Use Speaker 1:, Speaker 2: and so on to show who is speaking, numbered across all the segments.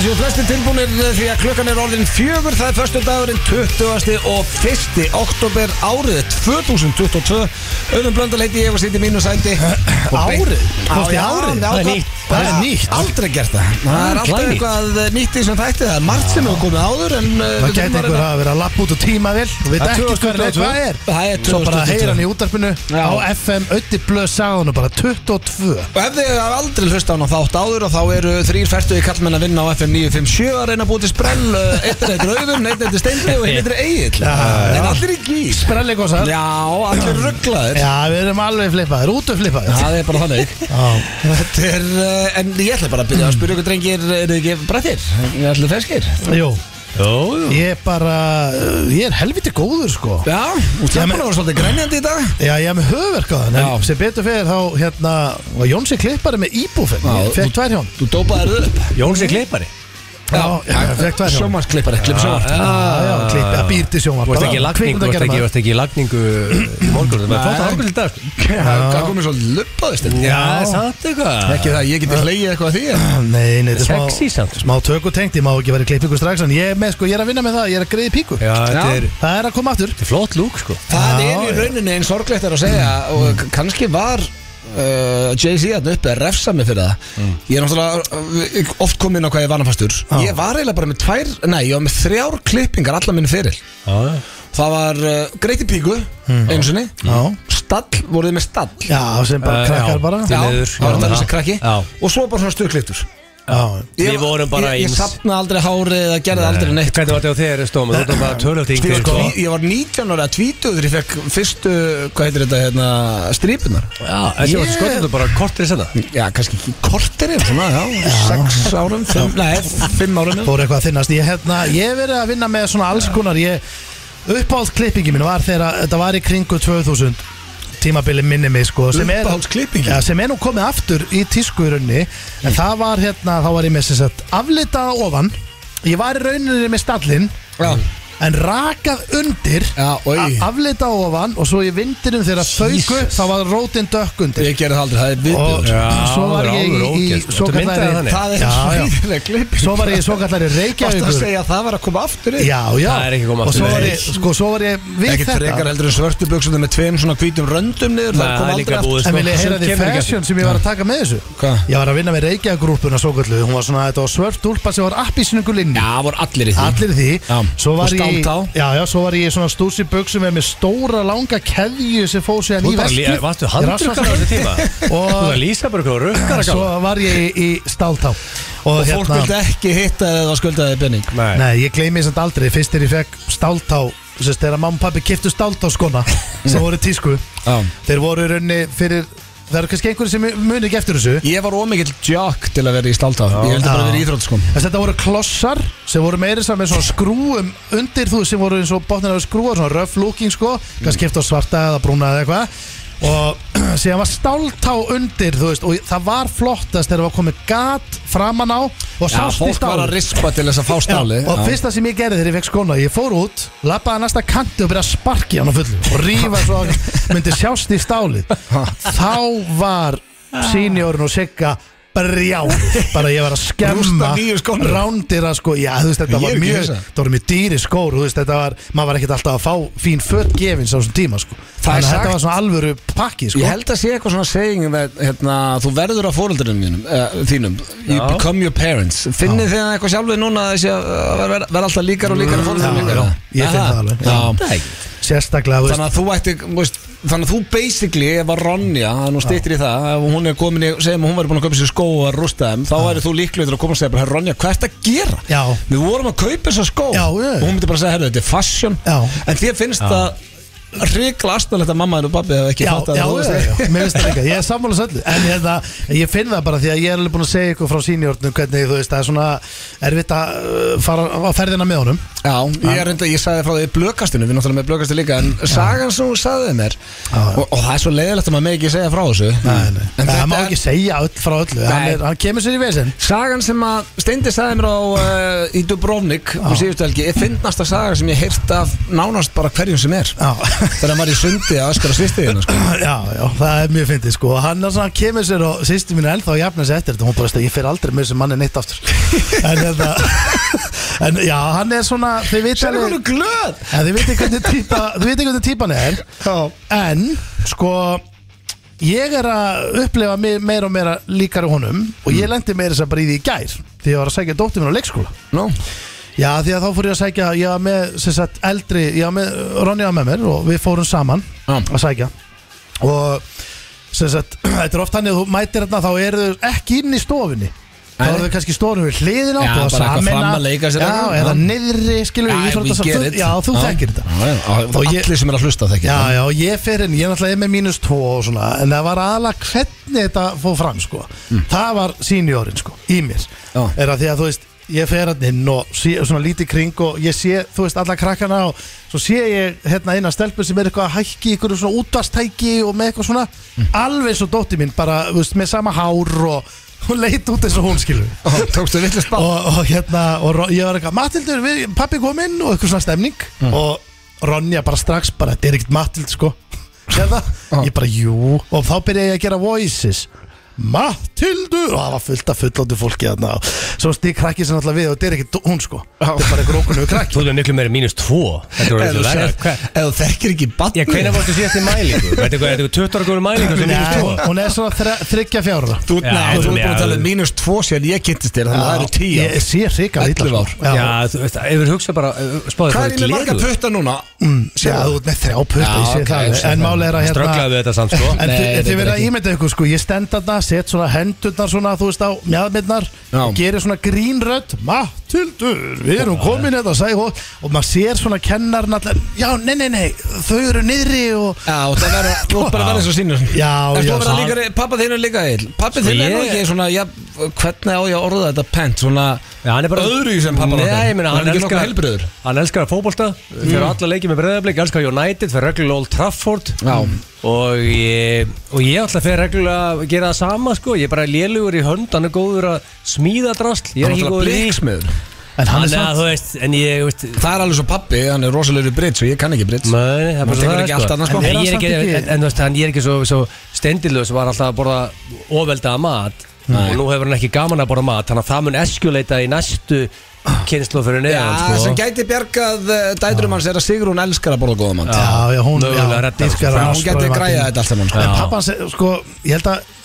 Speaker 1: séu flesti tilbúinir því að klukkan er orðin fjögur Það er föstu dagurinn 20. og 1. oktober árið 2022 Öðrum blöndal heiti ég og sýtti mínu sæti Og beint-
Speaker 2: Árið?
Speaker 1: Já,
Speaker 2: Komst í
Speaker 1: já,
Speaker 2: árið?
Speaker 1: já,
Speaker 2: Það er
Speaker 1: kom-
Speaker 2: nýtt. Það er nýtt.
Speaker 1: Aldrei gert það Það
Speaker 3: Það er
Speaker 1: er alltaf
Speaker 3: glænýtt.
Speaker 1: eitthvað nýtt í sem þætti Það er margt sem hefur komið áður en uh,
Speaker 2: Það
Speaker 1: við
Speaker 2: gæti
Speaker 1: þurfum að
Speaker 2: einhver
Speaker 1: reyna-
Speaker 2: að vera að lappa út og tíma vel og veit
Speaker 1: Það er
Speaker 2: ekki hvað
Speaker 1: 2022.
Speaker 2: það er
Speaker 1: Það er
Speaker 2: Svo bara
Speaker 1: 2022.
Speaker 2: heyra hann í útarpinu
Speaker 1: Já.
Speaker 2: á FM Ötti Blöð sagðan og bara 22
Speaker 1: Og ef þið hafa aldrei hlusta á hana þátt áður og þá eru þrýr færtuði kallmenn að vinna á FM 957 að reyna að búið til sprell uh, einn er eitthvað auðun, einn er steindi og einn er eigin
Speaker 2: já.
Speaker 1: en allir í gís
Speaker 2: Sprelligosar
Speaker 1: Já, allir rugglaðir
Speaker 2: Já, við erum alveg flippaðir, út og flippaðir
Speaker 1: Það er bara þannig
Speaker 2: Já,
Speaker 1: Þetta er, uh, en ég ætla bara að byrja að spyrja ykkur drengir, eru þið ekki brættir? Ég ætla ferskir
Speaker 2: jú
Speaker 3: Jó, jú
Speaker 2: Ég er bara, ég er helviti góður sko
Speaker 1: Já, og
Speaker 2: Já,
Speaker 1: það
Speaker 2: men-
Speaker 1: búin að vera svolítið grænjandi í dag
Speaker 2: Já, ég hef með höfverkaðan
Speaker 1: Já.
Speaker 2: En sem betur fyrir þá, hérna var Jónsi klippari með íbúfinn
Speaker 1: Já,
Speaker 2: Ég fekk tvær hjón
Speaker 1: Þú dópaðir þau upp
Speaker 3: Jóns er klippari
Speaker 2: Já, ég fekk tvær hjón
Speaker 1: Sjómasklippari, klipp sjómast
Speaker 2: Já, já, klippi, að býr til sjónvarp
Speaker 3: Ah. Þú varst ekki í
Speaker 2: Bara
Speaker 3: lagningu, þú varst ekki-
Speaker 2: kvikmyndagerðarmaður.
Speaker 3: varst ekki í lagningu í morgun Það var flott að morgun til dag sko.
Speaker 1: Það komið svo luppaðist
Speaker 3: Já, það er samt eitthvað
Speaker 1: Ekki það, ég geti hleyið eitthvað að því en-
Speaker 2: Nei, nei, þetta er smá,
Speaker 3: Sexy samt.
Speaker 2: smá tökutengt, ég má ekki vera í klippingu strax en ég er, með, sko, ég er að vinna með það, ég er að greiði píku
Speaker 3: Já, þetta
Speaker 1: Já.
Speaker 3: er
Speaker 2: Það er að koma aftur
Speaker 3: þetta er flott lúk sko
Speaker 1: Það
Speaker 2: Já,
Speaker 1: er í
Speaker 2: já.
Speaker 1: rauninni einn sorglegt er að segja og k- kannski var uh, Jay-Z þarna uppi að refsa mig fyrir það
Speaker 3: Mm.
Speaker 1: Ég er náttúrulega uh, oft kominn á hvað ég var vannafastur Ég var eiginlega bara með tvær, nei, ég var með þrjár klippingar allar minni fyrir
Speaker 3: Já,
Speaker 1: Það var uh, Greiti Píku,
Speaker 3: Mm.
Speaker 1: einu sinni
Speaker 2: Já,
Speaker 1: Stall, voruð þið með stall
Speaker 2: já sem bara
Speaker 3: Eh,
Speaker 2: krakkar
Speaker 3: já.
Speaker 2: bara
Speaker 3: Því
Speaker 1: Já,
Speaker 3: miður.
Speaker 1: það var
Speaker 3: Já.
Speaker 1: það þessi krakki
Speaker 3: Já.
Speaker 1: Og svo bara svona stöklittur
Speaker 2: Já,
Speaker 3: Við vorum bara
Speaker 1: ég, ég
Speaker 3: eins.
Speaker 1: sapna aldrei hárið eða gerði aldrei neitt
Speaker 3: Hvernig var þetta á þér Stóma? Þú var bara tölvöld
Speaker 1: Ég
Speaker 3: yngri
Speaker 1: var,
Speaker 3: sko
Speaker 1: tví- ég var 19 ára að tvítu þegar ég fekk fyrstu, hvað heitir þetta, hérna, strípunar
Speaker 3: Já, þessi var
Speaker 2: Ég-
Speaker 3: skoðið þú bara kortir senna
Speaker 1: Já, kannski ekki kortir er svona, já, sex árum, fimm, nei, fimm árum
Speaker 2: fór eitthvað að þinnast Ég hérna, ég hef verið að vinna með svona alls konar Ég, uppáhald klippingi mín var þegar að- þetta var í kringu 2000 tímabili minni mig sko sem er,
Speaker 1: Uppáhaldsklippingin?
Speaker 2: Já, sem er nú komið aftur í tískurunni en það var hérna, þá var ég með sem sagt aflitað að ofan ég var í rauninni með stallinn
Speaker 1: Já,
Speaker 2: en rakað undir
Speaker 1: Já, oj.
Speaker 2: a- aflita á ofan og svo í vindinum þegar þauku þá var rótin dökk undir
Speaker 1: ég gerði það aldrei, það er
Speaker 2: og
Speaker 1: viðbjörn
Speaker 2: svo var
Speaker 3: það er
Speaker 2: ég í,
Speaker 3: alveg
Speaker 2: í
Speaker 3: ógeðslegt.
Speaker 2: svo
Speaker 3: Þetta myndaði þannig.
Speaker 1: Það er
Speaker 2: Já,
Speaker 1: svo
Speaker 2: já.
Speaker 1: hýðileg klipp
Speaker 2: svo var ég í svo kallari
Speaker 1: Varst að
Speaker 2: reykjavíkur
Speaker 1: segja að það var að koma aftur í
Speaker 2: já, já
Speaker 3: Það er ekki koma
Speaker 2: og svo
Speaker 3: aftur.
Speaker 2: var ég, sko, svo var ég við
Speaker 1: Ekkert frekar
Speaker 2: þetta
Speaker 1: heldur en svörtu buksundum með tveim svona hvítum röndum niður
Speaker 3: Nei,
Speaker 1: Það kom
Speaker 3: það er
Speaker 1: aldrei
Speaker 3: líka
Speaker 1: aftur
Speaker 3: búið.
Speaker 2: en vil ég heyra
Speaker 3: Svo
Speaker 2: því
Speaker 3: kemur ekki
Speaker 2: fashion
Speaker 3: aftur.
Speaker 2: sem ég var að taka með þessu
Speaker 1: Hvað?
Speaker 2: ég var að vinna með reykjavíkurúlpuna svo kallu hún var svona, þetta var svört úlpa sem var appísningu linni
Speaker 1: Já, voru allir í því
Speaker 2: Allir í því
Speaker 1: Já.
Speaker 2: Svo var
Speaker 1: Og
Speaker 2: ég í-
Speaker 1: stáltá.
Speaker 2: Já, já, svo var ég í svona stúsi buksum með stóra langa keðju sem fóð sér
Speaker 3: Þú
Speaker 2: í
Speaker 3: bara,
Speaker 2: veskið
Speaker 3: lí- varstu handrukkar á þessu tíma? Þú var lísaburkur og rukkar að
Speaker 2: Svo
Speaker 3: gala
Speaker 2: var ég í, í stáltá Og,
Speaker 1: Og
Speaker 2: hérna-
Speaker 1: fólk vildi ekki hitta eða skuldaði benning
Speaker 3: Nei,
Speaker 2: Nei, ég gleymi þessand aldrei Fyrst þegar ég fekk stáltá Sérst þegar mamma og pappi kiptu stáltá skona Sem voru í tísku
Speaker 1: Já
Speaker 2: Þeir voru í raunni fyrir Það eru kannski einhverjir sem muni ekki eftir þessu
Speaker 1: Ég var ómikill jock til að vera í stáltá Ég heldur bara að vera í sko. íþrótskon
Speaker 2: Þess að Þetta voru klossar sem voru meiri saman með svona skrúum undir þú sem voru eins og botnir af skrúar svona rough looking sko, kannski eftir á svarta eða brúna eða eitthvað og síðan var stáltá undir þú veist og það var flottast þegar það var komið gat framan á og
Speaker 1: Já,
Speaker 2: sást í
Speaker 1: fólk var
Speaker 2: stál
Speaker 1: að rispa til þess að fá
Speaker 2: Já,
Speaker 1: stáli
Speaker 2: og fyrsta sem ég gerði þegar ég fekk skóna Ég fór út, lappaði næsta kanti og byrjaði að sparki hann á fullu Og rífa svo að myndi sjást í stálið Þá var sínjórun og sigga brjál Bara ég var að skemma
Speaker 1: Rústa nýju skónum.
Speaker 2: Rándýra sko, já þú veist þetta
Speaker 1: Ég er
Speaker 2: var
Speaker 1: ekki
Speaker 2: mjög
Speaker 1: hissa.
Speaker 2: Þetta var mjög dýri skór, þú veist þetta var Maður var ekkert alltaf að fá fín fött gefins á þessum tíma sko
Speaker 1: Það er
Speaker 2: Þannig að þetta
Speaker 1: sagt-
Speaker 2: var svona alvöru pakki sko
Speaker 1: Ég held að sé eitthvað svona saying með, hérna, þú verður að fóröldurinn þínum, uh, þínum. You
Speaker 3: Já.
Speaker 1: become your parents Finnið þið það eitthvað sjálfið núna að þessi að uh, vera, vera- vera alltaf líkar og líkar og fóröldurinn líkar
Speaker 2: Já, já, ég
Speaker 1: Er
Speaker 2: finn það alveg.
Speaker 1: Já.
Speaker 3: Nei.
Speaker 2: Sérstaklega, þú veist
Speaker 1: Þannig að þú ætti, þú veist, þannig að þú basically ef að Ronja, það er nú stýttir í það ef hún er komin í, segjum að hún væri búin að köpa sér skó og rústa þeim, þá væri þú líklega til að koma og segja bara, "Herra, Ronja, hvað ert að gera?
Speaker 2: Já.
Speaker 1: Við vorum að kaupa þessa skó
Speaker 2: Já, já.
Speaker 1: og hún myndi bara segja, herru, þetta er fashion
Speaker 2: Já.
Speaker 1: en þér finnst það hrikla astnalegt að mamma þín og babbi hefur ekki
Speaker 2: Já,
Speaker 1: fattað
Speaker 2: já,
Speaker 1: að þú veist
Speaker 2: já,
Speaker 1: það.
Speaker 2: já, mér finnst það líka, ég er sammála söllu En ég, það, ég finn það bara því að ég er alveg búin að segja ykkur frá sínjórnum Hvernig þú veist, það er svona erfitt að uh, fara á ferðina með honum
Speaker 1: Já, ég er reynda, ég sagði frá því í blökastinu, við erum náttúrulega með blökastinu líka En sagan sem hún sagði mér
Speaker 2: Já.
Speaker 1: og, og það er svo leiðilegt að maður með ekki segja frá þessu En
Speaker 2: Það
Speaker 1: þetta
Speaker 2: má
Speaker 1: er-
Speaker 2: ekki segja öll frá öllu hann,
Speaker 1: Nei.
Speaker 2: er, hann kemur sér í vesinn
Speaker 1: Sagan sem að Steindi sagði mér á uh, í Dubrovnik um síðustu helgi er finnasta saga sem ég heirt af nánast bara hverjum sem er
Speaker 2: Já,
Speaker 1: Þegar hann var í sundi að öskara svistiðina sko.
Speaker 2: Já, já, það er mjög fyndið sko Hann er svona, kemur sér og sýsti mín er ennþá að jafna sér eftir þetta Hún bara veist að ég fer aldrei með þessum manni neitt aftur En þetta En já, hann er svona, þið veit
Speaker 1: Sérðu hvað hann er glöð
Speaker 2: En þið veitir hvernig típa Þið veitir hvernig típan er En sko Ég er að upplefa mig meira og meira líkari honum Og ég lendi meira þess að bara í því í gær Því ég var að sækja dóttir mín á leikskóla
Speaker 1: Nú,
Speaker 2: Já því að þá fór ég að sækja Ég var með sem sagt eldri Ég var með Ronja með mér og við fórum saman
Speaker 1: Já.
Speaker 2: Að sækja Og sem sagt Þetta er oft hann Þú mætir hérna þá eru þau ekki inn í stofinni Þá
Speaker 1: Nei.
Speaker 2: eru þau kannski stofinni við hliðin á
Speaker 1: Já,
Speaker 2: þú að
Speaker 1: bara eitthvað
Speaker 2: sameina-
Speaker 1: fram að leika sér
Speaker 2: Já,
Speaker 1: þarna.
Speaker 2: eða
Speaker 1: Já.
Speaker 2: niðri skilur við íþróttasal- Já, þú þekkir þetta
Speaker 1: já, já,
Speaker 2: Og ég-
Speaker 1: Allir sem er að hlusta þekkir
Speaker 2: Já, já, ég fer inn, ég er náttúrulega með mínus 2 og svona, en það var aðalega hvernig þetta fóð fram, sko það var seniorinn, sko, í mér
Speaker 1: Já.
Speaker 2: er að því að, þú veist, ég fer hann inn og sé, svona lítið kring og ég sé þú veist, alla krakkana og svo sé ég hérna eina stelpur sem er eitthvað að hækki ykkur svona útvarstæki og með eitthvað svona alveg svo dótti mín, bara, þú veist, með sama hár og hún leit út eins og hún skilur
Speaker 1: Og Tókstu villast bá
Speaker 2: og, og hérna og Ro- ég var eitthvað Matildur, við, pappi kom inn og eitthvað svona stemning
Speaker 1: Mm.
Speaker 2: og Ronja bara strax bara, þetta er ekkert Matild sko hérna,
Speaker 1: Ah.
Speaker 2: ég bara jú og þá byrja ég að gera voices Matildur, og það var fullt af fullóttu fólki þarna og svo stík krakki sem alltaf við og þetta er ekkert hún sko, þetta er bara eitthvað okkur krakki
Speaker 3: Þú erum miklu meira mínus 2 Þetta voru
Speaker 1: Ef
Speaker 3: eitthvað
Speaker 1: þú
Speaker 3: læra
Speaker 1: sért-
Speaker 3: Hva-
Speaker 1: ef þú þekkir ekki
Speaker 3: Já, hvernig
Speaker 1: batni
Speaker 3: fórstu síðast í mælingu? Þetta er eitthvað 20 ára góður mælingu sem mínus
Speaker 2: Nei,
Speaker 3: 2
Speaker 2: hún er svona þre- þriggja fjárra
Speaker 1: Þú
Speaker 3: Já,
Speaker 1: nei, þú
Speaker 3: þú-
Speaker 1: er búin að
Speaker 3: já,
Speaker 1: tala um
Speaker 3: þú-
Speaker 1: mínus tvo sér ég kynntist þér Þannig að það eru tíu
Speaker 2: ég sé sko. hrika
Speaker 1: 11 ár.
Speaker 3: Já, þú veist, ef við hugsa bara eh, Spáðu
Speaker 1: Hvað er
Speaker 3: það
Speaker 1: ég með marga
Speaker 3: gleður
Speaker 1: putta núna?
Speaker 3: Mm,
Speaker 2: Já, þú ert með þrjá putta, ég
Speaker 1: Já,
Speaker 2: sé
Speaker 1: ok, ég
Speaker 2: það
Speaker 1: sé
Speaker 2: En
Speaker 1: það.
Speaker 2: máli er að hérna
Speaker 3: Strögglaðu við þetta samt sko
Speaker 2: En
Speaker 1: Nei,
Speaker 2: þið- en
Speaker 1: þetta
Speaker 2: þið
Speaker 1: er
Speaker 2: verða að
Speaker 1: ekki.
Speaker 2: ímynda ykkur sko, ég stend þarna, set svona hendurnar svona, þú veist á mjadmyndnar
Speaker 1: Já.
Speaker 2: og gerir svona grínrödd, Matildur, við erum komin hérna, sagði hún og maður sér svona kennarinn allar, já, nei, nei, nei, þau eru niðri og
Speaker 1: Já, og það verður Þú ert bara að verða eins og sínur
Speaker 2: Já,
Speaker 1: Ertu
Speaker 2: já,
Speaker 1: að vera
Speaker 2: það-
Speaker 1: líka, pappa þinn er líka eil Pappi þinn er nú
Speaker 3: Sko, ég-
Speaker 1: ekki svona, já, hvernig á ég að orða þetta pent Svona
Speaker 3: Já, hann er bara
Speaker 1: öðru sem pappa
Speaker 3: Nei, ég meina,
Speaker 1: hann
Speaker 3: hann
Speaker 1: er ekki nokkuð
Speaker 3: elskar
Speaker 1: helbriður
Speaker 3: Hann elskar fótbolta Fyrir alla leiki með breðablik Elskar United Fyrir reglulega Old Trafford
Speaker 1: Já.
Speaker 3: Og ég Og ég ætla fyrir reglulega að gera það sama sko Ég er bara lélugur í hönd Hann er góður að smíða drasl Ég er ekki góður í
Speaker 1: bliksmiður
Speaker 2: en hann er
Speaker 3: Þannig að
Speaker 2: samt
Speaker 3: þú veist En ég, veist
Speaker 1: Það er alveg svo pappi, hann er rosalegri britt Svo ég kann ekki britt
Speaker 3: Nei, það er
Speaker 1: Maður
Speaker 3: bara
Speaker 1: tekur
Speaker 3: það
Speaker 1: ekki allt annað, sko.
Speaker 3: En
Speaker 2: En er
Speaker 3: ég er
Speaker 2: hann
Speaker 3: ekki,
Speaker 2: samt ekki-
Speaker 3: en, en, þú veist, hann er ekki svo, svo stendilöð sem var alltaf að borða ofveldaða mat og nú hefur hann ekki gaman að borða mat þannig að það mun eskjuleita í næstu kynslu fyrir
Speaker 1: Já,
Speaker 3: neðan sko.
Speaker 1: sem gæti bjargað eh, dætrum hans er að Sigrún elskar að borða góða mann
Speaker 2: Já, já, hún,
Speaker 3: Mögulega
Speaker 2: já,
Speaker 3: reddar þessu.
Speaker 2: dýrkar
Speaker 1: Þannig
Speaker 2: hann
Speaker 1: að hún gæti
Speaker 2: ástróið
Speaker 1: græja
Speaker 2: matinn.
Speaker 1: þetta allt saman sko.
Speaker 2: En
Speaker 3: Já.
Speaker 2: pappan, se- sko, ég held að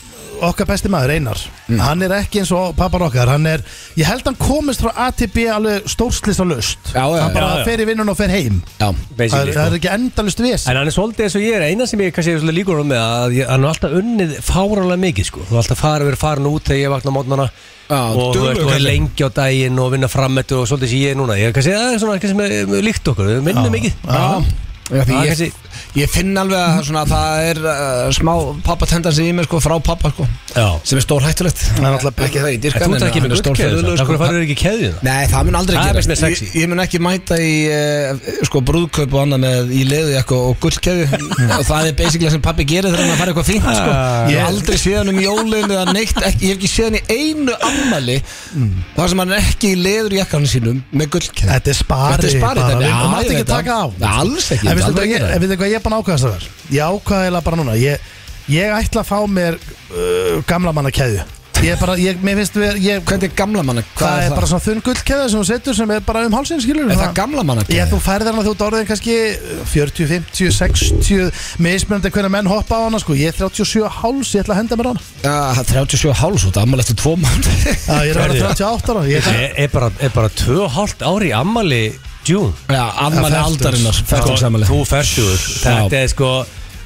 Speaker 2: okkar besti maður, Einar
Speaker 1: Mm.
Speaker 2: hann er ekki eins og pappan okkar hann er, ég held hann komist frá ATB alveg stórslista löst
Speaker 1: Já, já,
Speaker 2: hann bara
Speaker 3: já, já.
Speaker 2: fer í vinnun og fer heim
Speaker 1: Já,
Speaker 2: það er,
Speaker 3: basically,
Speaker 2: það er
Speaker 3: sko.
Speaker 2: ekki endalust viss
Speaker 3: En hann er svolítið eins og ég er, eina sem ég kannski er svolítið líkur um með að ég, hann er alltaf unnið fárálega mikið sko. Þú er alltaf farið verið farin út þegar ég vakna á mótnana
Speaker 1: Já,
Speaker 3: og þú
Speaker 1: duglegur
Speaker 3: veist, og er
Speaker 1: kallinn.
Speaker 3: lengi á daginn og vinna frammettu og svolítið sem ég er núna Ég kannski, það er svona kannski sem er- er líkt okkur, við minnum mikið
Speaker 1: Já, já því
Speaker 3: Það er
Speaker 1: ég,
Speaker 3: kannski-
Speaker 1: ég finn alveg að svona, það er uh, smá pappatendansi í mig sko, frá pappa sko,
Speaker 3: Já.
Speaker 1: sem er stór hættulegt
Speaker 2: Það er náttúrulega-
Speaker 1: ekki það í
Speaker 3: En Þú
Speaker 1: dyrkan
Speaker 3: ert ekki með guttkeðulegur sko. Akkur farið ekki í keðjuna?
Speaker 1: Nei, það mun aldrei
Speaker 3: Það er
Speaker 1: gerast.
Speaker 3: best með sexy.
Speaker 1: ég, ég mun ekki mæta í uh, sko, brúðkaup og annað með í leðu eitthvað og gullkeðu og það er basically sem pappi gerir þegar maður farið eitthvað fínt sko. Ég hef aldrei séð hann um jólin eða neitt, ekki, ég hef ekki séð hann í einu ammali þar sem hann er ekki í leður jakkanum sínum með gullkeðu
Speaker 2: Þetta er spari
Speaker 1: Þetta er spari,
Speaker 2: bara,
Speaker 1: þetta er-
Speaker 2: við-
Speaker 1: já,
Speaker 2: Þú mátt
Speaker 1: ég
Speaker 2: ekki
Speaker 1: veit það.
Speaker 2: taka á
Speaker 1: Nei, alls ekki, ég myndi
Speaker 2: En veistu
Speaker 1: aldrei
Speaker 2: hvað ég,
Speaker 1: gera það.
Speaker 2: ég, ég, ég er búin að ákvæða þessar Ég ákvæða eiginlega bara núna Ég, ég ætla að fá mér uh, gamla manna keðju Ég er bara, ég, mér finnst við ég,
Speaker 1: Hvernig er gamla manna? Hvað
Speaker 2: Það er bara svona þunn gullkeðja sem þú setur sem er bara um hálsinn skilur
Speaker 1: Er það gamla manna?
Speaker 2: Ég, þú færðir hana þú ert orðin kannski uh, 40, 50, 60 Mismunandi hvernig menn hoppa á hana sko Ég er 37 háls, ég ætla að henda mér á hana
Speaker 1: Ah, 37 háls út, ammali eftir tvo mánu
Speaker 2: Já, Ég er að vera
Speaker 3: Herðu.
Speaker 2: 38 ára Ég ætla-
Speaker 3: Er, er bara, er bara tvö og hálft ári í ammali June Sko,
Speaker 1: Já, ammali
Speaker 2: Ja, fertugs.
Speaker 1: aldarinnar, færtugsamali
Speaker 3: Þú ferstugur Þetta er sko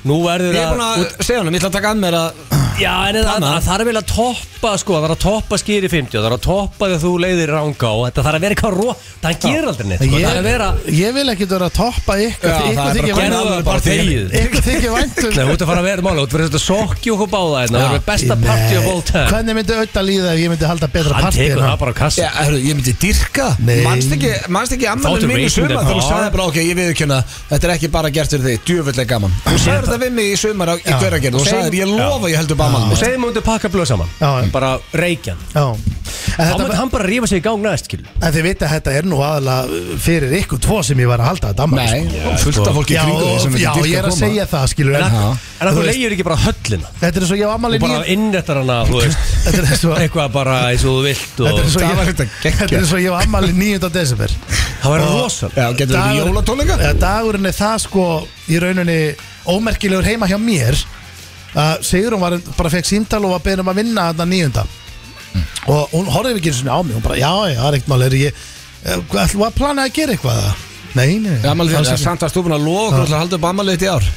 Speaker 3: Nú verður
Speaker 1: Ég er búin að
Speaker 3: að
Speaker 1: segja hann, ég ætla að taka að mér að
Speaker 3: Já, en það, það þarf vel að toppa sko Það þarf að toppa skýri 50 Það þarf að toppa þegar þú leiðir ranga og Þetta þarf að vera eitthvað ró Það gerir aldrei neitt sko. Það þarf að vera
Speaker 2: Ég, ég vil ekki vera að toppa ykkur
Speaker 1: Já,
Speaker 2: því
Speaker 1: það er bara komið
Speaker 2: Ykkur þykir vænt- um-
Speaker 1: alveg
Speaker 3: Gerðu það bara þegið
Speaker 2: Ykkur þykir um- væntum
Speaker 3: Þú ert að fara að vera mála Þú ert að vera að sokki okkur báða hérna. Það er besta
Speaker 2: Nei,
Speaker 3: party of all time
Speaker 2: Hvernig myndi auðvitað líða ef ég myndi halda betra
Speaker 3: Hann
Speaker 2: partí hérna? en
Speaker 3: tekur það
Speaker 2: hann?
Speaker 3: bara á kassa
Speaker 1: Já, hörru, ég myndi dyrka
Speaker 2: Nei.
Speaker 1: Manst ekki, manst ekki
Speaker 3: Þáttu
Speaker 1: ammælum mínu í
Speaker 3: racing
Speaker 1: sumar þegar
Speaker 3: the
Speaker 1: þú
Speaker 3: bar.
Speaker 1: sagði bara, ok, ég viðurkynna Þetta er ekki bara gert fyrir þig, djöfullega gaman Þú sagði þetta við mig í sumar á, í hverjargerð Þú
Speaker 3: Segjum-
Speaker 1: sagði, ég
Speaker 3: Já.
Speaker 1: lofa ég heldur bara ammælum
Speaker 3: Og segjum að þú myndir pakka blöð saman
Speaker 2: Já,
Speaker 3: bara reykjan
Speaker 2: Já En
Speaker 3: Þá myndi
Speaker 2: þetta,
Speaker 3: hann bara rífa sig í gang næst, skil
Speaker 2: en þið vita að þetta er nú aðalega fyrir ykkur tvo sem ég var að halda að damma
Speaker 1: Nei, fullt
Speaker 3: sko.
Speaker 1: af fólki í
Speaker 2: Já,
Speaker 1: kringu þig sem myndi
Speaker 2: já,
Speaker 1: dyrka
Speaker 2: ég er að
Speaker 1: koma.
Speaker 2: segja það, skilur
Speaker 3: En
Speaker 2: en,
Speaker 3: að- en að
Speaker 2: þú
Speaker 3: þú
Speaker 2: veist,
Speaker 3: leiðir ekki bara höllina
Speaker 2: Þetta er svo ég á ammali
Speaker 3: Og bara innrættar hana, þú veist
Speaker 2: Þetta er svo
Speaker 3: Eitthvað bara eins og þú vilt og
Speaker 2: Þetta er svo
Speaker 1: Það var
Speaker 2: ég,
Speaker 1: þetta geggjað.
Speaker 2: þetta er svo ég á ammali 9. desember
Speaker 3: Það væri rosan
Speaker 1: Já, getur við ekki
Speaker 2: Dagur-
Speaker 1: jólatónleika?
Speaker 2: Eða dagurinn er það sko í rauninni ómerkilegur heima hjá mér að Sigrun var, bara fekk símtal og var beðin um að vinna þarna nýjunda og hún horfði ekki einu sinni á mig hún bara já, já, það er ekkert mál er ég eh, hvað ætlum við að plana að gera eitthvað eða? nei, nei,
Speaker 1: Já, Amali
Speaker 2: alls
Speaker 1: þér,
Speaker 2: ekki.
Speaker 1: samt að stúfuna lofa okkur til að halda upp Amali þitt í ár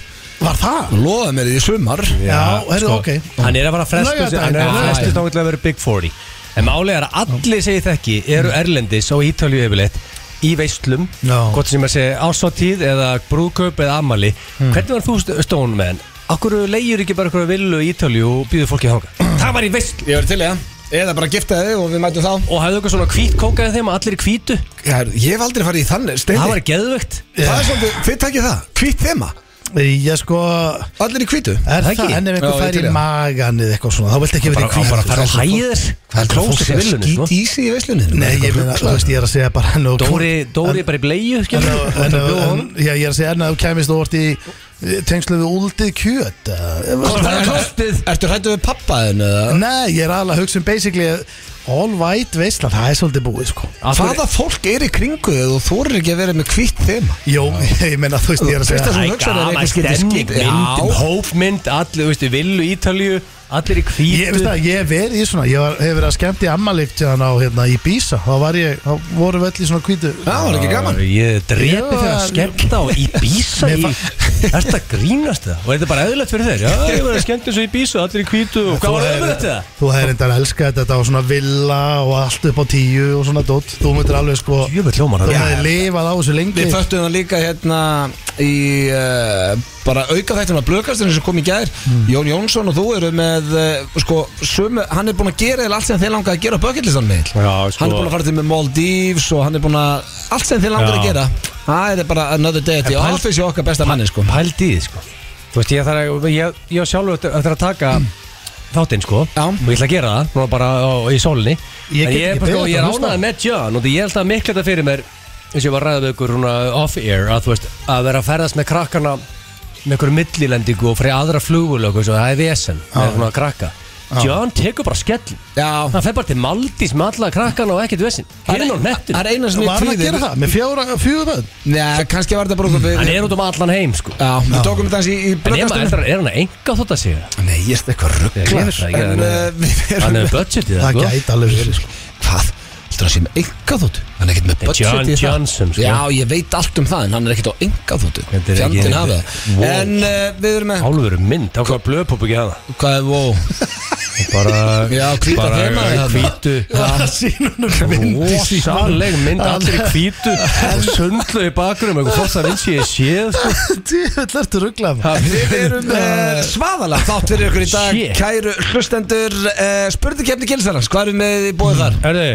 Speaker 2: var það?
Speaker 1: Lofa mér því í sumar
Speaker 2: já, heyrðu,
Speaker 3: sko.
Speaker 2: ok.
Speaker 3: Hann er að fara að fresta sig-
Speaker 2: Laugardaginn.
Speaker 3: Hann er að
Speaker 1: Já,
Speaker 3: fresta
Speaker 1: já.
Speaker 3: þá að vera Big 40 En málega er að allir segir þekki Eru erlendis og ítalju yfirleitt Í veislum
Speaker 2: Mm. Já.
Speaker 3: Hvort sem að segja ásáttíð Eða brúðkaup eða amali
Speaker 2: Mm.
Speaker 3: Hvernig var þú st- stón með hann? Akkur leiðir ekki bara eitthvað villu í Ítalju og býður fólki að hanga Það var í veislu
Speaker 1: Ég verði til í það Eða bara gifta þig og við mætum þá
Speaker 3: Og hafðu eitthvað svona hvít kókaði þeim að allir er hvítu
Speaker 1: Já, Ég hef aldrei farið í Eh. þannig
Speaker 3: Það
Speaker 1: steindi
Speaker 3: var geðvögt
Speaker 1: Það er svolítið, þið takkið það Hvitt þema,
Speaker 2: ég sko
Speaker 1: allir í hvítu
Speaker 2: er
Speaker 3: Það
Speaker 2: það,
Speaker 3: ekki?
Speaker 2: en ef
Speaker 1: Já, ég
Speaker 2: einhver
Speaker 1: til
Speaker 2: fær
Speaker 1: í
Speaker 2: í
Speaker 1: það.
Speaker 2: magan eða eitthvað svona, þá vilt ekki
Speaker 3: Bara,
Speaker 2: verið
Speaker 3: bara, bara að fara á hæðir Það er klósið í villunni sko.
Speaker 1: Skít í sig í veislunni
Speaker 2: nei, ég meina, þú veist, ég er að segja bara nú,
Speaker 3: Dóri, Dóri bara í bleiðu
Speaker 2: En,
Speaker 3: skilur
Speaker 2: en, en, en, já, ég er að segja en að þú kemist og vart í tengslu við úldið kjöt eða-
Speaker 3: er kostið.
Speaker 1: Ertu hrættu við pappaðin?
Speaker 2: Nei, ég er aðalega að hugsa um basically all white veistla, það er svolítið búið sko
Speaker 1: Hvaða fólk er í kringu þig og þú þorir ekki að vera með hvitt þema?
Speaker 2: Jó, ég meina þú veist, ég er að segja
Speaker 1: Veist
Speaker 2: það
Speaker 1: það
Speaker 3: Æ,
Speaker 1: hugsaði þér
Speaker 3: gaman
Speaker 1: eitthvað skrítið
Speaker 3: stemning,
Speaker 1: skip? Já.
Speaker 3: myndin, hópmynd, allir, veistu, villu Ítalju, allir í
Speaker 2: Ég,
Speaker 3: hvítu
Speaker 2: veist það, ég hef verið í svona, ég var, hef verið að skemmt í ammalikt hérna á hérna í Bísa, þá var ég, þá vorum við öll í svona hvítu
Speaker 1: Já, það var ekki gaman
Speaker 3: Ég
Speaker 2: Ég
Speaker 3: drepi
Speaker 2: var-
Speaker 3: þegar að skemmta og í bísa
Speaker 2: Mér
Speaker 3: í... Ertu að grínast það? Og er þetta bara eðlilegt fyrir þeir? Já, ég var að skemmta svo í bísa, allir í hvítu og hvað var eðlilegt það?
Speaker 2: Þú hefur reyndar elskað þetta á svona villa og allt upp á tíu og svona dótt Þú myndir alveg sko,
Speaker 3: Jú, við hljómar
Speaker 2: þú
Speaker 3: það
Speaker 2: hefur lifað á þessu lengi
Speaker 1: Við föttum það líka hérna í uh, bara auka þættum að blökastinu sem kom í gær Jón Jónsson og þú eru með uh, sko, sömu, hann er búin að gera eða allt sem þeir langaði að gera á bucketlistan með
Speaker 3: Já, sko.
Speaker 1: hann er búin að fara til með Maldives og hann er búin að allt sem þeir langaði
Speaker 3: Já.
Speaker 1: að gera það er bara another day at the
Speaker 3: En pæl-
Speaker 1: office hjá okkar besta manni sko
Speaker 3: Pælt í því, sko Þú veist, ég þarf að, ég, ég á sjálfur eftir- eftir að taka þáttinn, sko
Speaker 1: Já.
Speaker 3: Og ég ætla að gera það, núna bara á, í sólinni
Speaker 2: Ég
Speaker 3: En
Speaker 2: get
Speaker 3: ég, er
Speaker 2: ekki
Speaker 3: bara, sko,
Speaker 2: beðið
Speaker 3: ég er
Speaker 2: að hlusta.
Speaker 3: ánað með John og því ég held að mikla þetta fyrir mér eins og ég var að ræða við ykkur svona off-air að þú veist, að vera að ferðast með krakkana með ykkur millilendingu og fyrir aðra flugulöku eins og það er vesen með svona krakka John tekur bara skell
Speaker 1: Já.
Speaker 3: hann fer bara til Maldís með alla krakkana og ekkert vesen hann er nú nettur
Speaker 1: Það er eina sem
Speaker 2: Var
Speaker 1: ég
Speaker 2: hann að
Speaker 1: kvíðir
Speaker 2: gera það, með fjóra, fjóra bönn
Speaker 1: Nei, kannski var þetta bara okkur
Speaker 3: hann er út um allan heim sko
Speaker 1: Já, við tókum þetta hans í, í
Speaker 3: en ef
Speaker 1: blökastinu
Speaker 3: maður er hann að enga þótt að segja
Speaker 1: Nei, ég er eitthvað
Speaker 3: Ég veit
Speaker 1: rugglar En uh, við
Speaker 3: það ekki, en, hann
Speaker 1: erum
Speaker 3: er budgetið
Speaker 2: Það
Speaker 3: sko.
Speaker 2: gæti alveg verið sko
Speaker 1: Hvað? Þú sé með enga þóttu? Hann er ekkert með
Speaker 3: Nei,
Speaker 1: budget
Speaker 3: John
Speaker 1: í það
Speaker 3: Johnson, sko.
Speaker 1: Já, ég veit allt um það en hann er ekkert á enga þóttu
Speaker 3: Þetta er ekki-
Speaker 1: Fjandinn hafa það
Speaker 3: Wow.
Speaker 1: En uh, við erum með
Speaker 3: Álfur er mynd, þá hvað blöðpop ekki að það
Speaker 1: Hvað er wow?
Speaker 3: bara,
Speaker 1: Já, hvíta þema
Speaker 3: bara
Speaker 1: þarna.
Speaker 3: hvítu
Speaker 2: Það sínunum
Speaker 3: rosaleg mynd allir í hvítu sundlu í bakgrunum eitthvað fótt að vinsi ég séð sko.
Speaker 2: Djöfell ertu rugglað
Speaker 3: Ha,
Speaker 1: Við erum með svaðala þátt fyrir ykkur í dag
Speaker 3: Shit.
Speaker 1: Kæru hlustendur uh, Spurðu kemni gilsarans, hvað erum við í bóðið þar?
Speaker 3: Herðu,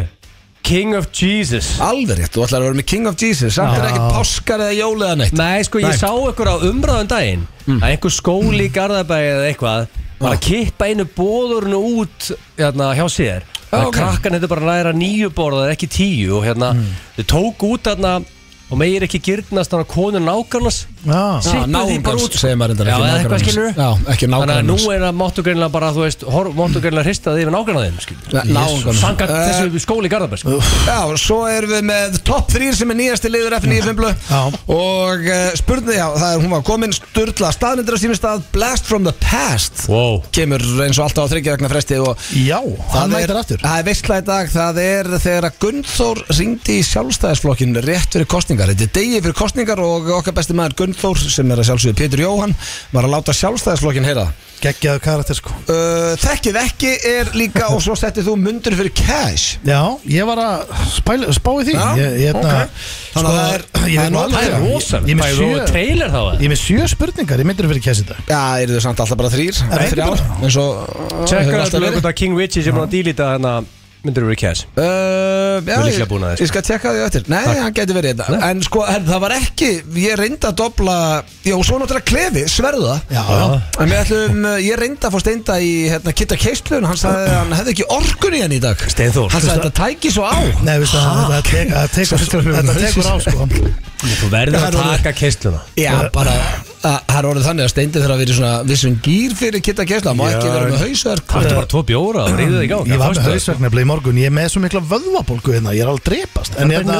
Speaker 3: King of Jesus
Speaker 1: Alveg rétt, þú ætlar að vera með King of Jesus Samt er
Speaker 2: Já.
Speaker 1: ekkert páskar eða jól eða neitt
Speaker 3: Nei, sko, ég sá ykkur á umræðan daginn að einhver skóli í Garðabæi eða eitthvað var að kippa einu bóðurinu út hérna, hjá sér
Speaker 1: Já,
Speaker 3: að
Speaker 1: ok.
Speaker 3: krakkan hefði bara að læra nýju borðað ekki tíu og hérna, þau tók út hérna, og megir ekki gyrnast hann að konu nákarnas
Speaker 2: Já,
Speaker 3: Sippuðu því bara
Speaker 1: náungans,
Speaker 3: út, sko.
Speaker 1: Ah, segir maður reyndar,
Speaker 3: Já,
Speaker 1: ekki
Speaker 3: eða eitthvað
Speaker 1: nágrannans.
Speaker 3: skilurðu.
Speaker 1: Já, ekki
Speaker 3: Þannig að nú
Speaker 1: nákvæmlega
Speaker 3: er það máttu greinlega bara, þú veist, hor- máttu greinlega hrista þig yfir nágrannaðinn
Speaker 1: Náungan
Speaker 3: Sangat þessu skóli í sko. Garðabæs
Speaker 1: Já, og svo erum við með top 3 sem er nýjasti liður F95 blu
Speaker 2: Já.
Speaker 1: og uh, spurning, já, það er hún var komin sturla staðnindur á sínum stað Blast from the Past
Speaker 3: Wow.
Speaker 1: kemur eins og alltaf á þryggja vegna fresti og
Speaker 2: já hann
Speaker 1: er,
Speaker 2: mætir aftur
Speaker 1: það er veistla í dag, það er þegar að Gunnþór ringdi í sjálfstæðisflokkin rétt fyrir kostningar, þetta er degi fyrir kostningar og okkar besti maður Gunnþór sem er að sjálfsögðu Pétur Jóhann, var að láta sjálfstæðisflokkin heyra það.
Speaker 2: Geggjaðu karakter sko
Speaker 1: Uh, þekkið ekki er líka og svo settið þú mundur fyrir cash
Speaker 2: Já, ég var að spæla, spá í því
Speaker 1: Já,
Speaker 2: ég, ég,
Speaker 1: ok.
Speaker 2: hérna,
Speaker 1: Þannig að það er-
Speaker 2: Ég
Speaker 1: það er
Speaker 2: er nú
Speaker 1: nóg-
Speaker 2: alveg-
Speaker 3: Það er rosalega,
Speaker 2: Ég er
Speaker 3: það
Speaker 2: með
Speaker 3: er
Speaker 2: sjö-
Speaker 3: góð trailer þá
Speaker 2: ég er með sjö spurningar Ég myndir fyrir kæsita
Speaker 1: Já, eru þau samt alltaf bara þrýr
Speaker 2: Nei,
Speaker 1: Eða
Speaker 2: ekki
Speaker 1: þrjár
Speaker 2: bara.
Speaker 1: En svo uh, hefur
Speaker 3: Tjekka
Speaker 1: alltaf
Speaker 3: alltaf
Speaker 1: verið.
Speaker 3: lögut að King Richie sem hann dýlita hérna myndur eru kæs
Speaker 1: Uh, já,
Speaker 3: Þú er
Speaker 1: ég,
Speaker 3: líklega búin að þessu.
Speaker 1: ég skal tjekka því eftir Nei, hann geti verið þetta En sko, en það var ekki, ég reyndi að dobla Já, og svo náttúrulega klefi, sverða
Speaker 2: Já,
Speaker 1: En við ætlum, uh, ég reyndi að fá steinda í hérna, Kitta Keistlun Hann sagði að hann hefði ekki orkun í henni í dag
Speaker 3: Steinþór.
Speaker 1: Hann sagði þetta tæki svo á
Speaker 2: Nei, veistu, það- það tek- það tekur þetta tekur á sko
Speaker 3: Þú verður
Speaker 1: Það
Speaker 3: að
Speaker 1: er orðið-
Speaker 3: taka keistluna
Speaker 1: Já, bara, að- það er orðið þannig að steindi þarf að vera í svona vissum gýr fyrir Kitta Keistlun Má
Speaker 3: Já.
Speaker 1: ekki vera með hausverk
Speaker 3: Það er bara tvo bjóra og reyðið í gang
Speaker 2: Ég var með
Speaker 3: Fórstu?
Speaker 2: hausverknefnilega í morgun Ég er með svo mikla vöðvabólgu hérna Ég er alveg drepast En,
Speaker 3: Það er
Speaker 2: hérna,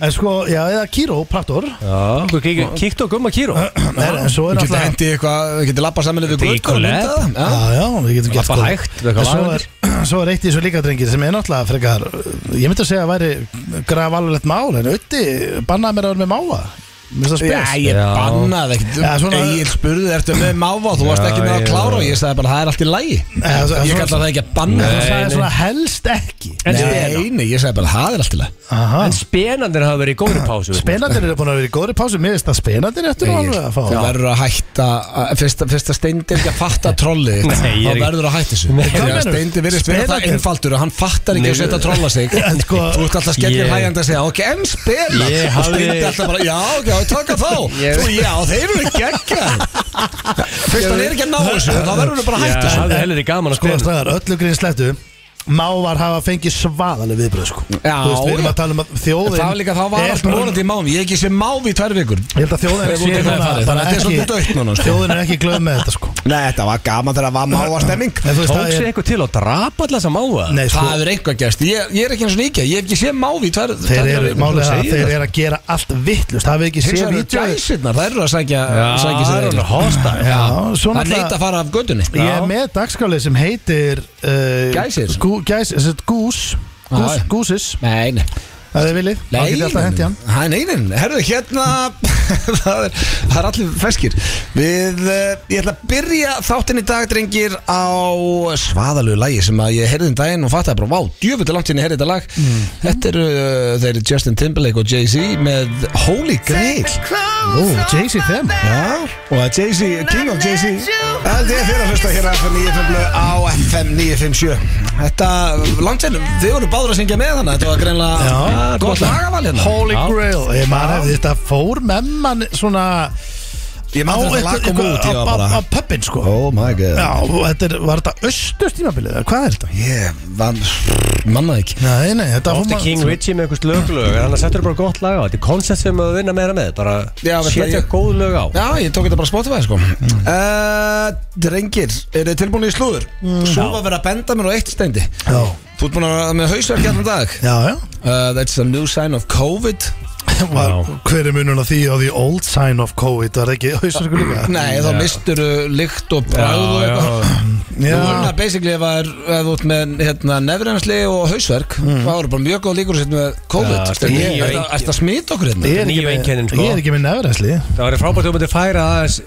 Speaker 2: en sko, já, eða kírópraktor
Speaker 3: Já, okkur kík- kíktu á gumma kýró
Speaker 2: En en svo er
Speaker 1: Geti
Speaker 2: alltaf
Speaker 1: hendi eitthvað, geti lappa saman yfir
Speaker 3: Þetta er
Speaker 1: glugga og
Speaker 3: Nicolette.
Speaker 1: myndað það. Já.
Speaker 2: Já, já, við getum gert
Speaker 3: Labba
Speaker 2: góð-
Speaker 3: hægt, það er eitthvað
Speaker 2: En svo
Speaker 3: vaðandi.
Speaker 2: er, svo er eitt í þessu líka drengir sem er náttúrulega frekar Ég myndi að segja að væri graf alveglegt mál En auðviti bannaði mér að vera með máa Mér finnst það
Speaker 1: Já,
Speaker 2: spes
Speaker 1: ég
Speaker 3: Já.
Speaker 1: bannaði ekkert
Speaker 2: Já, svona-
Speaker 1: Egil spurði, ertu með máva Þú varst ekki með að
Speaker 3: já.
Speaker 1: klára og ég sagði bara, það er allt í lægi
Speaker 2: Já, Eh, svo-
Speaker 1: Ég
Speaker 2: svo-
Speaker 1: kalla það ekki að banna
Speaker 2: Þú
Speaker 3: Nei,
Speaker 2: sagði
Speaker 3: nei.
Speaker 2: svona helst ekki
Speaker 3: En
Speaker 1: Nei, nei, ég sagði bara, það er allt í lægi
Speaker 2: Aha.
Speaker 3: En spenandir hafa verið í góðri pásu
Speaker 2: Spenandir eru búin að vera í góðri pásu Mér finnst að spenandir eftir
Speaker 1: Egil,
Speaker 2: alveg að fá
Speaker 1: Þú verður að hætta að- Fyrst fyrst að steindi ekki að fatta trolli
Speaker 3: Nei, ég er
Speaker 1: Þá
Speaker 3: ekki-
Speaker 1: verður að hætta þessu
Speaker 3: Nei,
Speaker 1: Því
Speaker 2: hvað
Speaker 1: að
Speaker 2: meinarðu?
Speaker 1: Steindi virðist vera það
Speaker 2: Spenarnir?
Speaker 1: einfaldur og Hann fattar ekki
Speaker 3: Nei,
Speaker 1: að setja að trolla sig
Speaker 2: En
Speaker 1: Þú
Speaker 2: sko-
Speaker 1: ert alltaf skellir
Speaker 3: Ég-
Speaker 1: hægjandi að segja Ok, en spela
Speaker 3: Ég
Speaker 1: Og
Speaker 3: hafði-
Speaker 1: Steindi alltaf bara, já, ok, taka þá
Speaker 3: Ég-
Speaker 1: Þú, já, þeir eru geggja Fyrst hann er ekki að ná þessu Þá verður hann bara að
Speaker 3: Já,
Speaker 1: hætta þessu
Speaker 3: það er heldur gaman að
Speaker 2: Sko
Speaker 3: spena
Speaker 2: stræðar, öllu grín slettu Mávar hafa fengið svaðaleg viðbröð sko.
Speaker 1: Já,
Speaker 2: Þú veist, Við erum
Speaker 1: já.
Speaker 2: að tala um að þjóðin
Speaker 1: Það var líka, það var
Speaker 2: er
Speaker 1: allt
Speaker 2: bara-
Speaker 1: morandi í mávi Ég hef ekki sé mávi í tvær vikur
Speaker 2: Ég held að þjóðin hérna,
Speaker 1: Veist út í hvað er farið, þannig að þetta er svolítið dautt núna, sko.
Speaker 2: Þjóðin er ekki glöð með þetta sko.
Speaker 1: Nei, þetta var gaman þegar var máva stemming
Speaker 2: En þú veist,
Speaker 3: Tók
Speaker 2: það
Speaker 3: sér
Speaker 2: er-
Speaker 3: eitthvað til að drapa alltaf þess að máa
Speaker 2: Nei, sko,
Speaker 1: Það hefur eitthvað gerst Ég, ég er ekki eins og nýkja, ég hef ekki sé mávi í tvær
Speaker 2: Þeir
Speaker 1: tvær
Speaker 2: eru
Speaker 1: vikur.
Speaker 2: málið það að
Speaker 3: segir
Speaker 2: þeir
Speaker 3: það.
Speaker 2: eru um að gera allt vittlust Það hefur ekki
Speaker 1: Hins
Speaker 2: séð
Speaker 1: vegar eru
Speaker 2: vídeo
Speaker 1: gæsirnar, það eru að sækja sækja
Speaker 3: það
Speaker 1: sér
Speaker 3: er
Speaker 1: eyrun.
Speaker 3: hann að hosta
Speaker 2: Já, svo
Speaker 1: Það neyta að
Speaker 2: náttúrulega
Speaker 1: fara af gödunni
Speaker 2: Ég er með dagskrálið sem heitir uh,
Speaker 1: Gæsir?
Speaker 2: gú, gæs, sem sagt Gús Gús,
Speaker 1: Já, já.
Speaker 2: Gúsis,
Speaker 1: Nei, nei
Speaker 2: ef þið viljið Það
Speaker 1: Nei,
Speaker 2: getið alltaf hendi hann
Speaker 1: nei, nei, nei, herruðu, hérna það, er, það er allir feskir Við, uh, ég ætla að byrja þáttinn í dag, drengir á svaðalegu lagi sem að ég heyrði um daginn og fattaði bara, vá, djöfull er langt sinni ég heyrði þetta lag
Speaker 2: Mm.
Speaker 1: Þetta eru uh, þeir eru Justin Timberlake og Jay-Z með Holy Grail
Speaker 2: Ó, Jay-Z þeim
Speaker 1: Já, og að Jay-Z, King of Jay-Z Held ég fyrir að hlusta hér á FM 957 á FM 957 Þetta, langt sennum, þið voru báður að syngja með hana Þetta var greinlega
Speaker 2: Já.
Speaker 1: ah, gott lagaval hérna
Speaker 2: Holy
Speaker 3: Já.
Speaker 2: Grail Ég maður hefði þetta fór með mann svona
Speaker 1: Ég man þetta lag kom út, ég var
Speaker 2: á
Speaker 1: bara
Speaker 2: pöppin sko
Speaker 1: Oh my god
Speaker 2: Já, og þetta er, var þetta östust tímabilið eða Hvað er þetta?
Speaker 1: Ég vann, mannaði ekki
Speaker 2: Nei, nei, þetta
Speaker 3: Ofta
Speaker 2: maður-
Speaker 3: King Richie með einhvers löglög En annars settur bara gott lag á Þetta er koncept sem við vinna meira með Bara
Speaker 1: Já, veist
Speaker 3: setja
Speaker 1: það, ég-
Speaker 3: góð lög á
Speaker 1: Já, ég tók þetta bara á Spotify sko uh, Drengir, eru þið tilbúin í slúður? Svo var verið að benda mér á eitt steindi
Speaker 2: Já,
Speaker 1: Þú ert búin að vera með hausverk hérna um dag
Speaker 2: já, já
Speaker 1: uh, That's a new sign of COVID
Speaker 2: Var, Hver er munun á því á því old sign of COVID Var það ekki hausverku líka?
Speaker 1: Nei, þá mistur lykt og bræð og
Speaker 3: Já,
Speaker 1: eitthvað
Speaker 3: já
Speaker 1: Þú
Speaker 2: Já,
Speaker 1: voru það basically ef það er ef þú ert með hérna, nefrensli og hausverk þá eru bara mjög góð líkur sér með
Speaker 3: Já,
Speaker 1: COVID
Speaker 3: þetta er
Speaker 1: Ég-
Speaker 3: nýju
Speaker 1: Mm. Þetta
Speaker 3: einkenni.
Speaker 1: ætti að smita okkur hérna
Speaker 2: ég er ekki
Speaker 3: nýjum einkennin,
Speaker 2: með,
Speaker 3: sko.
Speaker 2: ég er ekki með nefræsli
Speaker 3: Það var frábært að þú myndir færa aðeins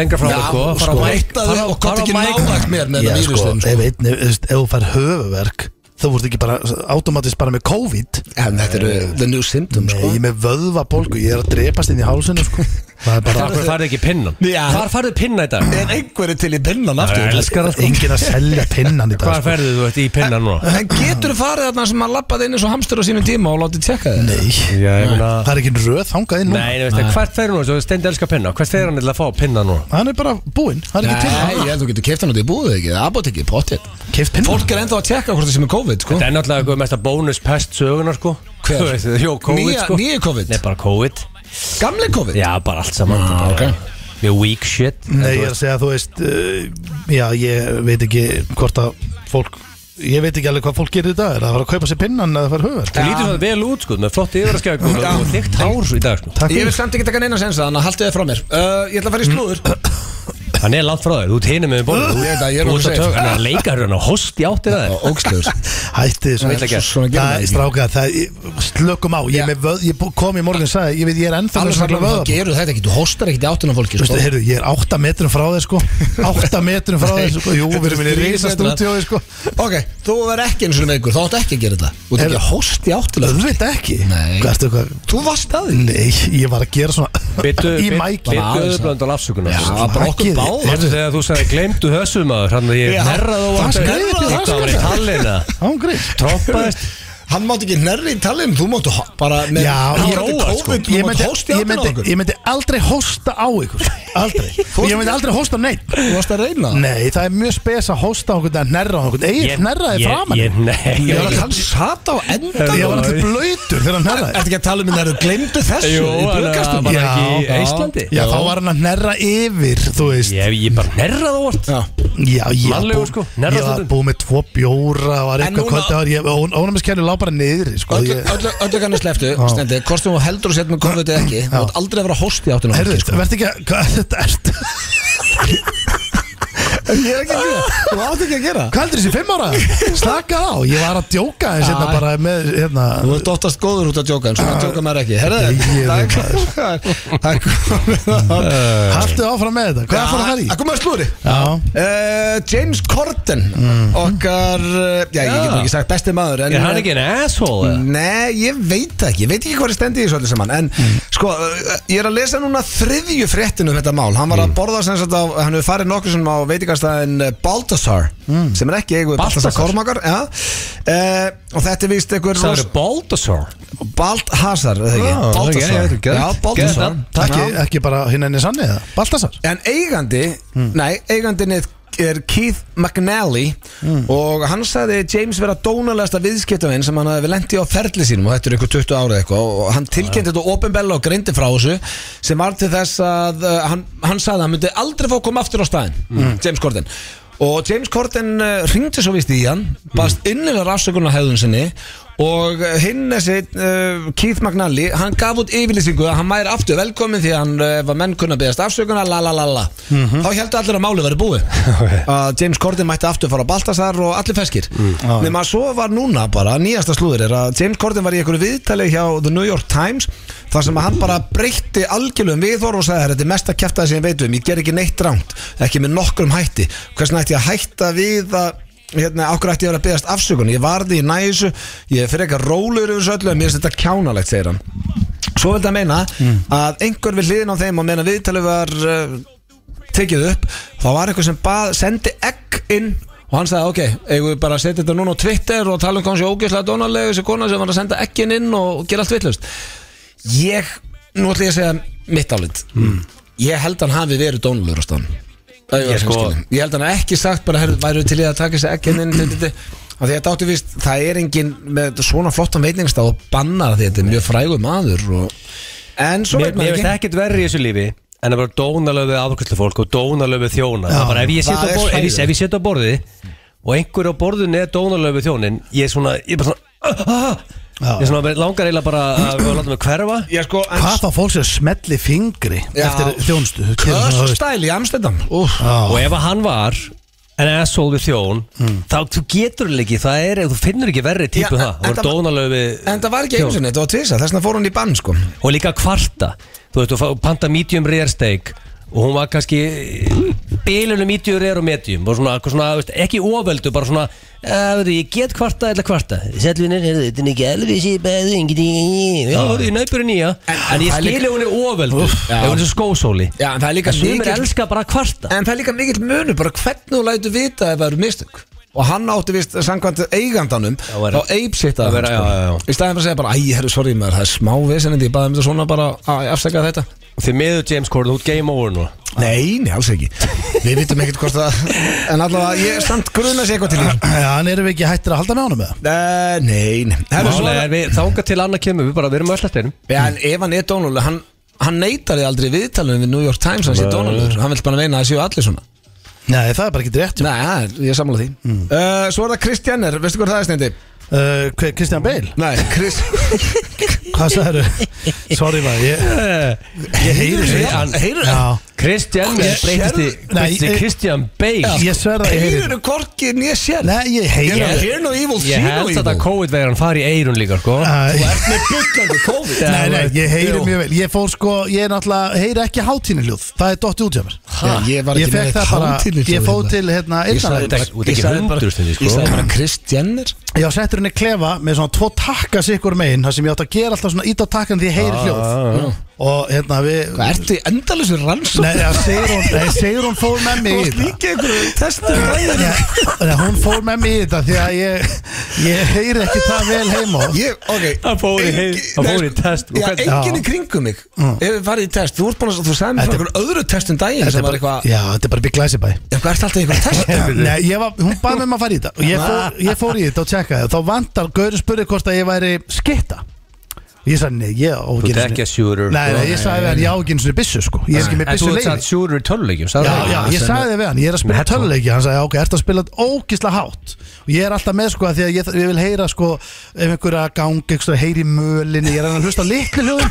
Speaker 3: lengra frá
Speaker 1: Já,
Speaker 3: þér, sko,
Speaker 1: sko, mæta þau og gott ekki nálægt mér með
Speaker 2: Já,
Speaker 1: þetta
Speaker 2: sko,
Speaker 1: vírusum
Speaker 2: ef einn, ef þú veist, ef þú fær höfuverk Þú voru ekki bara, automatist bara með COVID
Speaker 1: En þetta eru the new symptoms
Speaker 2: Nei,
Speaker 1: sko.
Speaker 2: ég er með vöðva Ég er að drepast inn í hálsinu, sko Það er bara
Speaker 3: Hvar farið ekki pinnan?
Speaker 1: Já.
Speaker 3: Hvar farið pinna í dag?
Speaker 1: En einhverju til í pinnan aftur
Speaker 3: elskar það, sko
Speaker 2: Engin að selja pinnan í dag sko.
Speaker 3: Hvar ferðu þú eftir í pinnan núna?
Speaker 1: En getur farið þarna sem að lappaði inn eins og hamstur á sínum tíma og látið tjekka þið
Speaker 2: Nei,
Speaker 3: Já, ég meina
Speaker 2: það er ekki röð þangað inn núna
Speaker 3: Nei, nei, veistu, hvert fer hún núna? Svo Steindi elskar pinna Hvert fer hann til að fá pinna núna?
Speaker 2: Hann er bara búinn, hann er ekki til
Speaker 1: Nei, ég held þú getur keft hann út í búðu ekki Apotekki, pottet
Speaker 2: Keift pinna
Speaker 1: Fólk er ennþá að tjekka hvort það sem er COVID sko.
Speaker 3: Þetta er náttúrulega eitthvað mesta bónuspest sögunar, sko
Speaker 1: Hver?
Speaker 3: Þú veist, Jó, COVID,
Speaker 1: Nýja-
Speaker 3: sko
Speaker 1: nýju COVID?
Speaker 3: Nei, bara COVID
Speaker 1: Gamli COVID
Speaker 3: Já, bara allt saman
Speaker 1: Ah,
Speaker 3: Þetta er
Speaker 1: ok.
Speaker 3: bara Mjög weak shit En
Speaker 2: Nei,
Speaker 3: þú
Speaker 2: ég er að segja, þú veist uh, Já, ég veit ekki hvort að fólk Ég veit ekki alveg hvað fólk gerir í dag Er það að fara að kaupa sér pinnan eða fara höfur
Speaker 3: Þú lítur það vel út sko, með flott yfirarskjögg og og þykkt hár í dag sko.
Speaker 2: Takk
Speaker 1: Ég vil
Speaker 2: fyrir
Speaker 1: samt ekki taka neina sensa, þannig að haltu þið frá mér uh, Ég ætla að fara í slúður
Speaker 3: Hann er langt frá þér, þú ert hinum með bólum
Speaker 1: Ég veit að ég er
Speaker 3: Þú
Speaker 1: nokkuð
Speaker 3: ert að
Speaker 1: safe.
Speaker 3: tökka, hann er að leika hann og hosti áttir það
Speaker 1: Ógsluður
Speaker 2: Hætti
Speaker 3: Vill ekki.
Speaker 2: þessu
Speaker 1: Svona gerum það
Speaker 2: Það er
Speaker 1: ekki
Speaker 2: stráka, það ég- slökum á Ég,
Speaker 1: Já.
Speaker 2: er með vöð, ég bú- kom í morgun og sagði Ég veit, ég er ennþá með
Speaker 1: Alveg
Speaker 2: svona
Speaker 1: saman
Speaker 2: vöða
Speaker 1: það gerur þetta ekki, þú hóstar ekki áttunum fólki
Speaker 2: Þú
Speaker 1: sko.
Speaker 2: veist, heyrðu, ég er 8 metrum frá þér sko 8 metrum frá þér sko Jú, við erum í
Speaker 1: Þrír
Speaker 2: reysa
Speaker 1: metrar.
Speaker 2: stúdíói sko
Speaker 1: Ok, þú verð ekki eins og veikur, þá átt ekki að gera þetta Þú ert ekki að hósti áttunum
Speaker 2: Þú veit ekki
Speaker 1: Nei.
Speaker 2: Hvað ertu eitthvað
Speaker 1: Þú varst að því
Speaker 2: Nei, ég var að gera svona
Speaker 3: Byttu
Speaker 2: Í mæki
Speaker 3: auðblönd á lafsökunar
Speaker 1: Það var bara
Speaker 2: ekki
Speaker 1: okkur
Speaker 2: þið.
Speaker 1: báð
Speaker 3: Vartu þegar þú sagði gleymdu hösum að hann að ég
Speaker 1: Já.
Speaker 3: herraði og
Speaker 1: Það
Speaker 3: hann
Speaker 1: skrifaði
Speaker 3: Það
Speaker 1: það,
Speaker 3: var í
Speaker 1: skrifaði.
Speaker 3: tallina
Speaker 2: Ángríns
Speaker 3: Troppaðist
Speaker 1: Hann mátt ekki nærri í talin, þú máttu ho- bara með
Speaker 2: Já,
Speaker 1: þú
Speaker 2: ég-
Speaker 1: máttu
Speaker 3: róa, sko.
Speaker 1: COVID,
Speaker 2: Ég
Speaker 1: þú
Speaker 2: myndi,
Speaker 1: máttu hósti
Speaker 2: ég,
Speaker 1: áttin á
Speaker 2: myndi,
Speaker 1: okkur
Speaker 2: ég myndi aldrei hósta á ykkur Aldrei Og Ég myndi aldrei hósta á neitt
Speaker 1: Þú varst að reyna það
Speaker 2: Nei, það er mjög spes að hósta á okkur en hnerra á okkur Egil hnerraði framan í.
Speaker 3: Ég, nei
Speaker 1: Ég var að hann sat á endan
Speaker 2: Ég var
Speaker 1: Ertu
Speaker 2: alltaf blöytur þegar hann hnerraði
Speaker 1: ekki að tala um þegar þú glemdu þessu
Speaker 3: Jú,
Speaker 1: í
Speaker 3: hann
Speaker 1: blöðkastum?
Speaker 3: var
Speaker 2: Já,
Speaker 3: ekki
Speaker 2: já.
Speaker 3: í Íslandi
Speaker 2: Já, þá var hann að hnerra yfir, þú veist
Speaker 3: Ég, ég bara hnerraði óvart
Speaker 1: Já.
Speaker 2: Já, ég var
Speaker 3: Mannlegur,
Speaker 2: búinn-
Speaker 3: sko, hnerra
Speaker 2: ég var
Speaker 3: stundum.
Speaker 2: búið með tvo bjóra og var
Speaker 1: En
Speaker 2: eitthvað
Speaker 1: núna-
Speaker 2: kvölda Ónumiskerri lá bara niður sko,
Speaker 1: Öllu,
Speaker 2: ég-
Speaker 1: öllu, öllu kannu sleftu, stendi, kostum og heldur og setjum með COVID eða ekki, þú mátt aldrei að vera hósti áttin á
Speaker 2: Herðu,
Speaker 1: okkur sko.
Speaker 2: verð ekki að, hvað þetta ert
Speaker 1: Ég er ekki að gera, þú átt ekki að gera
Speaker 2: Hvað heldur þessi fimm ára? Slaka á, ég var að djóka eins hérna
Speaker 1: Já.
Speaker 2: bara með, hérna
Speaker 1: Þú ert oftast góður út að djóka en svona djóka maður ekki Herðu,
Speaker 2: Ég-
Speaker 1: það sko. er komið Það er komið að
Speaker 2: Haltu áfram með þetta, hvað fór að fara í?
Speaker 1: Það komið að slúri
Speaker 2: Já,
Speaker 1: Uh, James Corden Okkar, uh, já ég
Speaker 3: Mm. Já.
Speaker 1: get nú ekki sagt besti maður en, eh,
Speaker 3: Er hann ekki en asshole? eða?
Speaker 1: Nei, ég veit það ekki, ég veit ekki hvað er stendið í þessu öllu saman En
Speaker 3: Mm.
Speaker 1: sko, uh, ég er að lesa núna þriðju fréttinu um þetta mál Hann
Speaker 3: Mm.
Speaker 1: var að borða sem sagt á, hann hefur farið nokkuð sem á veitingastæðin eh, Baltasar Sem er ekki eigu Baltasar
Speaker 3: Mm. Baltasar.
Speaker 1: Kormakar ja. uh, Og þetta er víst einhver
Speaker 3: Það eru Baldassar
Speaker 1: Balthazar, eða ekki?
Speaker 3: Já, ok, ég veit ekki.
Speaker 1: Já, Balthazar
Speaker 3: Geðveikt.
Speaker 2: ekki, ekki bara hinn enni sannig eða? Baltasar?
Speaker 1: En eigandi, nei, eigandin er, er Keith McNally og hann sagði James vera dónalegasta viðskiptavinn sem hann hafði lendi á ferli sínum og þetta er einhver 20 ára eitthvað og hann tilkynnti þetta ofinbella og greindi frá þessu sem var til þess að uh, hann, hann sagði að hann myndi aldrei fá að koma aftur á staðin James Corden og James Corden uh, ringdi svo vist í hann baðst innilega rafsökunar hefðun sinni og uh, hinn þessi uh, Keith McNally, hann gaf út yfirlýsingu að hann mæri aftur velkomin því að hann uh, ef að menn kunna beðast afsökunar, la la la la þá heldur allir að máli verið búið að James Corden mætti aftur fara á Baltasar og allir feskir, mm. nema svo var núna bara, nýjasta slúður er að James Corden var í einhverju viðtali hjá The New York Times þar sem að hann bara breytti algjörlum viðhor og sagði þetta er mest að kæfta sem ég veit um, ég ger ekki neitt rámt ekki með nokkrum hætti, hversna ætti ég að hætta við að hérna, okkur ætti ég að vera að beðast afsökun ég varði í næsu, ég er fyrir eitthvað rólur yfir þessu öllu, en mér finnst þetta kjánalegt, segir hann svo vildi að meina að einhver við hliðin á þeim og meina viðtalið var uh, tekið upp þá var eitthvað sem bað, sendi egg inn og hann sagði ok, eigum við bara að setja þetta núna á Twitter og tala um hvað hann sé ógeðslega dónalegu þessi kona sem var að senda eggin inn og gera allt vittlust ég, nú ætla ég að segja mitt álit
Speaker 3: Hmm.
Speaker 1: ég held hann hafi verið dónalur á stafan
Speaker 3: Ég sko-
Speaker 1: ég held hann hafi ekki sagt bara herru, væru til í að taka þessi eggin inn til þetta Af því að þetta áttu víst, það er engin með svona flottan veitingstað og bannar því þetta er mjög frægur maður og... en svo
Speaker 3: Mér
Speaker 1: veit
Speaker 3: mér
Speaker 1: maður
Speaker 3: finnst
Speaker 1: ekki
Speaker 3: ekkert verri í þessu lífi En að bara dónalöfu aðvokastlu fólk og dónalöfu þjóna Það er bara ef ég
Speaker 1: það
Speaker 3: setja á,
Speaker 1: er
Speaker 3: borð, ef ég,
Speaker 1: hræðilegt.
Speaker 3: ef ég set á borði Og einhver á borðinu er dónalöfu þjónin Ég er svona, ég er bara svona ah, ah, ah. Ég er svona, mig langar eiginlega bara að að láta mig hverfa
Speaker 1: Já, sko, en
Speaker 2: Hvað þá fólk sér smelli fingri
Speaker 1: Já.
Speaker 2: eftir þjónstu? Þú gerir svona, þú veist.
Speaker 1: Köststæl í Amstendam Úf
Speaker 3: Og ef að hann var en asshole við þjón Þá þú getur ekki, það er, þú finnur ekki verri típu
Speaker 1: Mm. Já, en-
Speaker 3: það Það
Speaker 1: en
Speaker 3: var
Speaker 1: það-
Speaker 3: dónalöfu
Speaker 1: En það var ekki einu sinni, þetta var tvisa, þess vegna fór hún í bann sko
Speaker 3: og líka kvarta þú veist, þú fá- panta medium rare steak og hún var kannski bilinu medium rare og medium og svona, eitthvað svona þú veist, ekki oföldu, bara svona "Eh, veitu, ég get kvarta eða kvarta sælunir, þetta er ekki alveg sér bæðu engin já, hörðu, ég næpur henni í já
Speaker 1: En-
Speaker 3: en ég
Speaker 1: það er
Speaker 3: skilja
Speaker 1: líka-
Speaker 3: hún er oföldu
Speaker 1: Úff, já.
Speaker 3: ef hún er svo skósóli
Speaker 1: Já, en það er líka
Speaker 3: en sumir
Speaker 1: mikill-
Speaker 3: elska bara að kvarta
Speaker 1: En það er líka mikill munur, bara hvernig hún lætur vita ef það eru mistök Og hann átti vist samkvæmt eigandanum
Speaker 3: Já, vera-
Speaker 1: Þá eipsitt að
Speaker 3: Já, vera-
Speaker 1: sko.
Speaker 3: já, já, já.
Speaker 1: Í staðin fyrir að segja bara, æ, herru, sorry maður, það er smá vesenindi Ég baði um þetta svona bara að afsaka þetta
Speaker 3: því miður James Corden, þú ert game over nú
Speaker 1: Nei, nei, alls ekki Við vitum ekkert hvort það En allavega, ég er samt gruna sér eitthvað til því
Speaker 2: Já, en erum við ekki hættir að halda með honum með það?
Speaker 1: Nei, nei, nei Herru, svo-
Speaker 3: Málega er við þánga til annað kemur, við bara við erum öll eftir einum
Speaker 1: Já, en ef hann er dónulegur, hann, hann neytar því aldrei í viðtalunum við New York Times að hann sé
Speaker 3: Nei.
Speaker 1: dónulegur Hann vil bara meina að það séu allir svona
Speaker 2: Nei, það er bara ekki rétt
Speaker 1: Nei, það er- ég samla því uh, Svo er það Kristjanner, veistu hvað það er snendi?
Speaker 2: uh, hver- Kristján Beil,
Speaker 1: Nei, Chris
Speaker 2: hvað sagður þau? Sorry maður, ég,
Speaker 1: Eh,
Speaker 2: ég heyri
Speaker 3: Heyrðu,
Speaker 2: þetta.
Speaker 3: hann-
Speaker 1: heyrðu-
Speaker 2: Já.
Speaker 3: Christian
Speaker 1: Ég-
Speaker 3: breytist
Speaker 2: Nei,
Speaker 3: í breytist í
Speaker 2: ég-
Speaker 3: Christian Bale
Speaker 2: Ég sverða að ég heyri þetta.
Speaker 1: Heyrðu korkið nýja sér
Speaker 2: Nei, ég heyri
Speaker 1: Ég
Speaker 2: þetta.
Speaker 1: hear no evil, see
Speaker 3: Ég
Speaker 1: no
Speaker 3: held
Speaker 1: evil
Speaker 3: að COVID-veiran fari í eirun líka sko
Speaker 2: Æ,
Speaker 1: Með bullandi COVID
Speaker 2: Nei, nei, ég heyri
Speaker 3: Jú.
Speaker 2: mjög vel Ég fór sko, ég náttúrulega heyri ekki hátíni hljóð Það er dotti út hjá mér
Speaker 1: Já, ég var ekki
Speaker 2: fékk
Speaker 1: með
Speaker 2: það bara-
Speaker 1: hátíðnihljóð
Speaker 2: Ég fóð
Speaker 1: hérna.
Speaker 2: til hérna
Speaker 1: Ég sagði
Speaker 2: eyrnalæknis.
Speaker 1: bara-
Speaker 3: Þú ert ekki
Speaker 1: ég sagði bara-
Speaker 3: hundur, Steindi, sko.
Speaker 1: Ég sagði bara Kristjanner
Speaker 2: Ég var settur inn í klefa með svona tvo takka sikkur megin þar sem ég átt að gera alltaf svona ít á takkan því ég heyri hljóð og hérna við
Speaker 1: Ah. Hvað ertu í endalusur rannsókn?
Speaker 2: Nei, ja, Sigrún, nei, Sigrún fór með mig í
Speaker 1: Þú varst
Speaker 2: þetta
Speaker 1: líka einhverju testur ræðinu
Speaker 2: Já, Nei, hún fór með mig í þetta því að ég, ég heyri ekki það vel heima á.
Speaker 1: Ég, ok
Speaker 3: Það fór í heim-
Speaker 1: Engi-
Speaker 3: það
Speaker 1: nei,
Speaker 3: fór í
Speaker 1: sko,
Speaker 3: test.
Speaker 1: Já,
Speaker 3: Hvernig-
Speaker 1: enginn í kringum mig Ef við farið í test Þú ert búin að Þú sagði mér frá
Speaker 2: Þetta-
Speaker 1: einhverju öðru test um daginn
Speaker 2: Þetta er
Speaker 1: Sem var
Speaker 2: bara,
Speaker 1: eitthvað
Speaker 2: já, þetta er bara bygg læsibæ
Speaker 1: Já, Hvað ert alltaf í einhverju test?
Speaker 2: Nei, ég var, hún bað mig um að fara í þetta og ég fór, ég fór í þetta og tjekkaði og þá vantar, Gaurin spurði hvort að ég væri skitta og ég sagði, nei, ég á
Speaker 3: Þú
Speaker 2: ekki
Speaker 3: ert
Speaker 2: einu
Speaker 3: ekki að
Speaker 2: sinni-
Speaker 3: shooter
Speaker 2: Nei, nei, ég sagði við hann, ég á ekki einu sinni byssu, sko Ég er ekki með
Speaker 3: En þú
Speaker 2: byssu
Speaker 3: ert satt shooter í töluleikjum sagði
Speaker 2: Já,
Speaker 3: það
Speaker 2: já,
Speaker 3: ekki?
Speaker 2: ég sagði við hann, ég er að spila
Speaker 3: Með headphone.
Speaker 2: töluleiki Hann sagði, ok, ertu að spila ógisla hátt Og ég er alltaf með, sko, af því að ég, ég vil heyra, sko Ef einhverja gang, einhverja heyri í mölinni Ég er að reyna að hlusta á litlu hljóðum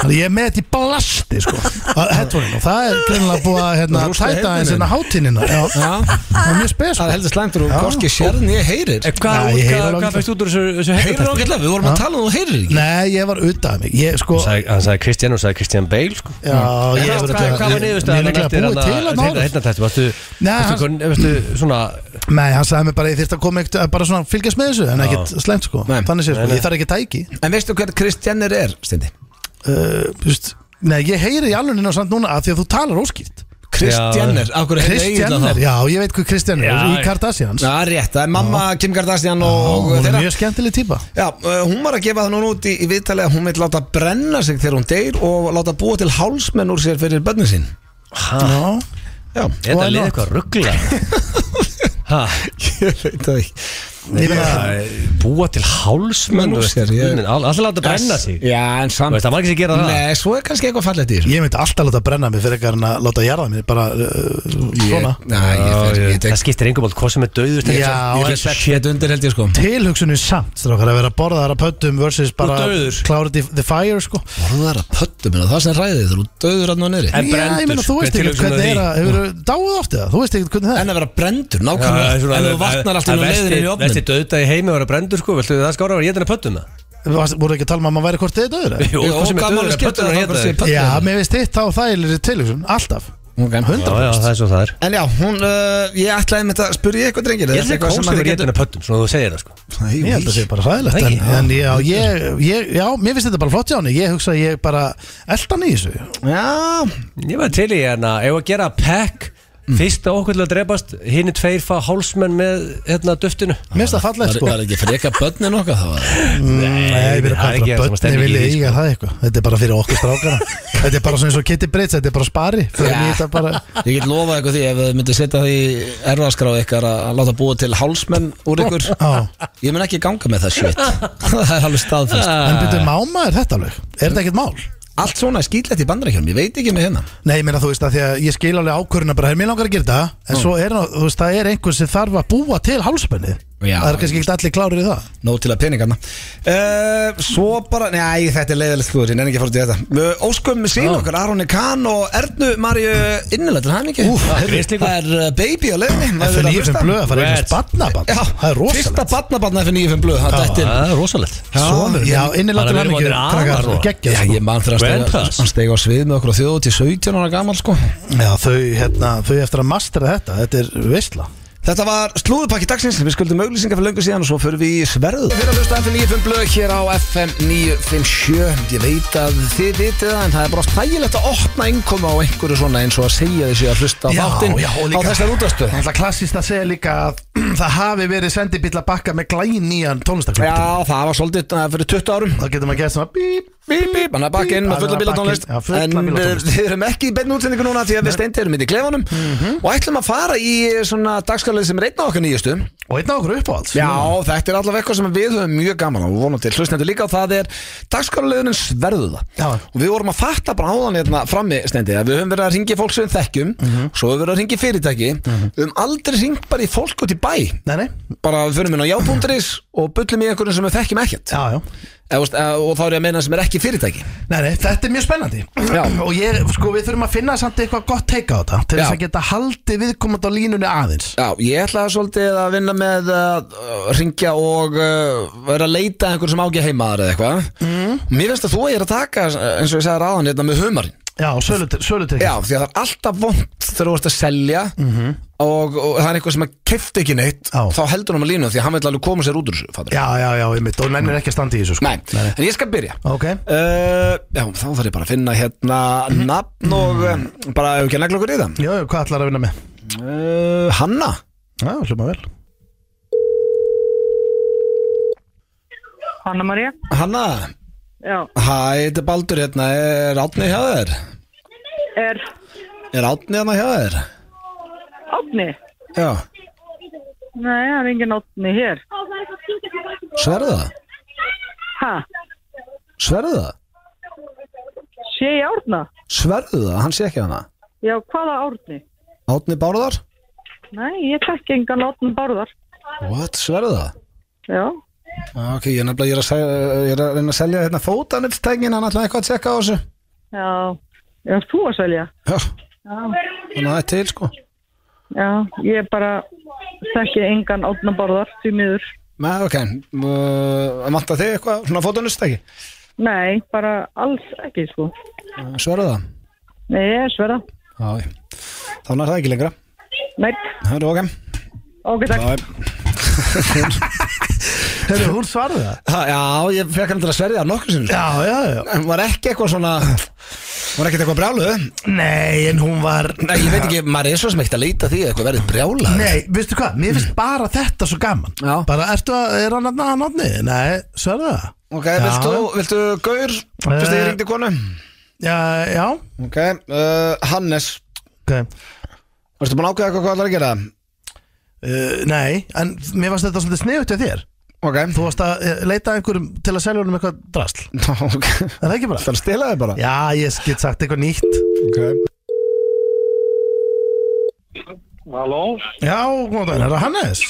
Speaker 2: Þannig að ég er með þetta í blasti, sko að headphone-in. Og það er greinlega búið að, hérna,
Speaker 1: Rústa
Speaker 2: tæta
Speaker 1: heyrninni.
Speaker 2: eins en að hátinnina Já,
Speaker 1: Já
Speaker 2: það er mjög spes,
Speaker 1: Það
Speaker 2: sko
Speaker 1: er heldur slæmt Þú
Speaker 2: Já.
Speaker 1: korki sérn ég heyrir
Speaker 3: En "Eh, hvað-
Speaker 2: Já, ég heyri
Speaker 3: Hvað
Speaker 2: alveg
Speaker 3: hvað
Speaker 2: það.
Speaker 3: fæst út úr þessu- þessu
Speaker 1: Heyrir
Speaker 3: heyrnartesti?
Speaker 1: ágætlega Við vorum að tala um þú heyrir ekki
Speaker 2: Nei, ég var utan mig Ég sko
Speaker 3: Sagði- Hann sagði Kristján og sagði Kristján Bale sko.
Speaker 2: Já, ég
Speaker 3: Hvað-
Speaker 2: var
Speaker 3: Hvað hvað var
Speaker 2: Ég er
Speaker 3: niðurstaðan
Speaker 2: nefnilega búið til að náður
Speaker 3: Hérna tætti, varstu
Speaker 2: Nei,
Speaker 3: varstu
Speaker 2: hann-
Speaker 3: kon- varstu svona
Speaker 2: Nei, hann sagði mér bara Ég þyrst að koma ekkert Bara svona fylgjast með þessu En ekkert slæmt sko
Speaker 1: Nei.
Speaker 2: Þannig sé sko Ég þarf ekki að tæki
Speaker 1: En veistu hver Kristjannir er, Steindi?
Speaker 2: Uh, Þú veist Nei, ég heyri í alveg og samt núna að Því að þú talar óskýrt
Speaker 1: Kristjannir Af hverju heyrðu Egill á
Speaker 2: Kristján
Speaker 1: það?
Speaker 2: er Já, ég veit hvað Kristján
Speaker 3: Já,
Speaker 2: er Í
Speaker 3: ég-
Speaker 2: Kardashians
Speaker 1: Já, rétt, það er mamma Kim Kardashian og
Speaker 2: Hún er
Speaker 1: þeirra
Speaker 2: mjög skemmtileg típa
Speaker 1: Já, uh, hún var að gefa það núna út í, í viðtalið að hún vil láta brenna sig þegar hún deyr og láta búa til hálsmenn úr sér fyrir bönnin sín
Speaker 2: Já
Speaker 1: Já,
Speaker 3: Er þetta
Speaker 2: Why
Speaker 3: lið
Speaker 2: not?
Speaker 3: eitthvað ruggla? Ha,
Speaker 1: ég veit það ekki
Speaker 2: Ég meina
Speaker 3: búa til hálsmenn
Speaker 1: Menn úr sér, ég-
Speaker 3: Alltaf láta brenna sig
Speaker 1: Já, en
Speaker 3: Þú
Speaker 1: samt
Speaker 3: veist, það er margir sem gera það.
Speaker 1: Nei, svo er kannski eitthvað fallið dýr
Speaker 2: Ég myndi alltaf láta brenna mig fyrir ekkar en að láta jarða mig bara uh, svona
Speaker 1: Næ, ég fer, ég
Speaker 3: Það
Speaker 1: tek
Speaker 3: skiptir engum alveg hvað sem er döður
Speaker 2: Já,
Speaker 1: Ég
Speaker 2: en-
Speaker 1: fer sett undir held ég sko
Speaker 2: tilhugsunni samt strákar að vera borðaðar að pöttum versus bara
Speaker 3: dauður.
Speaker 2: klárið the, the fire sko
Speaker 1: Borðar að pöttu minna, það sem ræði þegar þú döður hann og niðri
Speaker 3: En
Speaker 2: Já, ég meina
Speaker 3: brenndur,
Speaker 2: þú veist
Speaker 3: hver
Speaker 2: ekki
Speaker 3: tilhugsun
Speaker 2: hvernig er
Speaker 3: er því?
Speaker 2: að hefur dáið oft eða þú veist ekki hvernig það er
Speaker 1: En að vera brendur,
Speaker 3: Já,
Speaker 1: nákvæmlega
Speaker 3: svona-
Speaker 1: En þú vatnar alltaf
Speaker 3: að
Speaker 1: um leiðinni í
Speaker 3: vesti- Vesti
Speaker 1: ofnin
Speaker 3: döðdagi heimi var að brendur sko Viltu það skára að vera ég þarna pöttum það?
Speaker 2: Varst- voru ekki að tala um að maður væri hvort þið döður eða?
Speaker 3: Jú,
Speaker 1: Jú,
Speaker 3: hvað sem er
Speaker 1: gaman að
Speaker 3: döður að
Speaker 1: skipta
Speaker 3: pöttum
Speaker 1: það,
Speaker 3: að
Speaker 1: það bara sé
Speaker 3: hérna
Speaker 1: pöddun.
Speaker 2: já, mér veist þitt þá þægilegri tilhugsun alltaf
Speaker 1: Ok.
Speaker 3: Já, já, það er svo það er
Speaker 1: En já, hún, uh, ég ætlaði með þetta að spurja eitthvað drengir
Speaker 3: Ég held ekki kósi verið getur pöttum, svona þú segir það sko
Speaker 2: ég held að það sé bara sæðilegt en,
Speaker 3: Nei,
Speaker 2: en já, ég, ég, já, mér finnst þetta bara flott hjá henni ég hugsa að ég bara eldan í þessu
Speaker 1: Já,
Speaker 3: Ég var til í hérna, ef að gera pack
Speaker 1: Mm.
Speaker 3: Fyrsta okkur til að drepast, hinn er tveir fá hálsmenn með hérna duftinu
Speaker 2: mér finnst það fallegt
Speaker 1: var,
Speaker 2: sko Mm,
Speaker 1: var ekki freka börnin okkar það var
Speaker 2: Nei, ég verið
Speaker 3: það er
Speaker 2: að kalla
Speaker 3: ekki það sem
Speaker 2: börni
Speaker 3: stendur í
Speaker 2: vilja
Speaker 3: því,
Speaker 2: eiga það eitthvað þetta er bara fyrir okkur strákana þetta er bara svona eins og Kitty Brits þetta er bara spari fyrir
Speaker 1: Já.
Speaker 2: mér þetta bara
Speaker 1: Ég get lofað ykkur því ef þið myndir setja því erfaskráð ykkar að að láta búa til hálsmenn úr ykkur
Speaker 2: á
Speaker 1: Ég mun ekki ganga með það shit Það er alveg staðfest
Speaker 2: En byrju, máma er þetta alveg? Er þetta ekkert mál?
Speaker 1: Allt svona er skýtlegt í bandarækjunum, ég veit ekki með hérna
Speaker 2: Nei, ég meina þú veist að því að ég skil alveg ákvörðuna bara, mér langar að gera þetta en svo er, nú- þú veist, það er einhver sem þarf að búa til hálspenni
Speaker 1: Já.
Speaker 2: Það er kannski ekkert allir klárir í það
Speaker 1: Nó til að peningarna uh, Svo bara, nei þetta er leiðilegt slúður, ég nenni ekki að fór til þetta uh, Óskum sín okkar, Aroni Kahn og Ernu Marju innilega til hann ekki
Speaker 2: Úff,
Speaker 3: gríslíkur.
Speaker 1: Það er uh, baby á leiðinni maður er að
Speaker 2: FN95
Speaker 1: hlusta.
Speaker 2: blöð, það er
Speaker 3: Reds.
Speaker 2: einhvers barnabann
Speaker 1: Já,
Speaker 2: Það er rosalegt
Speaker 1: Fyrsta barnabarn FN95 blöð, það dætti inn.
Speaker 3: Það er rosalegt
Speaker 2: Svonur, já, innilega
Speaker 3: Þannig
Speaker 2: til
Speaker 3: að við erum
Speaker 2: hann
Speaker 3: orðnir afar
Speaker 2: ekki
Speaker 3: og-
Speaker 2: Gekkja,
Speaker 1: Já, ég
Speaker 2: sko
Speaker 1: mann þegar hann
Speaker 3: Grand
Speaker 1: steig-
Speaker 3: Pass.
Speaker 1: hann steig á svið með okkur á þjóðu til 17 ára gammal sko
Speaker 2: Já, þau, hérna, þau eftir að mastra þetta Þetta er veistla
Speaker 1: Þetta var slúðupakki dagsins, við skuldum auglýsingar fyrir löngu síðan og svo förum við í sverðu Fyrir að hlusta FM 95 blöð hér á FM 957 Ég veit að þið vitið það en það er bara stægilegt að opna innkoma á einhverju svona eins og að segja þessu að hlusta á
Speaker 2: Já,
Speaker 1: þáttinn
Speaker 2: já, og
Speaker 1: á
Speaker 2: líka-
Speaker 1: þessar útastu
Speaker 2: Það er alltaf klassist að segja líka að það hafi verið sendibilla bakka með glæn nýjan
Speaker 1: Já,
Speaker 2: tónlistaklöptu
Speaker 1: það var svolítið uh, fyrir 20 árum
Speaker 2: Það getur maður að gera svona bíp
Speaker 1: Bíp, bíp, hann er bakinn með fulla
Speaker 2: Hann er
Speaker 1: bíla
Speaker 2: bakinn, já, fulla
Speaker 1: En við,
Speaker 2: bílatónlist.
Speaker 1: við erum ekki í beinu útsendingu núna Því að við steindir erum í klefanum Og ætlum að fara í svona dagskalið sem reyna okkar nýjustu
Speaker 2: Og einn á okkur uppáhalds
Speaker 1: Já, þetta er allavega eitthvað sem við höfum mjög gaman á og vonum til hlustendur líka og það er dagskálulegunin sverðuða
Speaker 2: Já.
Speaker 1: og við vorum að fatta bara áðan hérna frammi stendi að við höfum verið að ringi fólk sem við þekkjum svo höfum við verið að ringi fyrirtæki við höfum aldrei ringt bara í fólk út í bæ
Speaker 2: Nei, nei,
Speaker 1: bara við förum inn á já.is og bullum í einhverjum sem við þekkjum ekkert
Speaker 2: já, já
Speaker 1: Eða, þú veist, eh, og þá er ég að meina sem er ekki fyrirtæki
Speaker 2: Nei, nei, þetta er mjög spennandi
Speaker 1: Já.
Speaker 2: Og ég, sko, við þurfum að finna samt eitthvað gott teika á þetta Til
Speaker 1: Já.
Speaker 2: þess að geta haldið viðkomandi á línunni aðeins
Speaker 1: Já, ég ætlaði svolítið að vinna með að uh, ringja og uh, vera að leita að einhverjum sem ágja heimaðar eða eitthvað mm. Mér finnst að þú er að taka, eh, eins og ég sagði ráðan, hérna með humarinn
Speaker 2: Já, sölutrygg
Speaker 1: Já, því að það er alltaf vond þegar þú ert að selja og, og það er eitthvað sem að kefti ekki neitt
Speaker 2: Já.
Speaker 1: þá heldur hann að línu því að hann vil alveg koma sér út úr þessu fattar
Speaker 2: Já, já, já, ég mitt Og nennir ekki að standa í þessu sko
Speaker 1: Nei, en ég skal byrja
Speaker 2: Ok
Speaker 1: Uh, já, þá þarf ég bara að finna hérna nafn og um, bara ef ekki að negla okkur í það
Speaker 2: Jó, jó, hvað ætlar að vinna með?
Speaker 1: uh, Hanna
Speaker 2: Já, hljóma vel
Speaker 4: Hanna María,
Speaker 1: Hanna,
Speaker 4: já,
Speaker 1: hæ, þetta er Baldur hérna er átni hjá þér?
Speaker 4: er
Speaker 1: Er átni hérna hjá þér?
Speaker 4: Átni?
Speaker 1: Já,
Speaker 4: Nei, það er engin Átni hér.
Speaker 1: sverðu það?
Speaker 4: Ha,
Speaker 1: Sverðu það?
Speaker 4: sé ég Árna?
Speaker 1: Sverðu það? Hann sé ekki hana
Speaker 4: Já, hvaða Árni?
Speaker 1: Átni Bárðar?
Speaker 4: Nei, ég tekki engan Átni Bárðar.
Speaker 1: What, sverðu það?
Speaker 4: Já,
Speaker 1: Ah, Ok, ég er nefnilega, ég er að, segja, ég er að reyna að selja hérna fótanilstengin, hann ætlaði eitthvað að tjekka á þessu
Speaker 4: já, já, þú að selja.
Speaker 1: Já,
Speaker 4: Já,
Speaker 1: þannig að það er til sko
Speaker 4: já, ég bara tekki engan Átna Bárðar, því miður.
Speaker 1: Nei, ok, uh, vantar þig eitthvað, svona fótanilstengi?
Speaker 4: Nei, bara alls ekki, sko.
Speaker 1: Sverðu Eh, það?
Speaker 4: Nei, ég er sverða.
Speaker 1: Já, þannig er það ekki lengra
Speaker 4: Nei,
Speaker 1: Það er ok
Speaker 4: ok, takk.
Speaker 2: Hefur hún svarði það?
Speaker 1: Ha, Já, ég fekk hann til að sverja nokkur sinn
Speaker 2: Já, já, já
Speaker 1: En var ekki eitthvað svona Var ekki eitthvað brjálu
Speaker 2: Nei, en hún var
Speaker 1: Nei, ég veit ekki, maður er svo smegt að leita því að Eitthvað verið brjála
Speaker 2: Nei, veistu hvað, mér finnst bara þetta svo gaman
Speaker 1: Já.
Speaker 2: Bara, ertu að, er hann að hann átni? Nei, sverðu það?
Speaker 1: Ok, viltu, viltu Gaur Fyrst ég ringdi konu
Speaker 2: Já, já,
Speaker 1: Ok, uh, Hannes
Speaker 2: ok
Speaker 1: Varstu búin að ákveða eitthvað hvað það er að gera
Speaker 2: Uh, nei, en mér varst þetta svolítið sniðut hjá þér
Speaker 1: Ok,
Speaker 2: Þú varst að eh, leita að einhverjum til að selja honum eitthvað drasl Er
Speaker 1: Ná, ok
Speaker 2: það ekki bara?
Speaker 1: Það stilaði bara
Speaker 2: Já, ég get sagt eitthvað nýtt
Speaker 1: okay.
Speaker 5: Halló,
Speaker 2: Já, góðan, er það Hannes?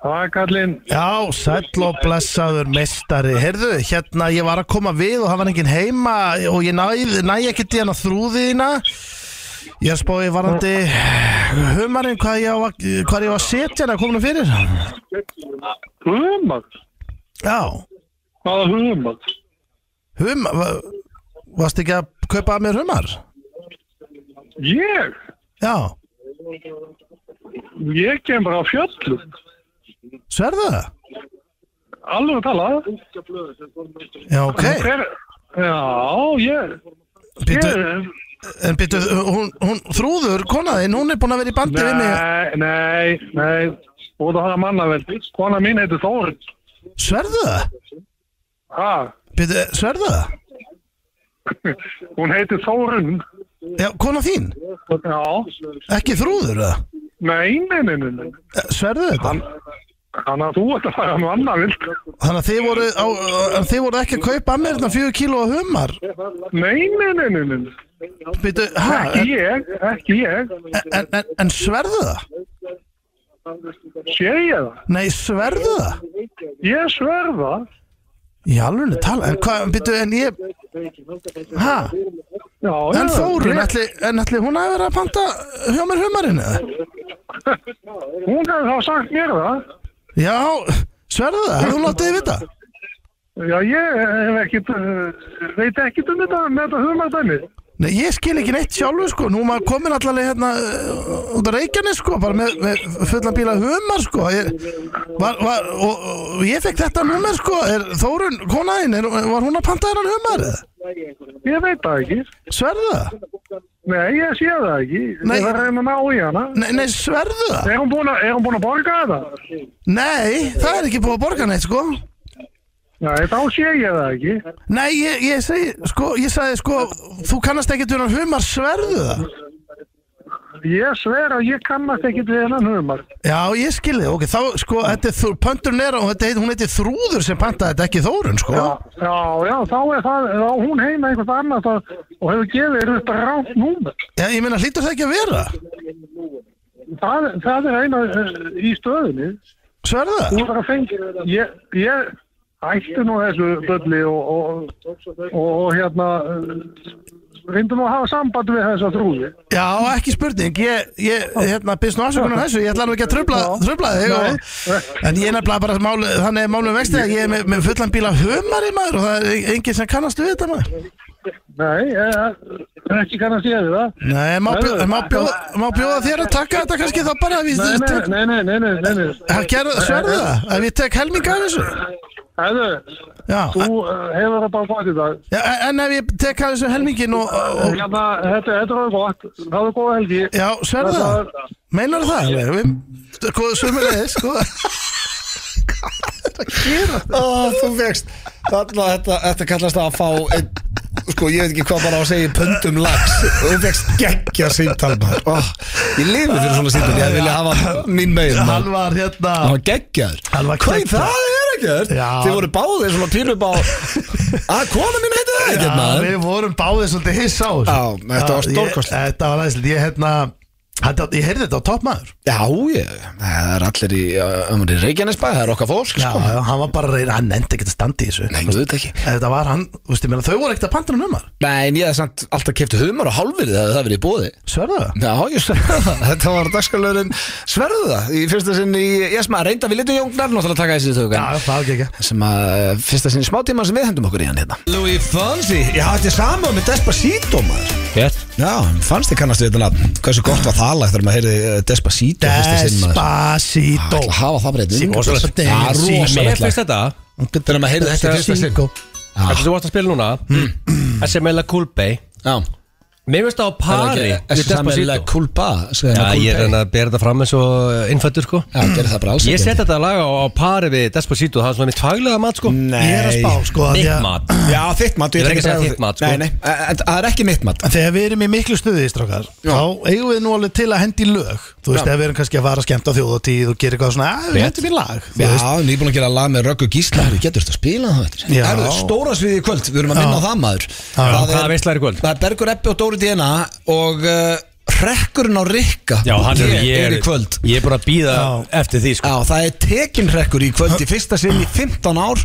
Speaker 5: það er kallinn.
Speaker 2: Já, sæll og blessaður meistari Heyrðu, hérna, ég var að koma við og það var enginn heima og ég næ, næ ekki til hérna þrúðina Ég er að spáði varandi humarinn hvað ég á að, hvað ég á að setja hérna kominu fyrir
Speaker 5: Hugumag?
Speaker 2: Já,
Speaker 5: Hvaða hugumag?
Speaker 2: humar, va- varst ekki að kaupa að mér humar?
Speaker 5: Ég?
Speaker 2: Já,
Speaker 5: Ég kem bara á fjöllum.
Speaker 2: sverðu það?
Speaker 5: Alveg að tala.
Speaker 2: Já, ok
Speaker 5: Hver, já, ég. ég
Speaker 2: Býtu, En býtu, hún, hún þrúður konaðinn, hún er búin að vera í bandi við mig
Speaker 5: nei, nei, nei. Út að hafa mannaveldi. Kona mín heitir Þórin.
Speaker 2: Sverðu það?
Speaker 5: Ha,
Speaker 2: Býtu, sverðu það?
Speaker 5: hún heitir Þórun.
Speaker 2: Já, kona þín,
Speaker 5: Já,
Speaker 2: ekki þrúður það?
Speaker 5: nei, nei, nei, nei, nei.
Speaker 2: Sverðu þetta?
Speaker 5: Þannig að þú ert að fara á mannavild.
Speaker 2: Þannig að þið voru, á, að þið voru ekki að kaupa að mér þarna fjögur kíló af humar
Speaker 5: Nei, nei, nei, nei, nei.
Speaker 2: Býtu, hæ?
Speaker 5: Ekki
Speaker 2: En,
Speaker 5: ég, ekki ég.
Speaker 2: en, en, en sverðu það?
Speaker 5: Sé ég það?
Speaker 2: Nei, sverðu það?
Speaker 5: Ég sverða.
Speaker 2: Í alveg tala, en hvað, býtu, en ég Hæ?
Speaker 5: Já,
Speaker 2: En
Speaker 5: já,
Speaker 2: Þórun,
Speaker 5: ég-
Speaker 2: ætli, en ætli hún að vera að panta hjá mér humarinn eða?
Speaker 5: Hún hefði þá sagt mér það.
Speaker 2: Já, sverðu það? Hefðu hún látið við þetta?
Speaker 5: Já, ég hef ekkit, eh, veit ekkit um þetta með þetta hugmæðdæmi.
Speaker 2: Nei, ég skil ekki neitt sjálfur sko, nú er maður komin allavega hérna uh, út á Reykjanes sko, bara með, með fullan bíla humar sko, ég, var, var, og, og ég fekk þetta númer sko, er Þórun, konaðinn, er, var hún að panta þennan humar eða?
Speaker 5: Ég veit það ekki.
Speaker 2: Sverðu það?
Speaker 5: Nei, ég sé það ekki.
Speaker 2: Nei.
Speaker 5: Ég verði að reyna að ná í hana.
Speaker 2: Nei, nei, sverðu það?
Speaker 5: Er hún búin að, er hún búin að borga þetta?
Speaker 2: Nei, það er ekki búið að borga neitt sko.
Speaker 5: Nei, þá sé ég það ekki.
Speaker 2: Nei, ég, ég segi, sko, ég sagði sko, þú kannast ekki þennan humar, sverðu það?
Speaker 5: Ég sver að ég kannast ekkit við hennan hugmæð.
Speaker 2: Já, ég skil þið, ok, þá sko, þetta er, Þór- pönturinn er, og þetta heit, hún heiti Þrúður sem pantaði þetta, ekki Þórun sko.
Speaker 5: Já, já, já, þá er það, þá er hún heima einhvers annars að, og hefur gefið þér upp rátt númer.
Speaker 2: Já, ég meina, hlýtur það ekki að vera?
Speaker 5: Það, það er eina eh, í stöðinni.
Speaker 2: Sverða?
Speaker 5: Þú þarf að fengja Ég, ég ætti nú þessu bölli og, og, og, og hérna reyndu nú að hafa samband við þessa þrúði
Speaker 2: Já, ekki spurning Ég, ég hérna, byrst nú afsökunar þessu Ég ætla nú ekki að tröfla, tröfla þig og, En ég er nefnilega bara mál, Þannig er málum vexti að ég er með, með fullan bíla humari maður Og það er enginn sem kannast við þetta maður
Speaker 5: Nei, ég er ekki kannast ég við það.
Speaker 2: Nei, má bjóða, má, bjóða, má bjóða þér að taka þetta kannski þá bara ef ég
Speaker 5: Nei,
Speaker 2: tek-
Speaker 5: nei, nei, nei, nei, nei, nei.
Speaker 2: Ha, gerðu- Sverðu það, ef ég tek helminga af þessu
Speaker 5: Hæðu,
Speaker 2: Já,
Speaker 5: þú eh, hefur það bara gott í dag.
Speaker 2: ja, en ef ég tek af þessu helmingin og, og
Speaker 5: Hérna, þetta þetta er alveg gott. Það er góða helgi.
Speaker 2: Já, sverðu það,
Speaker 5: Þetta-
Speaker 2: meinar það alveg? Við, sko, góðu sömulegis, góða
Speaker 1: Ó, þú vext Þarna, þetta, þetta kallast að fá ein, Sko, ég veit ekki hvað bara á að segja í Pöndum lags Þú vext geggja síntal maður. Ó, Ég lifi fyrir svona síntal Ég vilja hafa mín megin maður.
Speaker 2: Hann var hérna
Speaker 1: Það var geggjaður
Speaker 2: Hann var
Speaker 1: Hvað
Speaker 2: geggjaður.
Speaker 1: það er ekkert?
Speaker 2: Já.
Speaker 1: Þið voru báðir svona pínu upp á Að kona mín heiti það ekkert
Speaker 2: Já,
Speaker 1: maður
Speaker 2: við vorum báðið svolítið hiss á þessu.
Speaker 1: Hérna, Já, þetta var
Speaker 2: Já, ég-
Speaker 1: stórkostlegt.
Speaker 2: Þetta var aðeinslega, ég hérna Þetta, ég heyrði þetta á toppmaður
Speaker 1: Já, ég, það er allir í, um, í Reykjanesbæ, það er okkar fólk
Speaker 2: Já,
Speaker 1: sko.
Speaker 2: já, hann var bara að reyna, hann endi ekkert að standa í þessu
Speaker 1: Nei, ég veit ekki
Speaker 2: Þetta var hann, þú veist, ég meina, þau voru ekkert að panta hann um hann
Speaker 1: Nei, en ég hef samt alltaf kefti humar og hálfverið Það hefði verið í bóði
Speaker 2: Sverðu það?
Speaker 1: Já, ég sverðu það, þetta var dagskalurinn sverðu það, í fyrsta sinn í Jesma, reynda við litum jóngnar náttúrulega að taka þessi
Speaker 2: Já,
Speaker 1: tökum
Speaker 2: það var ekki ekki
Speaker 1: sem að eh, fyrsta sinn í smátíma sem við hendum okkur í hann hérna Louis Fonsi, já þetta er sama með Despacito maður
Speaker 3: Gert
Speaker 1: Já, fannst þið kannast við þetta nafn, hversu gott var það lag þegar maður heyrði eh, Despacito fyrsta sinn maður Ah, Það ætla
Speaker 2: Despacito
Speaker 1: að hafa það bara
Speaker 2: Sí,
Speaker 1: eitthvað
Speaker 2: rosalegt.
Speaker 1: Já,
Speaker 2: Sí,
Speaker 3: Mér
Speaker 1: rosalegt
Speaker 3: finnst
Speaker 1: lag.
Speaker 3: þetta
Speaker 1: Þegar maður heyrði þetta í fyrsta sinn
Speaker 2: Despacito
Speaker 3: Þetta sem þú varst að spila núna Þessi meðlega Kulbey
Speaker 1: Já,
Speaker 3: Mér finnst það á
Speaker 1: Mm. það er
Speaker 3: pari
Speaker 1: ekki,
Speaker 3: við
Speaker 1: þessi samilega
Speaker 3: Despacito.
Speaker 1: Kulba
Speaker 3: Já, ég er enn að bera þetta fram eins og innfættur sko
Speaker 1: Já, gerði það bara alls
Speaker 3: Ég
Speaker 1: ekki.
Speaker 3: set þetta lag á, á pari við Despacito Það er svona mitt faglega mat sko
Speaker 1: Nei.
Speaker 2: Ég er að spá, sko að
Speaker 3: Mitt
Speaker 2: ég-
Speaker 3: mat
Speaker 1: Já, þitt mat,
Speaker 3: Ég er
Speaker 1: ætla
Speaker 3: ekki að segja
Speaker 1: bregða-
Speaker 3: þitt mat, sko.
Speaker 1: Nei, nei, eh, eh, það er ekki mitt mat
Speaker 2: Þegar við erum í miklu stuði, strákar
Speaker 1: Já.
Speaker 2: Þá eigum við nú alveg til að hendi lög Þú veist,
Speaker 1: Já.
Speaker 2: ef við erum kannski að fara að skemmta á þjóðatíð og gera eitthvað svona, að við
Speaker 3: Rétt.
Speaker 2: hendum í lag þú
Speaker 1: Já,
Speaker 2: veist.
Speaker 1: við erum búin að gera lag með Röggu Gísla Við getur þetta að spila það eftir
Speaker 2: Já.
Speaker 1: Herru, Stóra sviði í kvöld, við erum að minna á það maður
Speaker 3: já. Hvaða veisla er í kvöld?
Speaker 1: Það er Bergur Eppi og Dóri DNA Og uh, Rekkurinn á Rikka
Speaker 3: Já, hann er,
Speaker 1: ég er í kvöld
Speaker 3: Ég er búin að býða
Speaker 2: Já.
Speaker 3: eftir því sko
Speaker 1: Já, það er tekin rekkur í kvöld Í fyrsta sinn í 15 ár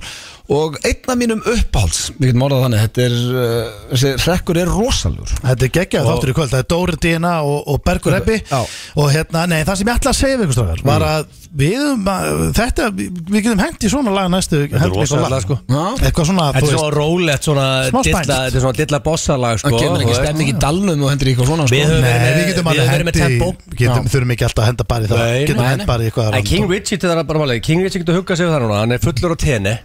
Speaker 1: Og einna mínum uppáhalds Við getum orðað þannig, þetta er uh, þessi Rekkur er rosalur
Speaker 2: Þetta er geggjað þáttur í kvöld, það er Dóri Dína og, og Bergur Eppi
Speaker 1: Já.
Speaker 2: og hérna, nei, það sem ég ætla að segja við ykkur strákar
Speaker 3: Mm.
Speaker 2: var að við, höfum að- þetta, við við getum hengt í svona lag næstu
Speaker 3: Þetta
Speaker 2: hengt í
Speaker 3: er
Speaker 2: eitthvað
Speaker 3: rosalega lag sko
Speaker 1: Já
Speaker 2: eitthvað svona,
Speaker 3: Þetta
Speaker 2: þú
Speaker 3: er
Speaker 2: veist,
Speaker 3: svona rólegt svona
Speaker 2: Smá
Speaker 3: dilla,
Speaker 2: spænst.
Speaker 3: Þetta er svona dilla bossalag sko
Speaker 1: Það kemur
Speaker 3: þú
Speaker 1: ekki
Speaker 3: veist.
Speaker 1: stemning í dalnum og hendur í eitthvað svona sko.
Speaker 3: Við höfum-
Speaker 2: nei,
Speaker 3: verið með-
Speaker 2: við getum
Speaker 3: við
Speaker 2: alveg
Speaker 3: höfum verið með
Speaker 2: hendi
Speaker 3: tempo.
Speaker 2: getum,
Speaker 1: Já.
Speaker 2: þurfum ekki alltaf að henda bara í það
Speaker 3: Nei,
Speaker 2: getum
Speaker 1: nei,
Speaker 2: hent
Speaker 1: nei.
Speaker 2: bara í eitthvað
Speaker 3: Æ,
Speaker 2: random.
Speaker 3: King Richie þetta er bara máli King Richie getur huggað sig við það núna Hann er fullur á tenni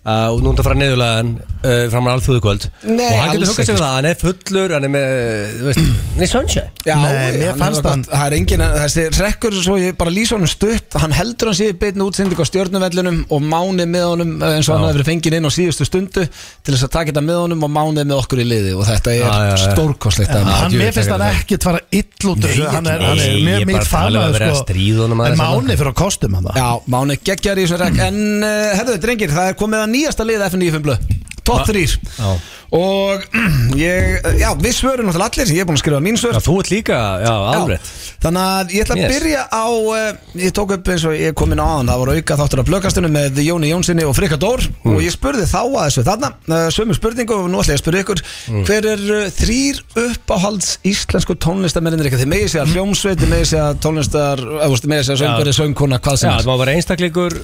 Speaker 3: Uh,
Speaker 1: Já.
Speaker 3: Og nú er þetta að fara neðurlegaðan uh, Fram að alþjóðu kvöld
Speaker 1: Nei,
Speaker 3: Og hann
Speaker 1: alls
Speaker 3: getur huggað sig við það Hann er fullur Hann er með uh, Þú veist Nei, sunshine
Speaker 1: Já,
Speaker 2: Nei, mér
Speaker 1: er
Speaker 2: fannst
Speaker 1: bara-
Speaker 2: hann-
Speaker 1: Það er engin, þessi rekkur svo ég bara lýsa honum stutt Hann heldur hann síði beinu útsending á stjórnuvellunum og mánið með honum eh, eins og hann hefur verið fengið inn á síðustu stundu til þess að taka þetta með honum og mánið með okkur í liði og þetta er
Speaker 3: Já, já, já.
Speaker 1: stórkostlegt dæmi.
Speaker 2: hann,
Speaker 1: Djöfull,
Speaker 2: mér finnst
Speaker 1: þetta
Speaker 2: hann
Speaker 1: er-
Speaker 2: ekkert fara ill út úr þessu, hann er, hann er
Speaker 3: nei, ég
Speaker 2: mjög
Speaker 3: er
Speaker 2: mikið
Speaker 3: bara að tala um að
Speaker 2: fagnaður
Speaker 3: vera að stríða honum aðeins
Speaker 2: en
Speaker 3: þarna.
Speaker 2: máni fyrir að kostum hann það
Speaker 1: Já, mánið geggjar í þessum rekk En uh, herðu, drengir, það er komið að nýjasta lið FN95 blöð Top 3
Speaker 3: Já.
Speaker 1: Og ég, já, við svörum náttúrulega allir Ég er búin að skrifa mín svör
Speaker 3: Já, þú ert líka Já, alveg
Speaker 1: Já, Þannig að ég ætla að
Speaker 3: Yes.
Speaker 1: byrja á uh, Ég tók upp eins og ég kom inn á aðan Það voru auka þáttur af blökastunum með Jóni Jónssoni og Frikka Dór
Speaker 3: Mm.
Speaker 1: Og ég spurði þá að þessu þarna uh, Sömu spurningu og nú ætla ég að spurði ykkur
Speaker 3: Mm.
Speaker 1: Hver er uh, þrýr uppáhalds íslensku tónlistamennir ykkar? Þið megið segja hljómsveit, þið megið segja tónlistar eða, þú veist, Þið megið segja söngveri, söngkona, hvað
Speaker 3: Já,
Speaker 1: sem
Speaker 3: það
Speaker 1: er
Speaker 3: má vera einstaklingur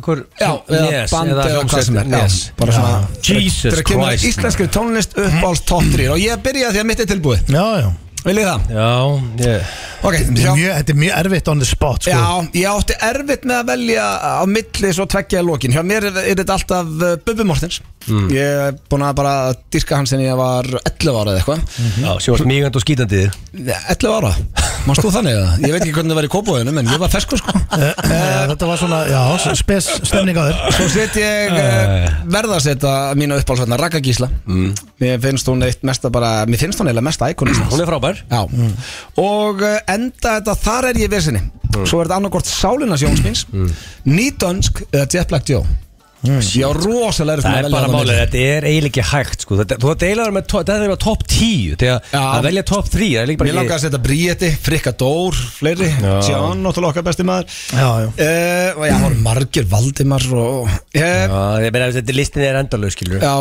Speaker 3: Ykkur
Speaker 1: Já, eða
Speaker 3: Yes,
Speaker 1: band eða, hvað
Speaker 3: hljómsveit,
Speaker 1: sem er já,
Speaker 3: Yes
Speaker 1: bara svona
Speaker 3: Jesus
Speaker 1: Þegar kemur að
Speaker 3: Christ
Speaker 1: íslenskri tónlist uppáhalds top 3 Og ég byrja því að mitt er tilbúið
Speaker 2: já, já,
Speaker 1: Viljið það?
Speaker 3: Já, ég
Speaker 1: Ok,
Speaker 2: Þetta
Speaker 1: sjá-
Speaker 2: er mjög- þetta er mjög erfitt on the spot sko.
Speaker 1: Já, ég átti erfitt með að velja á milli svo tveggja í lokin Hjá mér er, er þetta alltaf uh, Bubbi Mortens
Speaker 2: Mm.
Speaker 1: Ég er búin að bara dýrka hann sem ég var 11 ára eða eitthvað
Speaker 2: Mm.
Speaker 3: Já, sjóast mýgand og skítandi í þig.
Speaker 1: 11 ára, mannst þú þannig eða? Ég veit ekki hvernig það var í kópóðinu, menn ég var ferskur sko
Speaker 2: Eh, eh, þetta var svona, já, spes stemning á þér
Speaker 1: Svo set ég
Speaker 3: Eh.
Speaker 1: uh, verða að setja mína uppálsvætna Raka Gísla
Speaker 3: Mm.
Speaker 1: Mér finnst hún eitt mesta bara, mér finnst hún eiginlega mesta íkonist
Speaker 3: Hún er frábær
Speaker 1: Já, og eh, enda þetta þar er ég versinni
Speaker 3: Mm.
Speaker 1: Svo er þetta annarkort sálinas Jóns míns Nýdönsk eða Jet Black Joe Ég á rosalega erfitt með
Speaker 3: Það
Speaker 1: að
Speaker 3: er
Speaker 1: velja
Speaker 3: bara
Speaker 1: þarna
Speaker 3: málið,
Speaker 1: milli.
Speaker 3: þetta er eiginlega ekki hægt sko. þetta, Þú deilaður með, to- þetta er með top 10 Þegar
Speaker 1: Já.
Speaker 3: að velja top 3 Það er
Speaker 1: Mér
Speaker 3: líka bara
Speaker 1: langar að setja Bríeti, Frikka Dór, fleiri Sján, náttúrulega okkar besti maður Eh,
Speaker 2: já, já
Speaker 1: uh, Og já, það voru margir Valdimar og uh,
Speaker 3: Já, ég meina þetta listin er endalög skilur
Speaker 1: Já,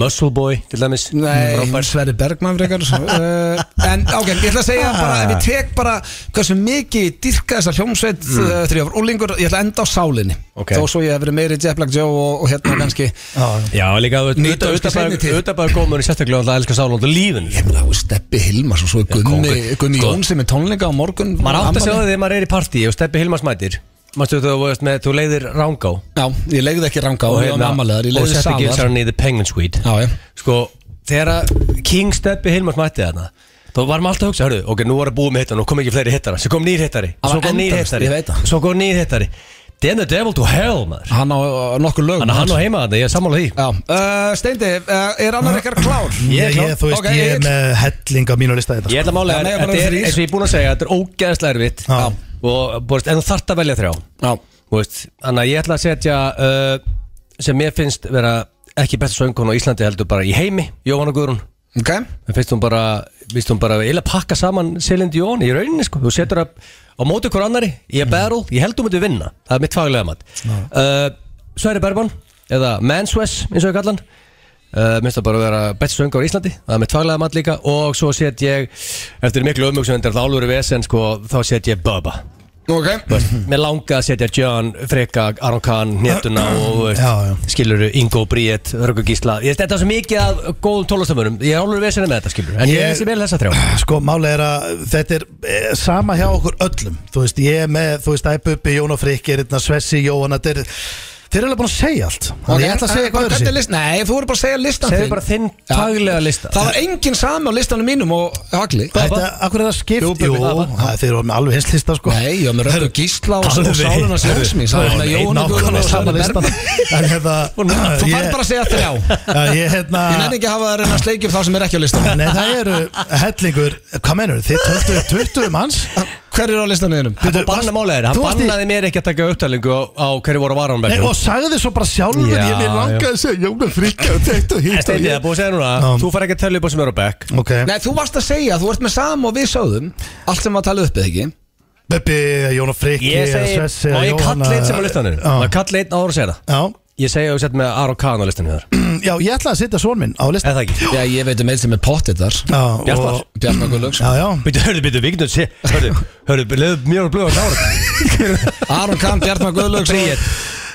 Speaker 3: Muscle Boy til dæmis Mm,
Speaker 1: Nei,
Speaker 3: Robert
Speaker 1: Sverri Bergman frekar uh, En ok, ég ætla að segja
Speaker 3: Ah.
Speaker 1: bara Ef ég tek bara hversu mikið ég dyrka þessa hljómsveit mm. uh, þegar ég var úlingur Ég ætla að enda á sálinni
Speaker 3: Ok.
Speaker 1: Þó svo ég hef verið meiri Jeff Black Joe og, og hérna kannski
Speaker 3: Já, líka
Speaker 1: Nýta ösku seinni tíð.
Speaker 3: auðvitað komin hérna sérstaklega alltaf að elska sálund og lífin
Speaker 1: Ég meina, þú veist, Steppi Hilmars og svo er Gunni,
Speaker 3: kóngur.
Speaker 1: Gunni
Speaker 3: Sko.
Speaker 1: Jón sem er tónleika á morgun
Speaker 3: Maður átt að sjá
Speaker 1: afmæli.
Speaker 3: það þegar maður er í partí og steppi Hilmars mætir Mastu þú veist með, þú leiðir Rangá
Speaker 1: Já, ég legði ekki ranga og ég var með ammaliðar Ég
Speaker 3: og hérna-
Speaker 1: legði
Speaker 3: Steppi
Speaker 1: salar
Speaker 3: Gilsarni í The Penguin Suite
Speaker 1: Já, já
Speaker 3: Sko, þegar að King Steppi Hilmars mætti þarna Þá varum alltaf að hugsa, hörru, ok, nú var að búið með hittan Nú kom ekki fleiri hittara, svo kom nýr hittari
Speaker 1: Það
Speaker 3: Svo
Speaker 1: var
Speaker 3: kom nýr
Speaker 1: endalaust,
Speaker 3: hittari,
Speaker 1: ég veit það.
Speaker 3: svo kom nýr hittari Then the devil to hell, maður
Speaker 1: Hann á uh, nokkur lög
Speaker 3: Þannig að hann á heima þarna, ég er sammála því
Speaker 1: Já, uh, Steindi, uh, er annar ykkar klár?
Speaker 2: Ég,
Speaker 3: Ég er klár.
Speaker 2: ég, þú veist,
Speaker 1: Ok,
Speaker 2: ég er
Speaker 1: Egill.
Speaker 2: með helling á mínu lista hérna. þetta
Speaker 3: Ég ætla að
Speaker 1: Já,
Speaker 3: mála þér,
Speaker 1: nei, bara
Speaker 3: þetta er,
Speaker 1: þrír.
Speaker 3: eins og ég er búin að segja, þetta er ógeðslega erfitt
Speaker 2: Já.
Speaker 3: og, búist, En þú þarft að velja þrjá
Speaker 1: Já,
Speaker 3: Þú veist, Þannig að ég ætla að setja uh, sem mér finnst vera ekki besta söngun á Íslandi heldur bara í heimi, Jóhanna Guðrún
Speaker 1: ok
Speaker 3: Mér finnst hún bara, finnst hún bara eiginlega pakka saman Selendi Jón í rauninni sko Þú setur það á móti hver annari í að battle, ég held hún myndi vinna Það er mitt faglega mat uh, Sverri Bergman, eða Manswes eins og ég kallan Uh, minnst það bara að vera besti söngur á Íslandi það er mitt faglega mat líka og svo set ég eftir miklu umhugsunendur þá alvöru vesen sko, þá set ég Bubba
Speaker 1: Ok,
Speaker 3: Mér langa að setja John, Freka, Aron Kahn, Nétuna og þú veist,
Speaker 2: Já, já.
Speaker 3: skilurðu Ingo, Bríett, Röggur Gísla Ég þetta er svo mikið af góðum tólastamörum Ég er alveg vesinni með þetta skilurðu En ég
Speaker 2: Ég-
Speaker 3: er sem vel þessa þrjá
Speaker 2: Sko, máli er að þetta er eh, sama hjá okkur öllum Þú veist, ég er með, þú veist, Æpuppi, Jón og Frikir, Svessi, Jóhann Þetta er, þeir eru alveg búin að segja allt Þannig
Speaker 1: Ok,
Speaker 2: ég ætla að segja
Speaker 1: en- en
Speaker 2: eitthvað öðru
Speaker 1: hvernig er list- Nei, þú voru bara að segja listan
Speaker 3: Segðu bara þinn
Speaker 1: Já.
Speaker 3: faglega lista
Speaker 1: Það var enginn sami á listanum mínum og Hagli
Speaker 2: Þetta, akkur er það skipt,
Speaker 3: Jú,
Speaker 2: jú,
Speaker 3: Bubbi, það var-
Speaker 2: það- þeir eru með alveg hins lista, sko
Speaker 1: Nei, ég var með röggu gísla og og sáluna sjálfsmín Það var með Jóhann Guðrún
Speaker 2: Nákvæmlega
Speaker 1: og
Speaker 2: sama
Speaker 1: Sverri
Speaker 2: listan
Speaker 1: Bergman
Speaker 2: En hérna
Speaker 1: Þú fær
Speaker 2: ég-
Speaker 1: bara að segja þrjá Ég
Speaker 2: Já, Ég hérna
Speaker 1: nenni ekki að hafa að reyna að sleikja upp þá sem er ekki á listanum
Speaker 2: Nei, það eru hellingur Hvað menur, þið töldu 20 manns
Speaker 1: Hver er á listanum þínum?
Speaker 3: Það var banna málega þér
Speaker 2: Þú
Speaker 3: Hann
Speaker 2: varst í-
Speaker 3: bannaði mér ekki að taka upptalingu á, á hverju voru varan
Speaker 2: Nei, og sagði svo bara sjálfur
Speaker 3: Já,
Speaker 2: Ég mér langaði að segja Jóna Frikka og þetta og
Speaker 3: En
Speaker 2: hitt og
Speaker 3: steindi, það er
Speaker 2: ég
Speaker 3: búið að segja núna
Speaker 2: Já.
Speaker 3: Þú fær ekki að tella upp á sem eru á bekk
Speaker 2: Ok,
Speaker 1: Nei, þú varst að segja, þú ert með sam og við sögðum Allt sem var að tala uppið, ekki?
Speaker 2: Böbbi, Jóna Frikki
Speaker 3: Ég segi,
Speaker 2: Svessi
Speaker 3: má ég
Speaker 2: Jóhanna-
Speaker 3: kalla einn sem á listanum Má ég
Speaker 2: Já,
Speaker 3: kalla einn ára að segja það
Speaker 2: já,
Speaker 3: Ég segi að þú sett með Aron Kahn á listanum þar
Speaker 2: Mm, já, ég ætlaði að setja svon minn á listan
Speaker 3: Eða það ekki
Speaker 1: Já, ég veit um einn sem er pottið þar
Speaker 2: Já,
Speaker 3: Bjartmar.
Speaker 2: og-
Speaker 1: Bjarnar Guðlöks
Speaker 2: Já, já
Speaker 3: Býtu, hörðu, býtu, við getum sé Hörðu, hörðu, leðu mjög blöð að klára þetta.
Speaker 1: Aron Kahn, Bjarnar Guðlöks
Speaker 3: Bríet.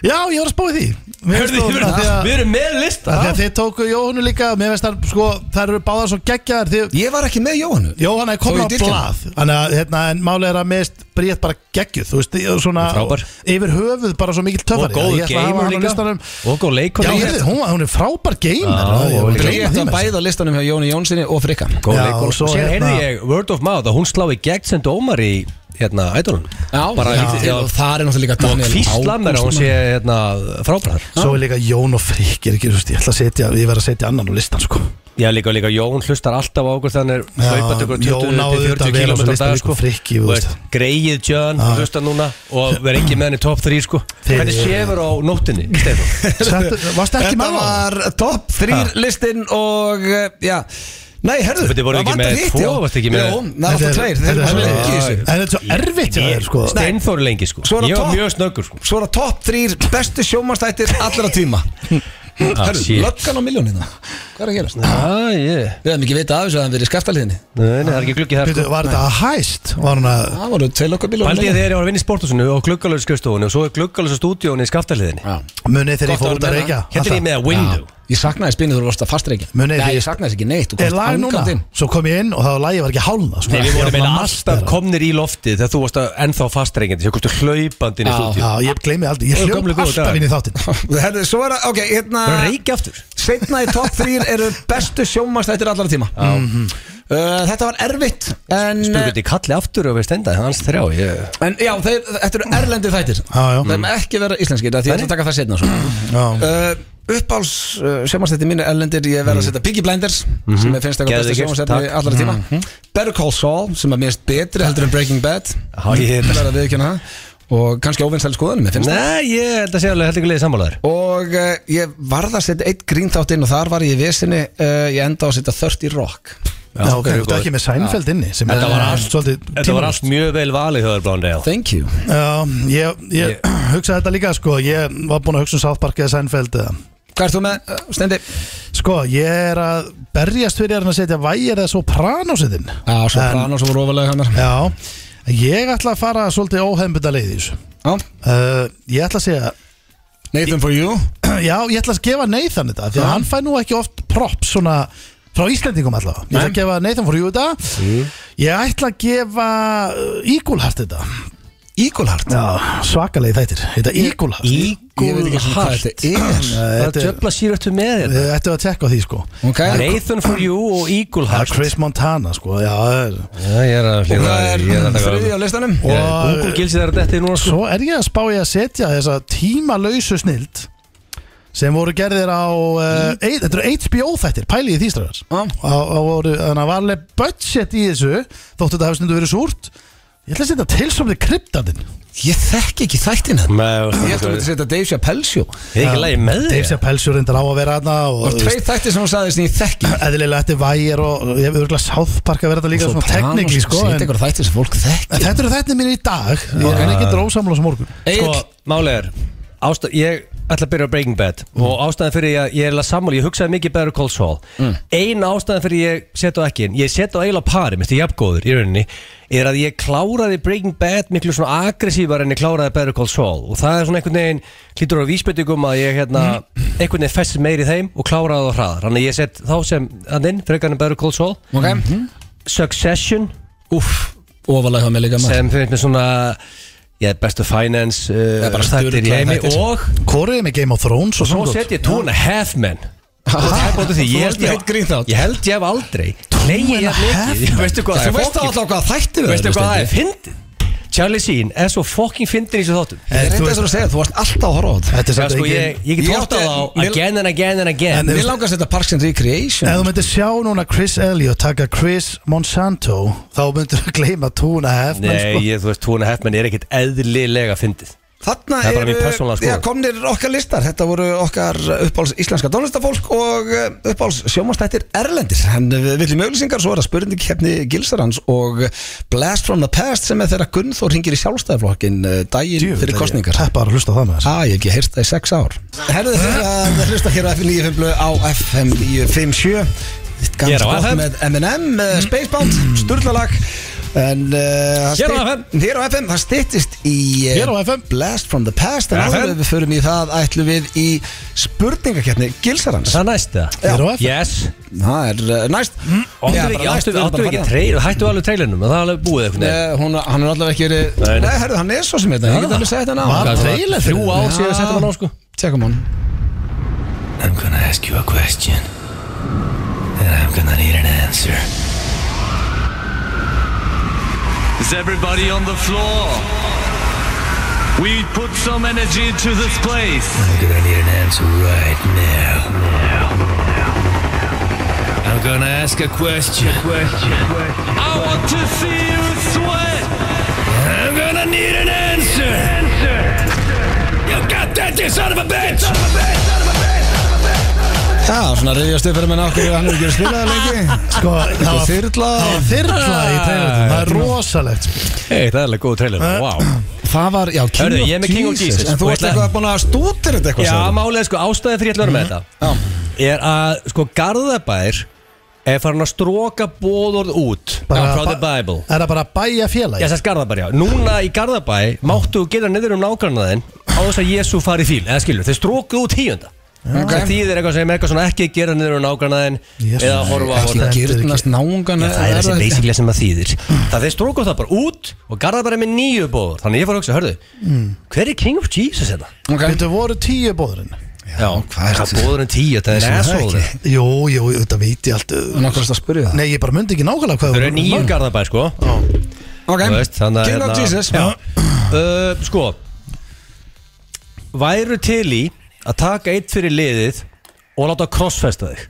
Speaker 2: Já, ég var að spóið því Mér
Speaker 3: Hörðu,
Speaker 2: finnst
Speaker 3: við
Speaker 2: þú- af því
Speaker 3: erum-
Speaker 2: að-
Speaker 3: við erum með lista
Speaker 2: af því að Þið tóku Jóhannu líka Mér veist það, sko, þær eru báðar svo geggjaðar Þið
Speaker 1: Ég var ekki með Jóhannu
Speaker 2: Jóhanna er
Speaker 1: Þó
Speaker 2: komin
Speaker 1: ég
Speaker 2: á
Speaker 1: dýrka hana.
Speaker 2: blað Þannig að hérna, en málega er að mest Bríett bara geggjuð Þú veist, ég- svona
Speaker 3: Frábær.
Speaker 2: Yfir höfuð bara svo mikil
Speaker 3: Og
Speaker 2: töffari
Speaker 3: góð
Speaker 2: Ég ætla að hafa
Speaker 3: gamer
Speaker 2: hana á
Speaker 3: líka
Speaker 2: listanum.
Speaker 3: Og góð
Speaker 2: Já,
Speaker 3: leikona
Speaker 2: heyrðu, hún, var- hún er frábær gamer
Speaker 3: Já,
Speaker 2: Já, ég
Speaker 3: og
Speaker 2: var að gleyma
Speaker 1: Bríett
Speaker 2: því
Speaker 1: var
Speaker 2: með
Speaker 1: bæði á listanum hjá Jóni Jónssoni og Frikka
Speaker 3: Góð
Speaker 2: Já,
Speaker 3: leikona
Speaker 2: og svo
Speaker 3: Og sér
Speaker 2: hérna-
Speaker 3: heyrði ég word of mouth Að hún slá í gegn sem dómar í Hérna, ædolun
Speaker 1: Já,
Speaker 3: Bara
Speaker 1: já,
Speaker 3: lítið- já,
Speaker 1: og það er náttúrulega líka
Speaker 3: Og
Speaker 1: Daniel
Speaker 3: físla mér að hún
Speaker 1: Ágústsson.
Speaker 3: sé hérna frábæðar
Speaker 2: þessu. Svo er líka Jón og Frikir ekki, þú veist, Ég ætla að setja, ég verð að setja annan á listan sko.
Speaker 3: Já, líka, líka, Jón hlustar alltaf á okkur þannig
Speaker 2: Já,
Speaker 3: hlaupandi okkur
Speaker 2: Jón á auðvitað vel á
Speaker 3: 20-40 km
Speaker 2: svo
Speaker 3: á dag
Speaker 2: listanum,
Speaker 3: sko.
Speaker 2: sko, frikki, þú
Speaker 3: Þú
Speaker 2: veist.
Speaker 3: veist, Greið Jón hlustar núna og verð ekki með henni top 3 sko
Speaker 2: Þeir-
Speaker 3: Hvernig séfur á nóttinni, Stefán?
Speaker 2: Settu- Varstu
Speaker 1: Þetta
Speaker 2: ekki með á?
Speaker 1: var topp þrýr listin og eh, já Nei, herðu,
Speaker 3: Þetta voru ekki
Speaker 1: vantar
Speaker 3: með
Speaker 1: hitt,
Speaker 3: tvo,
Speaker 1: já.
Speaker 3: varstu ekki með-
Speaker 1: Jú, það var
Speaker 2: Þetta
Speaker 1: það
Speaker 2: er-
Speaker 1: tveir, þeir
Speaker 2: þetta er
Speaker 1: eru
Speaker 2: svo-
Speaker 1: lengi í þessu
Speaker 2: En þetta er svo erfitt hjá þér sko
Speaker 3: Steinþór er lengi sko
Speaker 1: Svo er það
Speaker 3: Ég var
Speaker 1: topp.
Speaker 3: mjög snöggur sko
Speaker 1: Svo er það topp þrýr bestu sjómanstættir allra tíma Herðu,
Speaker 3: Ah, shit.
Speaker 1: löggan á miljónina Hvað er að gerast?
Speaker 3: Ah, yeah.
Speaker 1: Við hefum ekki vitað af þessu að það verið hérna. í skaftalíðinni
Speaker 3: Nei, nei, það er ekki gluggi þar
Speaker 2: Býtu,
Speaker 3: sko.
Speaker 2: Var þetta að hæst? Var hún að
Speaker 1: Það voru tvei löggan
Speaker 3: Paldi ég
Speaker 1: miljónina
Speaker 3: þegar ég var að vinna í sporthúsinu og gluggalösu skrifstofunni og svo er gluggalösu stúdíónu í skaftaliðinni
Speaker 2: munið þegar
Speaker 1: Gott
Speaker 2: ég fór
Speaker 1: að
Speaker 2: út að
Speaker 1: vera
Speaker 2: reykja?
Speaker 3: Hérna er ég með að window
Speaker 1: Ég saknaði spinnið þú varst að fastreikja
Speaker 2: Muni,
Speaker 1: Nei,
Speaker 2: því-
Speaker 1: ég saknaði þess ekki neitt þú
Speaker 2: Er
Speaker 1: komst
Speaker 2: lag núna?
Speaker 1: angandi inn.
Speaker 2: Svo kom ég inn og það var lagið var ekki hálna sko.
Speaker 3: Nei, við vorum
Speaker 2: Ég var að
Speaker 3: eða alltaf
Speaker 2: mastera.
Speaker 3: Hérna komnir í loftið þegar þú varst að- ennþá fastrengandi Sér komstu hlaupandi inn í
Speaker 1: Já.
Speaker 3: stúdíu
Speaker 2: Já, ég gleymi aldrei Ég
Speaker 3: Ó,
Speaker 2: hljóp
Speaker 3: gömlu góðu dagar.
Speaker 2: alltaf inn í þáttinn
Speaker 1: Herðu, svo er það, ok, hérna
Speaker 3: Það er að reykja aftur
Speaker 1: Setna í topp þrýr eru bestu sjómanstættir allara tíma uh, Þetta var erfitt en, eh,
Speaker 3: Spurgur þetta í kalli aftur og við stenda Hans þrjá ég...
Speaker 1: en já, þeir, þetta eru erlendir þættir
Speaker 2: Já, já.
Speaker 1: Þeir maður ekki vera íslenskir af Því ég ætla að taka það setna svo.
Speaker 2: Já.
Speaker 1: uh, Uppáls uh, sjómanstættir mínu erlendir Ég verð að setja Biggie Blinders Sem ég finnst eitthvað
Speaker 3: Geðveikir,
Speaker 1: bestu sjómanstættir
Speaker 3: takk.
Speaker 1: allara tíma Better Call Saul Sem er mest betri heldur en Breaking Bad
Speaker 3: Já, ég-
Speaker 1: Það er að viðkjöna það Og kannski óvinnsæli skoðanum, ég finnst
Speaker 3: Nei, ég held að sé alveg held ekki leiði sammálaður
Speaker 1: Og uh, ég varð að setja eitt grínþátt inn og þar var ég í vesinni, uh, ég enda á að setja 30 Rock
Speaker 2: Já, ok,
Speaker 3: mjög
Speaker 2: þú ert
Speaker 3: góð.
Speaker 2: ekki með Seinfeld inni sem
Speaker 3: Þetta
Speaker 2: er
Speaker 3: var allt-
Speaker 2: allt svolítið
Speaker 3: Þetta var allt mjög vel valið höður Blóndale
Speaker 1: Thank you
Speaker 2: Já, ég, ég hugsaði þetta líka sko Ég var búinn að hugsa um South Park eða Seinfeld eða.
Speaker 1: Hvað ert þú með, uh, Stendi?
Speaker 2: Sko, ég er að berjast fyrir hérna að setja vægir eða svo pranósiðin
Speaker 1: Já, svo Pranos voru ofalega hann Já,
Speaker 2: Já, ég ætla að fara svolítið óhefnbunda leið í þessu uh, Ég ætla að segja
Speaker 1: Nathan for you
Speaker 2: Já, ég ætla að gefa Nathan þetta Því að hann fær nú ekki oft props svona Frá Íslendingum allavega Ég ætla að gefa Nathan for you þetta Ég ætla að gefa uh, Eagle Heart þetta
Speaker 1: Ígulhart
Speaker 2: Já, svakalegi þættir Þetta Eagle Heart
Speaker 1: Ég veit ekki svona hvað þetta er
Speaker 3: Það er
Speaker 2: Þetta er-
Speaker 3: djöfla síröttu með þetta
Speaker 2: Við ættum að tekka á því sko
Speaker 1: Ok
Speaker 3: Nathan for you og Eagle
Speaker 2: Það
Speaker 3: Heart
Speaker 2: er Chris Montana sko Já, það er
Speaker 3: Já, ég er að
Speaker 1: Og
Speaker 3: hlýða
Speaker 1: það er þriði á listanum
Speaker 2: Og-
Speaker 3: Ungur gilsi þar að detti núna sko
Speaker 2: Svo er ég að spá ég að setja þessa tímalausu snild sem voru gerðir á uh, eit, þetta eru HBO þættir, pælið í því strafars
Speaker 1: Já.
Speaker 2: og og voru, þannig að varlega budget í þessu, þóttu þetta hafi stundu verið súrt ég ætla að setja tilsomni kryptandinn
Speaker 1: Ég þekki ekki þættin þetta Ég ætla að myndi
Speaker 3: Ég
Speaker 1: setja Dave Chappelle sjó
Speaker 3: er ekki lægi með
Speaker 2: Dave
Speaker 3: þig
Speaker 2: Chappelle reyndar á að vera aðna og
Speaker 1: Og tveir þættir sem hún sagði sem ég þekki
Speaker 2: eðlilega þetta er vægir og og ég hef örgulega South Park að vera þetta líka svona teknikli sko,
Speaker 1: Setja
Speaker 2: en,
Speaker 1: ykkur þættir sem fólk
Speaker 2: en
Speaker 1: þekki
Speaker 2: þetta eru þættir mínu í dag ég er ekki getur ósamlega sem morgun
Speaker 3: Sko,
Speaker 1: Egil
Speaker 3: málið er ástæð, Ég ætla að byrja á Breaking Bad
Speaker 2: Mm.
Speaker 3: Og ástæðan fyrir ég, ég er alveg sammála Ég hugsaði mikið Better Call Saul
Speaker 2: Mm.
Speaker 3: Ein ástæðan fyrir ég setja á ekki inn Ég setja á eiginlega pari, minnst ég jafngóður í rauninni Er að ég kláraði Breaking Bad Miklu svona aggressívar en ég kláraði Better Call Saul Og það er svona einhvern veginn Klítur á vísbendingum að ég hérna
Speaker 2: Mm.
Speaker 3: Einhvern veginn festist meiri í þeim og kláraði það hraðar Þannig að ég set þá sem hann inn Frekar en Better Call Saul
Speaker 1: Ok
Speaker 3: Succession
Speaker 1: Úff Ofalega hjá mig líka maður
Speaker 3: sem finnst mér svona Já, bestu finance uh,
Speaker 1: er bara
Speaker 3: þættir í
Speaker 1: sturlaðir
Speaker 3: heimi
Speaker 1: þættir.
Speaker 3: og
Speaker 2: Korið með Game of Thrones og
Speaker 3: svo
Speaker 2: svona
Speaker 3: set ég two and a half men
Speaker 1: Ha,
Speaker 3: Og það er bara því,
Speaker 1: þú
Speaker 3: ég
Speaker 1: varst
Speaker 3: held ég-
Speaker 1: með eitt grín þátt. Sko,
Speaker 3: ég held ég hef aldrei Legið
Speaker 2: and a
Speaker 3: ég
Speaker 2: half
Speaker 3: mikið Veistu hvað
Speaker 1: Þú
Speaker 3: það
Speaker 1: veist
Speaker 3: er
Speaker 1: alltaf hvað þættir
Speaker 3: fokkin
Speaker 1: við
Speaker 3: Veistu hvað það er fyndið Charlie Sheen er svo fokkin fyndin í þessu þáttum
Speaker 1: Ég reyndi þess að segja, þú varst alltaf að horfa á þetta
Speaker 2: Þetta er
Speaker 3: Já,
Speaker 2: samt
Speaker 3: sko,
Speaker 2: ekki-
Speaker 3: ég, ég get
Speaker 1: Ég
Speaker 3: hótt á
Speaker 1: átti-
Speaker 3: þá
Speaker 1: mér-
Speaker 3: again and again and again
Speaker 1: Mér langar að setja Parks and Recreation
Speaker 2: Ef þú myndir sjá núna Chris Elliot taka Chris Monsanto þá myndir þú gleyma túna hef
Speaker 3: Nei, ég, þú veist, two and a half men er ekkit eðlilega fyndið
Speaker 1: Þarna
Speaker 3: Það er bara mín persónulega
Speaker 1: eru
Speaker 3: skoðun.
Speaker 1: já, komnir okkar listar Þetta voru okkar uppáls íslenska tónlistafólk og eh, uppáls sjómanstættir Erlendis En eh, við viljum auðlýsingar svo er það spurning kefni Gilsarans og Blast from the Past sem er þeirra Gunnþór hringir í sjálfstæðaflokkin daginn fyrir kostningar
Speaker 2: Peppar að hlusta á það með þess
Speaker 1: Æ, ég hef ekki heyrst það í sex ár Herðu þeirra að hlusta hér á FM 95 á FM 957 Þitt
Speaker 3: Hér á
Speaker 1: gamla gott
Speaker 3: FM.
Speaker 1: með M&M, eh, Spacebound, Sturlalag En uh,
Speaker 3: Hér á FM.
Speaker 1: Hér á FM, það styttist í eh,
Speaker 2: Hér á FM.
Speaker 1: Blast from the Past En
Speaker 3: FM.
Speaker 1: áður en við förum í það ætlum við í spurningakeppni Gilsarans
Speaker 3: Það næst það
Speaker 2: Hér á FM.
Speaker 3: Yes
Speaker 1: Það er uh, næst Já,
Speaker 3: Áttu
Speaker 1: bara
Speaker 3: ekki,
Speaker 1: næst,
Speaker 3: áttu
Speaker 1: við erum bara
Speaker 3: áttu
Speaker 1: að
Speaker 3: ekki
Speaker 1: fara.
Speaker 3: trailer Hættu alveg trailerunum og það er alveg búið eitthvað
Speaker 1: Eh, hún, Hann er allavega ekki verið
Speaker 3: Nei, nei.
Speaker 1: Nei, herðu, hann er svo sem þetta Ég get alveg sagt þetta ná
Speaker 2: Var trailer fyrir
Speaker 3: Þrjú ár síðan settum hann á sko
Speaker 1: Tjekkum hann
Speaker 6: I'm gonna ask you a question. And I'm gonna need an answer.
Speaker 7: Is everybody on the floor? We put some energy into this place.
Speaker 6: I'm gonna need an answer right now. I'm gonna ask a question.
Speaker 7: I want to see you sweat.
Speaker 6: I'm gonna need an answer. You got that, you son of a bitch!
Speaker 1: Já, svona reyðjast upp fyrir menn okkur Hann er ekki verið að spila það lengi
Speaker 2: Sko, það var
Speaker 1: Þyrla
Speaker 2: þyrla í trailerinu Það er rosalegt sko.
Speaker 3: Hei, það er alveg góð trailer Wow
Speaker 1: Það var, já, King,
Speaker 3: Hörðu,
Speaker 1: of,
Speaker 3: ég er með King of Jesus.
Speaker 1: En þú
Speaker 3: Og
Speaker 1: varst
Speaker 3: ætla-
Speaker 1: eitthvað búin að stútir þetta eitthvað
Speaker 3: Já,
Speaker 1: sagði.
Speaker 3: málega sko, ástæðið fyrir ég ætla að vera með þetta Er að, sko, Garðabær Er farin að stróka bóðorð út
Speaker 2: Bara-
Speaker 3: Frá the Bible
Speaker 2: Er það bara að bæja
Speaker 3: Já,
Speaker 2: félagi
Speaker 3: þess Garðabær, já Núna í Garðabæ máttu gera niður um nágrannaðinn Á þess að Jésu fari í fíl Eða skilur, þeir strókuðu út tíunda
Speaker 1: Ok.
Speaker 3: Það þýðir eitthvað sem eitthvað svona ekki gera niður um nágrannaðinn
Speaker 2: Jesús.
Speaker 3: Eða horfa á
Speaker 2: Ekki
Speaker 3: honum
Speaker 2: þetta er
Speaker 1: Girnast náungan
Speaker 3: Já, það er þessi basically sem það þýðir Það þeir stróku það bara út og garða bara með nýju bóður Þannig ég fór að hugsa, hörðu, hver er King of Jesus þetta?
Speaker 1: okay.
Speaker 2: Þetta voru tíu bóðurinn
Speaker 3: Já,
Speaker 1: hvað er
Speaker 3: hvað
Speaker 1: þetta?
Speaker 3: bóður en tíu, þetta er
Speaker 1: Nei,
Speaker 3: sem
Speaker 1: það er
Speaker 3: það
Speaker 1: ekki.
Speaker 3: ekki
Speaker 2: Jú, jú, þetta veit ég allt
Speaker 1: Nákvæmst að spyrja það
Speaker 2: Nei, ég bara myndi ekki nákvæmlega hvað
Speaker 3: Þau
Speaker 2: það
Speaker 3: eru nýju garðabæð, sko
Speaker 1: Ok,
Speaker 3: Þú veist, þannig að
Speaker 1: King of
Speaker 3: hérna-
Speaker 1: Jesus
Speaker 3: Já. uh, Sko Væru til í að taka eitt fyrir liðið og láta crossfesta þig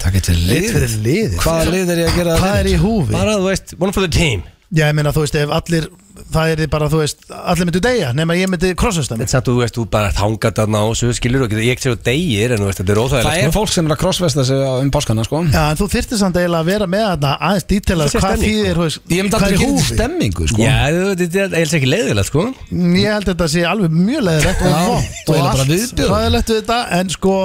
Speaker 1: Takk eitt fyrir
Speaker 2: Eitt fyrir liðið.
Speaker 1: Hvaða lið er ég að gera
Speaker 2: Hvað er í húfi?
Speaker 3: Bara, þú veist, one for the team
Speaker 2: Já, ég meina, þú veist, ef allir Það er bara, þú veist, allir myndu deyja Nefn að ég myndi krossast það
Speaker 3: Þetta er samt, þú veist, þú bara þangat þarna á þessu skilur og getur ég ekki sér og deyir en þú veist, þetta er óþægilegt sko.
Speaker 1: Það er fólk sem er að crossfesta sig á- um páskana, sko
Speaker 2: Já, en þú þyrftir samt eiginlega að vera með þarna aðeins dítelar
Speaker 3: Það sé
Speaker 2: hvað
Speaker 3: stemning,
Speaker 2: þýðir, þú veist,
Speaker 1: Ég myndi
Speaker 2: hvað
Speaker 1: aldrei
Speaker 2: er í
Speaker 1: gera þetta
Speaker 2: húfi?
Speaker 1: stemmingu, sko
Speaker 3: Já, þú- þetta er eins ekki leiðilegt, sko
Speaker 2: Mm, Ég held að þetta sé alveg mjög leðilegt og
Speaker 1: Já,
Speaker 2: vont
Speaker 1: og
Speaker 2: og
Speaker 1: eiginlega bara
Speaker 2: allt
Speaker 1: viðbjóður.
Speaker 2: hræðilegt við þetta en sko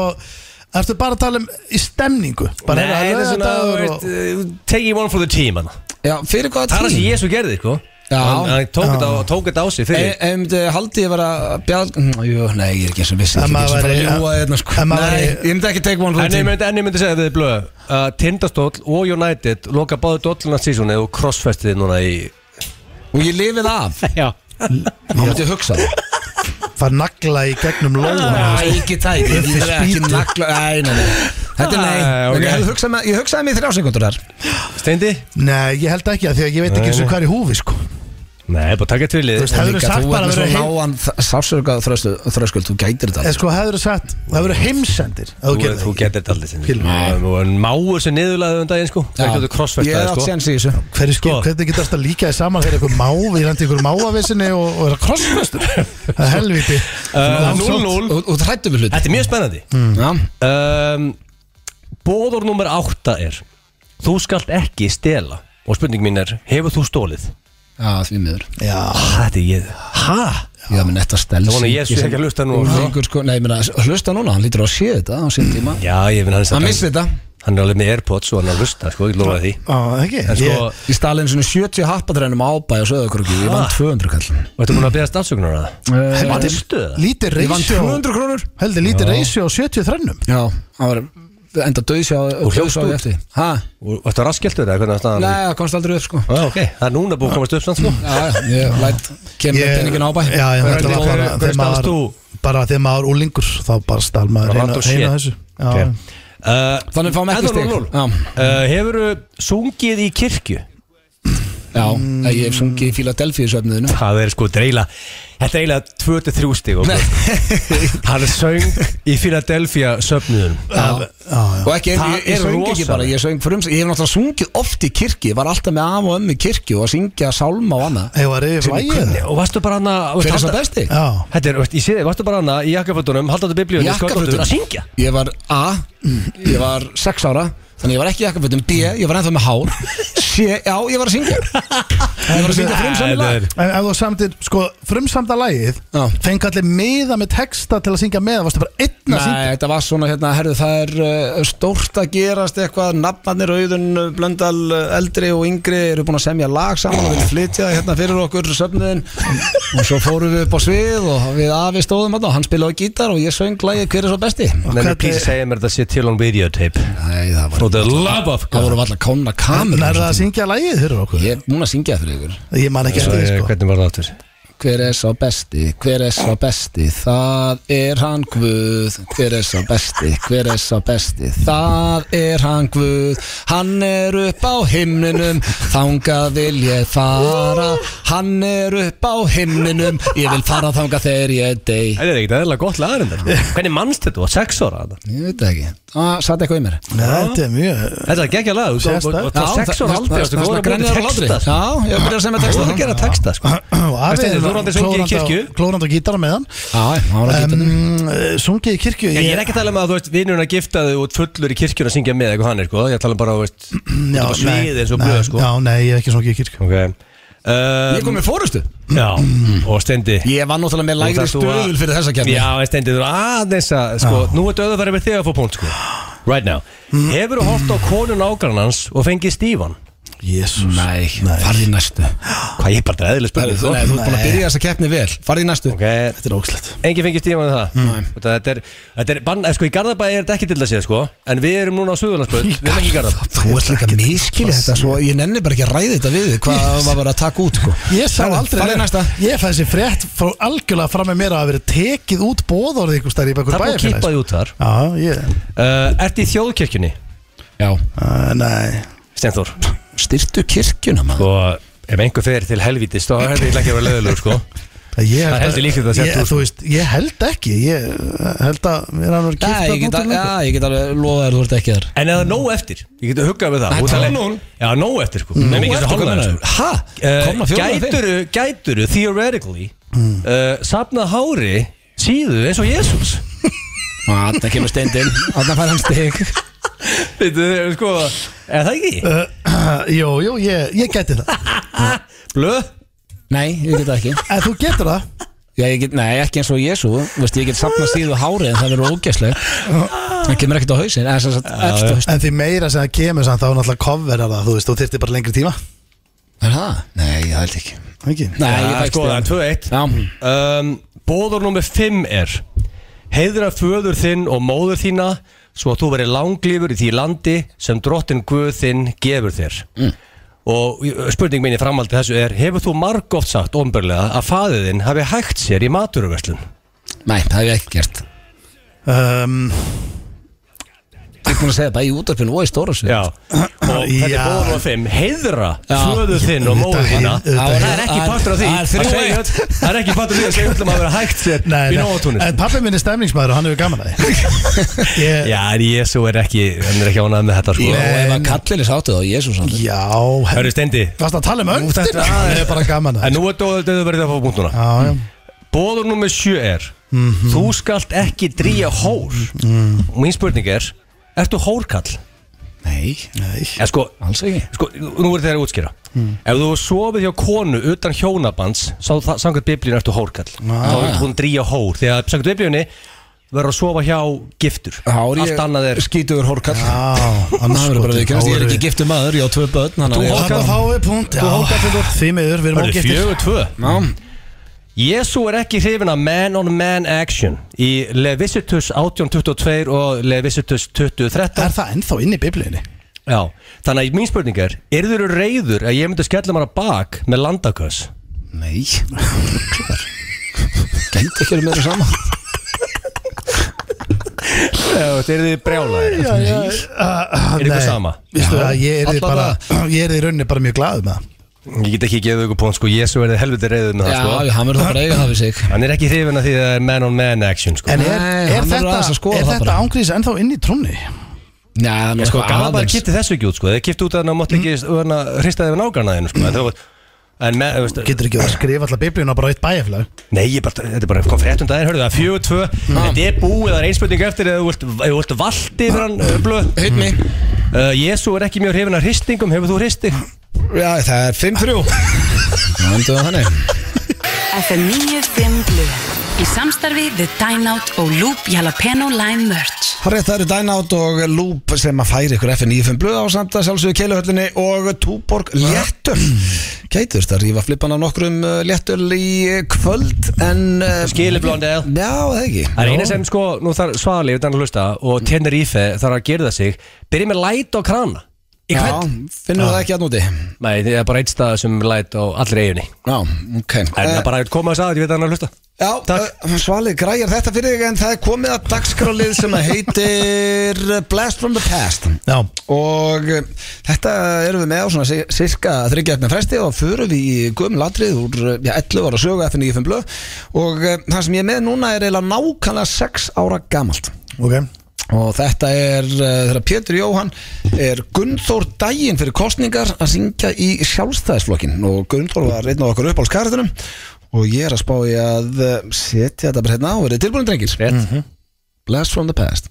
Speaker 2: Ertu bara að tala um í stemningu? Bara
Speaker 3: Nei, þetta er svona þú
Speaker 2: laugardagur
Speaker 3: veist, eh, Taking one for the team hana.
Speaker 1: Já, fyrir hvaða
Speaker 3: Það er það sem
Speaker 1: tím?
Speaker 3: Jésu gerði sko.
Speaker 1: Já.
Speaker 3: Hann hann tók þetta á- tók þetta á sig fyrir
Speaker 1: Ef um þetta haldi ég vera bjálg Jú, nei, ég er ekki eins og vissi
Speaker 2: En
Speaker 1: Ég er ekki eins og
Speaker 2: maður
Speaker 1: fara að
Speaker 2: væri-
Speaker 1: ljúa hérna sko
Speaker 2: en
Speaker 1: Nei,
Speaker 2: maður væri-
Speaker 1: ég myndi ekki take one for the
Speaker 3: En ég
Speaker 1: team
Speaker 3: myndi, en ég myndi segja að þið er blöð uh, Tindastóll og United loka báðu dolluna sísunni og crossfestið núna í
Speaker 1: Og ég lifið af
Speaker 3: Já
Speaker 1: Má myndi hugsa það
Speaker 2: Far nagla í gegnum lóðan
Speaker 1: Æ, ekki það Ég ég er ekki nagla Æ, nei, nei Þetta er nei
Speaker 3: Æ, ok.
Speaker 1: En ég hefði hugsað með- Ég hugsaði mig í þrjá sekundur þar
Speaker 3: Steindi?
Speaker 2: Nei, ég held ekki að því að ég veit ekki eins og hvað er í húfi sko
Speaker 3: Nei, bara taka til
Speaker 2: Þú
Speaker 3: liðið
Speaker 2: veist, hefur
Speaker 1: Líka,
Speaker 2: sagt
Speaker 1: Þú er
Speaker 2: bara að
Speaker 1: með
Speaker 2: vera
Speaker 1: svo
Speaker 2: heim
Speaker 1: náan sásöka þröskuld Þú gætir þetta
Speaker 2: En sko, hefur sagt, það hefur heimsendir ef
Speaker 3: Þú,
Speaker 2: gerðir
Speaker 3: þú
Speaker 2: það
Speaker 3: getur þetta allir
Speaker 2: Skilur.
Speaker 3: sinni Máur sem niðurlaði um daginn sko Það getur
Speaker 1: Ég
Speaker 3: crossfestið
Speaker 1: hef átt
Speaker 3: sko
Speaker 1: séns í þessu
Speaker 2: Hverju skil,
Speaker 3: Sko.
Speaker 2: hvernig getur þetta líka þið saman þegar eitthvað mávi, ég lendi í einhverju máavissinni og, og er að krossfestur Það er helviti
Speaker 3: Uh,
Speaker 2: Langsótt.
Speaker 3: 0-0
Speaker 1: Og þú hrættu við hluti
Speaker 3: Þetta er mjög spennandi
Speaker 1: Já
Speaker 3: um, Bóður nummer 8 er Þú skalt ekki stela Og spurning mín er, hefur þú stólið?
Speaker 1: Já, því miður
Speaker 2: Já,
Speaker 3: Þetta er ég Hæ?
Speaker 1: Ég hef með netta stelsi
Speaker 3: Það vona ég sé ekki að hlusta nú.
Speaker 1: Úrlingur, sko, Nei, ég meina, hlusta núna Hann lítur á að sé þetta á sín tíma
Speaker 3: Já, ég finn hann
Speaker 1: Hann missi þetta
Speaker 3: Hann er alveg með Airpods og hann er að hlusta sko, ég lofaði því
Speaker 2: á, ekki
Speaker 3: En sko,
Speaker 2: Ég-
Speaker 1: Ég stali einu svona 70 happatrænum ábæ og söðakröki Ég vann 200 kall
Speaker 3: og ertu búin að beðast afsökunar að það?
Speaker 1: Eh,
Speaker 3: Var þetta stöða?
Speaker 2: Lítið
Speaker 1: Ég vann
Speaker 2: reysjó
Speaker 1: 200 krónur
Speaker 2: Heldur lítið reysjó á 70 þrennum
Speaker 1: Já, hann var enda döðsjá
Speaker 3: Og hljópst út?
Speaker 1: eftir Hæ?
Speaker 3: Og ertu raskjöldur eða hvernig að staðan?
Speaker 1: Nei, það komst aldrei upp sko
Speaker 3: Ah, ok, það er núna búin að komast upp samt sko
Speaker 1: Já, já, ég læt Kemur yeah. peningin ábæ
Speaker 2: Já, já, þetta var bara
Speaker 3: hver- hver
Speaker 2: þegar
Speaker 3: stalst
Speaker 2: maður- Bara þegar maður úlingur Þá bara stal maður reyna
Speaker 3: Bara random
Speaker 2: reyna
Speaker 3: shit.
Speaker 2: þessu Já.
Speaker 3: Ok. uh,
Speaker 1: Þannig fáum ekki stig. Já.
Speaker 3: Hefur sungið í kirkju?
Speaker 1: Já,
Speaker 3: Mm.
Speaker 1: ég hef sungið í Philadelphia söfniðinu
Speaker 3: Það er sko dreila Þetta er eiginlega 23 stig okkur. Hann söng í Philadelphia söfniðun
Speaker 1: Og ekki, einu,
Speaker 3: Það
Speaker 1: ég, ég
Speaker 3: er
Speaker 1: söng ekki
Speaker 3: rosalegt.
Speaker 1: bara, ég söng frums Ég hef náttúrulega sungið oft í kirkju Ég var alltaf með af og ömmu í kirkju og að syngja sálma og annað
Speaker 2: Ég var yfir lægið
Speaker 3: Og varstu bara hana
Speaker 1: Hver er
Speaker 3: varstu
Speaker 1: svo
Speaker 3: halda-
Speaker 1: besti?
Speaker 2: Já
Speaker 3: Þetta er, veist, ég sé þig, varstu bara hana í jakkafötunum Haldandi biblíunum,
Speaker 1: Jakkafötum?
Speaker 3: að syngja
Speaker 1: Ég var A, ég var 6 ára Þannig ég var ekki í jakkafötum B, ég var ennþá með hár C, já, ég var að syngja Ég var að syngja frumsamið
Speaker 3: Þetta
Speaker 1: lag
Speaker 3: er-
Speaker 2: En ef þú samtir, sko, frumsamda lægið
Speaker 1: Já.
Speaker 2: Fengi allir miða með texta til að syngja með Varstu bara einn að syngja
Speaker 1: Nei, þetta var svona, hérna, herðu, það er uh, stórt að gerast eitthvað Nafnarnir, auðun, uh, blöndal, uh, eldri og yngri eru búin að semja lag saman og við flytja það hérna fyrir okkur söfniðin og svo fórum við upp á svið og við afi stóðum hérna og hann spilaði á gítar og ég söng lagið Hver er svo besti?
Speaker 3: Nenni
Speaker 2: Hvernig-
Speaker 3: Písi segja mér þetta sé til on videotape
Speaker 1: Nei, það
Speaker 3: For
Speaker 1: var
Speaker 3: the love of
Speaker 1: Það
Speaker 3: God
Speaker 1: voru allar konna
Speaker 2: En er
Speaker 1: kamerur
Speaker 2: það að syngja lægið fyrir okkur?
Speaker 1: Ég er búin að syngja það fyrir ykkur
Speaker 2: Ég man ekki eftir því,
Speaker 3: Eh,
Speaker 2: sko
Speaker 3: Hvernig var það áttur?
Speaker 1: Hver er svo besti, hver er svo besti, það er hann Guð Hver er svo besti, hver er svo besti, það er hann Guð Hann er upp á himninum, þangað vil ég fara Hann er upp á himninum, ég vil fara þangað þegar ég dey
Speaker 3: Það er ekkert eðla gott lagarinn þarna Hvernig mannst þetta? Þú var sex ára þarna
Speaker 1: Ég veit það ekki, það satt eitthvað í mér
Speaker 2: Nei, Þetta er mjög
Speaker 3: Þetta er geggja lag Þú
Speaker 2: Sérstakt.
Speaker 3: var- þú var sex ára aldrei
Speaker 1: Það
Speaker 3: varstu
Speaker 1: er svona
Speaker 3: góður að búa til
Speaker 1: grænjar og látri
Speaker 3: texta, sko.
Speaker 1: Já, ég byrja að segja með
Speaker 3: Þú voru að
Speaker 1: texta
Speaker 3: gera texta sko.
Speaker 2: Og afi
Speaker 3: Veistu, þú randi að syngja í kirkju?
Speaker 2: Klórand og gítar með hann
Speaker 1: Já, það var ekki
Speaker 2: um, Sungið í kirkju
Speaker 3: Ég er ekki að tala um að þú veist vinnurinn að gifta þig og fullur í kirkjuna að syngja með eitthvað hann er sko Ég tala um bara þú veist
Speaker 2: Já,
Speaker 3: út á
Speaker 2: nei,
Speaker 3: sviðið eins og
Speaker 2: nei,
Speaker 3: blöð, sko.
Speaker 2: Já, nei, ég er ekki sungið í kirkju
Speaker 3: Ok
Speaker 1: Ég
Speaker 3: um,
Speaker 1: kom með fórustu
Speaker 3: Já og stendi
Speaker 1: Ég var náttúrulega með
Speaker 3: Þú
Speaker 1: lægri
Speaker 3: þarft þú að-
Speaker 1: stöðul fyrir þessa Ah. kemni
Speaker 3: Já en stendi þú er aðeins að sko Nú ertu auðvitað að vera með þig að fá punkt sko Right now
Speaker 1: Mm.
Speaker 3: Hefur þú hort á konun ágrannans og fengið stífan?
Speaker 2: Jésús
Speaker 1: Nei, farði næstu
Speaker 3: Hvað ég er bara
Speaker 1: Nei,
Speaker 3: eðlileg spurning
Speaker 1: þú
Speaker 3: sko
Speaker 1: nei, þú ert búin að byrja þessa keppni vel Farði næstu
Speaker 3: Ok
Speaker 2: Þetta er ógslætt
Speaker 3: Engin fengið stífan en það Þetta- Þetta er, þetta er bann, eh, sko í Garðabæði er þetta ekki til að séð sko En við erum núna á Suðurlandsböld Við erum ekki í Garðabæði
Speaker 1: Þú ert líka miskili þetta svo Ég nenni bara ekki að ræði þetta við þig, Hvað maður var að taka út sko.
Speaker 2: Ég sá
Speaker 1: Herðu,
Speaker 2: aldrei
Speaker 1: Farði næsta
Speaker 2: Ég fæði þessi frétt Fá algjörlega fram með mér að hafa verið tekið út bóðorðið ykkur stær í bakur
Speaker 3: Það er búið að
Speaker 2: bæjarfélags
Speaker 3: kippa því út þar
Speaker 2: Já, ég
Speaker 3: uh, Ertu í þjóðkirkjunni,
Speaker 1: Já,
Speaker 2: uh, Nei
Speaker 3: Stenþór?
Speaker 1: styrtu kirkjuna maður
Speaker 3: Og Sko, ef einhver fer til helvítis þá hefði ég ekki að vera löðulegur sko
Speaker 2: Ég,
Speaker 3: Það er heldur líklegt að
Speaker 2: ég,
Speaker 3: sett út,
Speaker 2: Þú veist, ég held ekki Ég eh, held að Mér er hann verið
Speaker 1: Já, ég
Speaker 2: kipta
Speaker 1: get, ja, ég get alveg lofa þér, þú ert ekki þar
Speaker 3: En eða nóg eftir, ég geti huggað við það
Speaker 1: Nei,
Speaker 3: Þú ert alveg-
Speaker 1: 12-0.
Speaker 3: Já, nóg eftir sko Nei, mikið sem hálfnaður, sko.
Speaker 1: Hæ? Komna
Speaker 3: Uh,
Speaker 1: fjóðan fyrir
Speaker 3: Gæturu, gæturu, theoretically uh, Sapnað hári síðu eins og Jésús
Speaker 1: Þarna kemur steindin Þarna fær hann stig
Speaker 3: Þetta er sko, er það ekki?
Speaker 2: Uh. Jó, Eh, jú, ég, ég geti það
Speaker 3: Blöð?
Speaker 1: Nei, ég get það ekki
Speaker 2: En þú getur það
Speaker 1: Já, ég get, nei, ekki eins og Jésu Vist, Ég get safna síðu hárið en það verður ógæslegt Það kemur ekkert á hausin eða sem sagt, efst á hausinn.
Speaker 2: En því meira sem það kemur samt þá náttúrulega coverar það, þú veist, þú þyrfti bara lengri tíma
Speaker 1: Er það? Nei, ég held ekki Nei,
Speaker 2: Ekki?
Speaker 1: ég
Speaker 3: Já,
Speaker 1: fæ
Speaker 3: sko, það er
Speaker 1: stig.
Speaker 3: 2-1
Speaker 1: Já,
Speaker 3: um, Bóður nummer 5 er Heiðra föður þinn og móður þína Svo að þú verið langlífur í því landi Sem drottin guð þinn gefur þér Og uh, spurning mín í framaldi þessu er Hefur þú margóft sagt ofnbörlega Að faðið þinn hafi hægt sér í maturverslun
Speaker 1: nei, það hef ég ekki gert
Speaker 2: Um,
Speaker 1: Ég er búin að segja það í útarpinu og í stóra svið
Speaker 3: Já Og þetta er
Speaker 2: Já.
Speaker 3: bóður nummer 5 Heiðra
Speaker 1: Já.
Speaker 3: föður þinn og
Speaker 2: Auðvitað
Speaker 3: móður
Speaker 2: hei-
Speaker 3: þína
Speaker 2: auðvitað
Speaker 3: Það
Speaker 1: hei-
Speaker 3: er ekki
Speaker 1: Það-
Speaker 3: partur af því
Speaker 1: það er
Speaker 3: að
Speaker 1: þrjú
Speaker 3: segja
Speaker 1: eitt.
Speaker 3: öll- Það er ekki partur af því að segja öllum að vera hægt sér
Speaker 2: nei,
Speaker 3: Í
Speaker 2: nei.
Speaker 3: nóatúnist
Speaker 2: En pappi minn er stemningsmaður og hann hefur gaman að því Ég-
Speaker 3: Já, en Jésu er ekki, hann er ekki ánað með þetta sko
Speaker 1: Og ef
Speaker 2: En-
Speaker 1: að kallinni sáttu þá, Jésu sáttu
Speaker 2: Já,
Speaker 3: Hörru
Speaker 2: hörru
Speaker 3: Steindi
Speaker 2: Varst að tala um
Speaker 3: Nú, þetta-
Speaker 2: öndin? Hann er bara gaman að
Speaker 3: En
Speaker 2: því
Speaker 3: nú er dóðið verið að fá punktuna
Speaker 2: Já, já
Speaker 3: Bóður nummer sjö er
Speaker 2: Mhm.
Speaker 3: Þú skalt ekki dríja hór Og mín spurning er Ertu hórkall?
Speaker 1: Nei,
Speaker 2: Nei
Speaker 3: En sko,
Speaker 1: alls ekki
Speaker 3: sko nú er þeirra að útskýra
Speaker 2: Mhm.
Speaker 3: Ef þú hefur sofið hjá konu utan hjónabands sá það- Samkvæmt biblíun ertu hórkall
Speaker 2: Ah.
Speaker 3: Þá er hún dríja hór Þegar samkvæmt biblíunni verður að sofa hjá giftur Allt annað er
Speaker 1: skítuður hórkall
Speaker 2: Já, annars
Speaker 1: Það verður bara
Speaker 2: skotum.
Speaker 1: viðkennast, ég er
Speaker 2: Þá
Speaker 1: ekki giftur maður, ég á tvö börn þannig að ég-
Speaker 2: Þarna fáum við punkt,
Speaker 3: Þú hókar
Speaker 2: já Því miður, við erum
Speaker 3: Hörru,
Speaker 2: ógiftir
Speaker 3: fjögur tvö Jésu er ekki hrifin af man on man action í Levisitus 1822 og Levisitus 2013
Speaker 2: Er það ennþá inn í biblíunni?
Speaker 3: Já, þannig að mín spurning er Er þeir reyður að ég myndi skella mér að bak með landaköss?
Speaker 1: Nei Gengt ekki um þeirra sama
Speaker 3: Já, þeir eru brjálaðir Er ykkur sama?
Speaker 2: Vistu að ég er
Speaker 3: Alla
Speaker 2: bara Ég er í rauninni bara mjög glaður með það
Speaker 3: Ég get ekki gefið ykkur pón, sko, Jésu er helviti reyður með
Speaker 1: Já,
Speaker 3: það, sko
Speaker 1: hann verður það bara að eiga það við sig
Speaker 3: Hann er ekki hrifin af því að það er man on man action, sko
Speaker 2: En er,
Speaker 1: Nei,
Speaker 2: er
Speaker 1: hann verður
Speaker 2: þetta,
Speaker 1: aðeins að skoða
Speaker 2: er
Speaker 1: það
Speaker 2: þetta
Speaker 1: bara.
Speaker 2: ángrís ennþá inn í trúnni?
Speaker 1: Nei, hann
Speaker 3: Ég
Speaker 1: er
Speaker 3: sko
Speaker 1: sko
Speaker 3: gaman bara
Speaker 1: aðeins
Speaker 3: kipti þessu ekki út sko Þeir kipti út að hann mátti ekki hérna, hrista yfir nágrana þinn sko En það var En með, þú veist
Speaker 2: Getur ekki að skrifa alltaf biblíuna bara á eitt bæjarflag
Speaker 3: Nei, ég bara, þetta er bara kom fréttum daginn, hörðu það, fjögur, tvö
Speaker 1: Mm.
Speaker 3: Þetta er búið, það er einspurning eftir eða þú vilt, ef þú vilt valdi yfir hann uh, blöð
Speaker 1: Hitt mig
Speaker 3: uh, Jésu er ekki mjög hrifin af hristingum, hefur þú hristing?
Speaker 1: Já, það er 5-3 Það endur það þannig
Speaker 8: FM 95 Blu Í samstarfi við Dine Out og Loop Jalapeno Lime Merch
Speaker 1: Harrið, það eru Dynout og Loop sem að færi ykkur FN95 blöð á samt að sjálfsögðu keiluhöllinni og Túborg léttöl. Keitur, það rífa flippan af nokkrum uh, léttöl í uh, kvöld en... Uh,
Speaker 3: Skilið blonde ale.
Speaker 1: Já, það ekki.
Speaker 3: Það er eina sem sko, nú þarf svali utan að hlusta og tennir ífe þarf að gera það sig Byrja með læt á krana Í hvern?
Speaker 1: Já, finnum við það ekki að núti.
Speaker 3: Nei, það er bara eitt stað sem er læt á allri eiginni
Speaker 1: Já, ok. Eh,
Speaker 3: En það er bara að koma þess að, ég veit að hann er að hlusta
Speaker 1: Já,
Speaker 3: Takk.
Speaker 1: uh, Svali, græjar þetta fyrir þig en það er komið að dagskrálið sem að heitir Blast from the Past
Speaker 2: Já,
Speaker 1: og uh, þetta erum við með á svona si- sirka þryggjafna fresti og förum við í göm latrið úr uh, já, 11 ára sögu FN95 blöð og uh, það sem ég er með núna er eiginlega nákvæmlega 6 ára gamalt
Speaker 2: ok
Speaker 1: og þetta er uh, þegar Pétur Jóhann er Gunnþór daginn fyrir kostningar að syngja í sjálfstæðisflokkin og Gunnþór var einn af okkur upp á skarðunum og ég er að spá í að uh, setja þetta bara hérna á og verið tilbúin drengir Mhm.
Speaker 3: Rétt,
Speaker 1: Blast from the past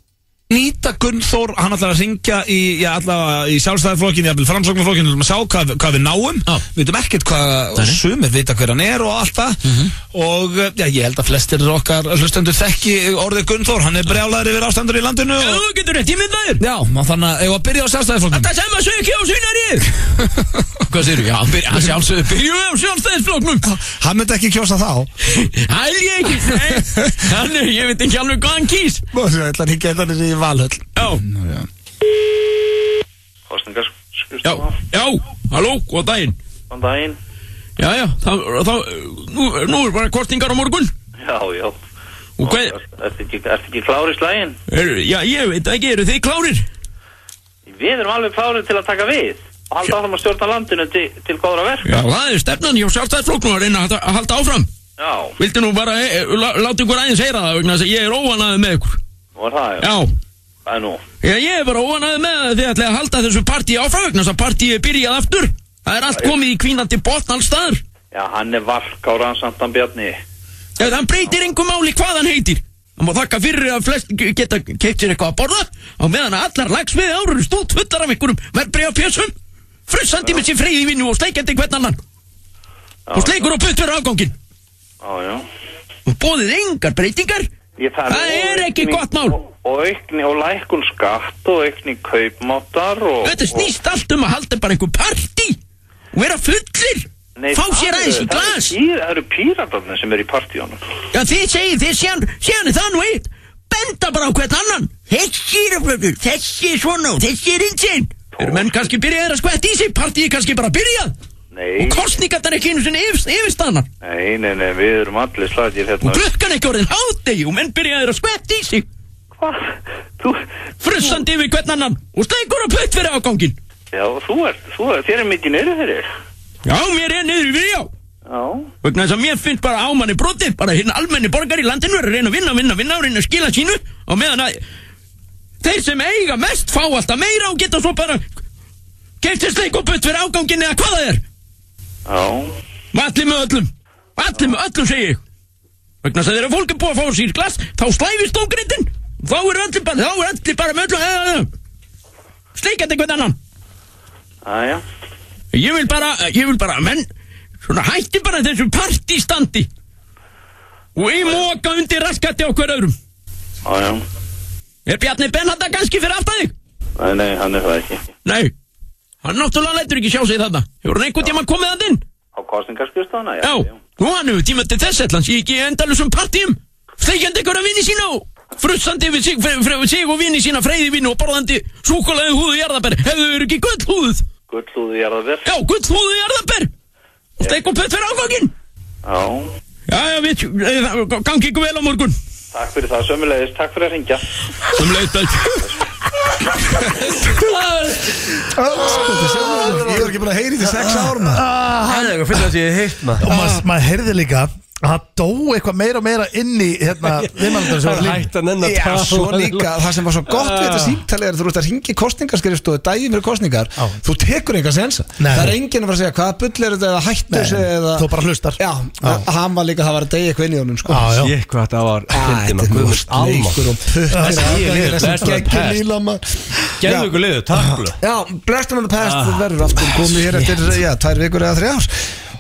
Speaker 9: nýta Gunnþór, hann ætlar að ringja í, já, allavega í sjálfstæðarflokkinu, jafnvel framsóknarflokkinu, við ætlum að sjá hvað, hvað við náum, við veitum ekkert hvað sumir vita hver hann er og allt það
Speaker 2: Mhm.
Speaker 9: og eh, já, ég held að flestir okkar hlustendur þekki orðið Gunnþór, hann er brjálaður yfir ástandur í landinu og,
Speaker 6: Þú getur rétt ímyndaðir
Speaker 9: já, og þannig að eigum við að byrja á sjálfstæðarflokkinu
Speaker 6: Það sem að sögja ekki á sýnarið
Speaker 9: Hvað segir þú? Já, byrja, sjálfsög,
Speaker 6: Byrjum við á sjálfstæðisflóknum
Speaker 9: Hann myndi ekki kjósa þá
Speaker 6: Æl ég ekki nei. Hann er, ég veit ekki alveg hvað hann kýs
Speaker 9: Nú, Það ætlar ekki að hann er í valhöll
Speaker 6: Já,
Speaker 10: kostningar
Speaker 6: já, já, halló, góð daginn
Speaker 10: Góðan daginn
Speaker 6: Já, já, þá, þá nú, nú er bara kostningar á morgun
Speaker 10: Já, já
Speaker 6: Og hvað,
Speaker 10: Ertu ekki, ertu ekki klári í slægin?
Speaker 6: er, já, ég veit ekki, eru þið klárir?
Speaker 10: Við erum alveg klárið til að taka við og halda áfram að stjórna landinu til, til góðra verk
Speaker 6: Já, það er stefnan hjá sjálfstæðisflóknum að reyna að halda- að halda áfram
Speaker 10: Já,
Speaker 6: Viltu nú bara, e, e, lá- láta ykkur aðeins heyra það vegna þess að ég er óanaðið með ykkur
Speaker 10: var það, já,
Speaker 6: Já,
Speaker 10: það er nú
Speaker 6: Já, ég er bara óanæðið með að þið ætlaði að halda þessu partí áfram vegna þess að partíið er byrjað aftur. Það er allt komið í kvínandi botn alls staðar.
Speaker 10: Já, hann er valkára hans andan Bjarni
Speaker 6: Ef hann breytir einhver máli hvað hann heitir. Það má þakka fyrir að flest geta keitt sér eitthvað að borða á meðan að allar lagsviði ára eru stótt fullar af einhverjum verbreyja fjössum, frussandi með sér freyði vinnu og sleikjandi hvern annan. Og sleikur og puttur afgangin.
Speaker 10: Já, já
Speaker 6: og bóðið engar breytingar
Speaker 10: Ég þarf
Speaker 6: Það er
Speaker 10: og
Speaker 6: ekki
Speaker 10: aukning-
Speaker 6: gott mál.
Speaker 10: Og, og aukni og lækun skatt og aukni kaupmáttar og...
Speaker 6: Þetta snýst allt um að halda bara einhver partí og vera fullir
Speaker 10: Nei,
Speaker 6: fá
Speaker 10: það
Speaker 6: sér
Speaker 10: eru-
Speaker 6: aðeins í
Speaker 10: það eru
Speaker 6: glas
Speaker 10: pí- Það eru píratarnir sem eru í partíunum
Speaker 6: Já, þið segir, þið séðan, séðan er það nú eitt Benda bara á hvern annan Þessi er aflöfnur, þessi er svona og þessi er innsinn Eru menn kannski byrjaðir að skvætt í sig, partíi kannski bara byrjað
Speaker 10: Nei,
Speaker 6: Og kostningarnar ekki einu sinni yfir, yfirstaðnar
Speaker 10: nei, nei, nei, við erum allir slagir hérna
Speaker 6: Og klukkan ekki orðin hádegi og menn byrjaðir að skvætt í sig
Speaker 10: Hvað? Þú,
Speaker 6: Frussandi yfir hvern annan og sleikur á putt fyrir ágangin
Speaker 10: já, þú ert, þú ert, þér er mikið niður fyrir
Speaker 6: Já, mér er niður yfir já
Speaker 10: Já,
Speaker 6: Vegna þess að mér finnst bara ámanni brotið Bara hinn almenni borgar í landinu er að reyna að vinna, vinna, vinna og reyna að skila sínu Og meðan að þeir sem eiga mest fá alltaf meira og geta svo bara Keftir sleik og putt fyrir ágangin eða hvað það er
Speaker 10: já,
Speaker 6: Og Allir með öllum Allir með öllum segi ég Vegna þess að þegar fólk er búið að fá sér glas Þá slæfist ógreitin Þá er allir bara, þá er allir bara með Eh, öllum Sleikandi hvern annan
Speaker 10: aðja
Speaker 6: Ég vil bara, ég vil bara, menn Svona hætti bara þessu partístandi Og ég móka undir raskatti á hver öðrum
Speaker 10: Aðja,
Speaker 6: Er Bjarni Benhanda kannski fyrir aftan þig?
Speaker 10: nei, nei, hann er það ekki
Speaker 6: Nei Hann náttúrulega lætur ekki sjá sig þarna Hefur hann einhvern tíma komið að inn?
Speaker 10: Á kostningarskristana, já
Speaker 6: Já, og hann hefur tíma til þess ætla hann sé ekki í endalusum partíum Sleikjandi ykkur að vinni sína og frussandi við sig, fyrir, fyrir sig og vinni sína freyði vinnu og borðandi súkulega húðu jarðabær Hefðu þau ekki gull húðuð?
Speaker 10: Gullúðu jarðabir,
Speaker 6: Já, gull húðu jarðabær Og steik og pött fyrir ágangin
Speaker 10: já
Speaker 6: Já, já, við, eh, það- gangi ykkur vel á morgun Um
Speaker 10: Takk fyrir það, sömulegis, takk fyrir að ringja
Speaker 6: Sem leitt að
Speaker 1: Sko, Ég var ekki bara að heyri til sex árum
Speaker 3: Það er eitthvað fyrir að ég heitt maður
Speaker 2: og
Speaker 9: Ah.
Speaker 2: maður mað heyrði líka að það dó eitthvað meira og meira inn í hérna, viðmælandur sem var líf
Speaker 3: Hætt að nenn að
Speaker 1: Já,
Speaker 3: tala um
Speaker 1: svo líka, það sem var svo gott við þetta símtalið er að þú ert að ringi kostningarskrifstofu daginn fyrir kostningar,
Speaker 2: Já.
Speaker 1: þú tekur enga sensa
Speaker 2: Nei.
Speaker 1: það er enginn að fara að segja hvaða bull er þetta eða hættu
Speaker 2: Nei,
Speaker 1: þessu eða
Speaker 2: þú bara hlustar.
Speaker 1: Já,
Speaker 2: Já.
Speaker 1: hann var líka, það var að degja eitthvað inn í honum sko.
Speaker 2: Já, já.
Speaker 3: Ég hvað það var
Speaker 1: Æ, Þetta
Speaker 3: fyndið,
Speaker 1: er
Speaker 3: maður.
Speaker 1: mjög
Speaker 3: Guðs almáttugur.
Speaker 1: sleikur og puttir
Speaker 3: Þessi ég liður, bless
Speaker 1: Þessi
Speaker 3: on the
Speaker 1: geggjum
Speaker 3: past.
Speaker 1: nýla maður
Speaker 3: Gerðu ykkur liðu, takk blöð.
Speaker 1: Já, blestum hann að pest ah, verður aftur komið hér eftir, já, tvær vikur eða þrjár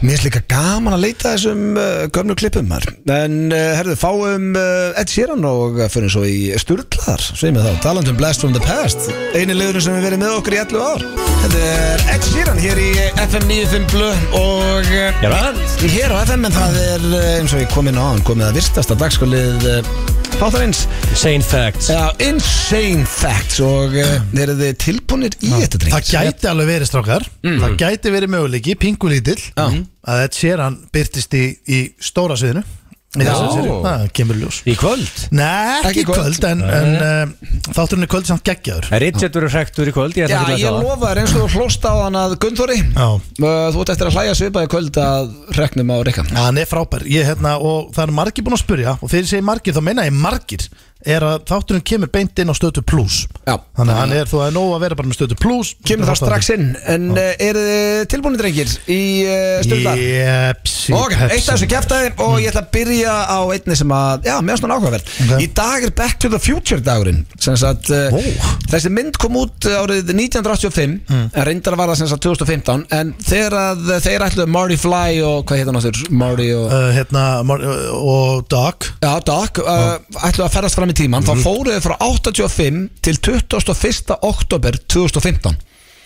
Speaker 1: Mér finnst líka gaman að leita þessum uh, gömnu klippum þar En uh, herðu, fáum uh, Ed Sheeran og uh, fyrir svo í Sturlaðar Sveið mig þá, talandum Blast from the Past Einu liðurinn sem hefur verið með okkur í 11 ár Þetta er Ed Sheeran hér í FM 95 Blu Og uh,
Speaker 3: Já, það
Speaker 1: hér á FM, en það er uh, eins og ég kom inn á hann Komið að virtasta dagskolið uh, Páþarins
Speaker 3: Sane facts
Speaker 1: Já, Insane Facts Og uh, eru þið tilbúinir í þetta drengs?
Speaker 2: það gæti alveg verið strákar
Speaker 9: Mm.
Speaker 2: það gæti verið möguleiki, pingulítill að þetta sér hann byrtist í, í stóra sviðinu í þessari
Speaker 1: Já.
Speaker 2: seríu. það kemur ljós
Speaker 3: Í kvöld
Speaker 2: Nei, ekki,
Speaker 1: Ekki
Speaker 2: í kvöld, en, en uh, þátturinn er kvöld samt geggjaður
Speaker 3: Er Richard verið hrektur í kvöld? Ég ætla
Speaker 1: Já,
Speaker 3: ekki
Speaker 1: ég
Speaker 3: að
Speaker 1: lofa þér eins og þú hlóst á hann að Gunnþóri
Speaker 2: Já.
Speaker 1: Uh, Þú ert eftir að hlæja svipaði kvöld að reknum á Rikka
Speaker 2: Já, hann er frábær ég, hérna, og það er margir búin að spurja og þegar ég segi margir, þá meina ég margir er að þátturinn kemur beint inn á stötu plus
Speaker 1: Já.
Speaker 2: þannig að hann er þú að er nóg að vera bara með stötu plus
Speaker 1: Kemur þá strax inn En uh, eru þið tilbúinir drengir í uh, stundar?
Speaker 2: Jepsi
Speaker 1: Ok, eitt af þessu kæftæði og ég ætla að byrja á einni sem að, já, mér er svona áhugaverð
Speaker 2: Ok.
Speaker 1: Í dag er Back to the Future dagurinn sem sagt,
Speaker 2: Ó.
Speaker 1: uh, þessi mynd kom út eh, árið 1985
Speaker 2: Mm.
Speaker 1: en reyndar var það sem sagt 2015 en þegar að eh, þeir ætluðu Marty Fly og hvað hétt hann áttur? Marty og
Speaker 2: uh, hérna, Mar- uh, og Doc
Speaker 1: Já, Doc, uh, ætlu að ferðast fram í tíman
Speaker 2: Mhm.
Speaker 1: þá fóruðu frá 85 til 21. oktober 2015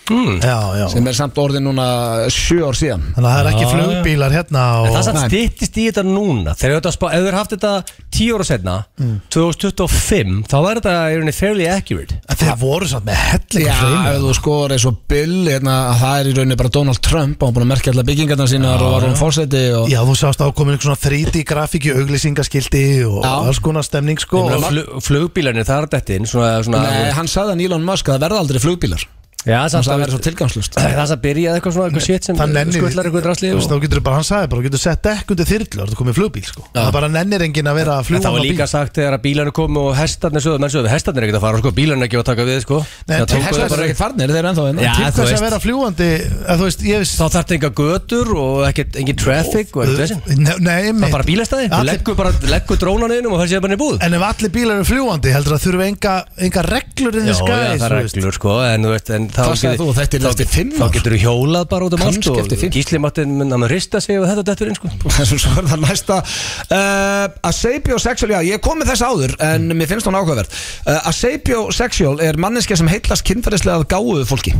Speaker 3: Hmm.
Speaker 2: já, já.
Speaker 1: sem er samt orðið núna 7 ár síðan
Speaker 2: þannig að það er ekki
Speaker 3: Já,
Speaker 2: flugbílar hérna
Speaker 3: En
Speaker 2: og,
Speaker 3: það satt
Speaker 1: Nei.
Speaker 3: stýttist í þetta núna Þegar þetta spá, ef þeir haft þetta 10 ára setna
Speaker 1: Hmm.
Speaker 3: 2025, þá var þetta í rauninni fairly accurate
Speaker 2: En þeir voru samt með hellinga
Speaker 1: Já, ef þú skoður eins og Bill hérna, það er í rauninni bara Donald Trump og hann búin að merkja allar byggingarna sínar og var hún fórseti og
Speaker 2: Já, þú sást ákomin einhver svona 3D grafík í auglýsingaskildi og
Speaker 1: Já.
Speaker 2: alls konar stemning sko
Speaker 3: Og
Speaker 2: og,
Speaker 3: flug, flugbílarnir þar dætti inn svona, svona,
Speaker 1: Nei, hann sagði að Elon Musk að það verða aldrei flugbílar
Speaker 3: Já,
Speaker 1: hann sagði að
Speaker 3: samt að
Speaker 1: það verða svo tilgangslust
Speaker 3: Það er það að byrjaði eitthvað svona eitthvað shit sem
Speaker 2: Það nennir
Speaker 3: skullar eitthvað drasli
Speaker 2: Þú veist, þá getur bara, hann sagði bara, þú getur sett dekk undir þyrlu og þú komið flugbíl sko Það bara nennir enginn að vera að
Speaker 3: En
Speaker 2: fljúa
Speaker 3: það var líka sagt þegar að bílarnir komu og hestarnir sögðu, menn sögðu, hestarnir er ekkert að fara sko, bílarnir er ekki að taka við sko
Speaker 2: Nei,
Speaker 3: Það
Speaker 2: til
Speaker 3: tóku
Speaker 2: hestar-
Speaker 3: þeir
Speaker 1: Það er
Speaker 3: bara-
Speaker 1: ekki farnir, þeir eru ennþá hérna. einn
Speaker 3: Já,
Speaker 2: Til
Speaker 3: þú
Speaker 2: þess að
Speaker 3: veist,
Speaker 2: vera fljúandi, að þú veist, ég veist
Speaker 3: þá þarf þetta enga götur og ekkert, engin traffic og ekkert þessin
Speaker 2: Nei, Nei,
Speaker 3: Það
Speaker 2: mitt
Speaker 3: er bara bílastæði,
Speaker 2: Allir-
Speaker 3: leggur bara, leggur drónan innum og það séð bara niður búð
Speaker 2: En ef allir bílar eru fljúandi, heldur það þurfa enga, enga reglur inn
Speaker 3: Já,
Speaker 2: í skæði
Speaker 3: já, það er reglur sko, en þú veist, en þá
Speaker 1: Hvað sagðir
Speaker 3: getur-
Speaker 1: þú? Þetta er
Speaker 3: þá-
Speaker 1: eftir fimm
Speaker 3: Þá
Speaker 1: ár?
Speaker 3: getur þú hjólað bara út um allt
Speaker 1: Kannski eftir fimm.
Speaker 3: og Gísli mátti að rista sig og þetta dættur inn sko
Speaker 1: sko. Svo svo er það næsta uh, Asapio sexual, já ég kom með þess áður En mér finnst hún áhugaverð uh, Asapio sexual er manneskja sem heitlast kynferðislega af gáu fólki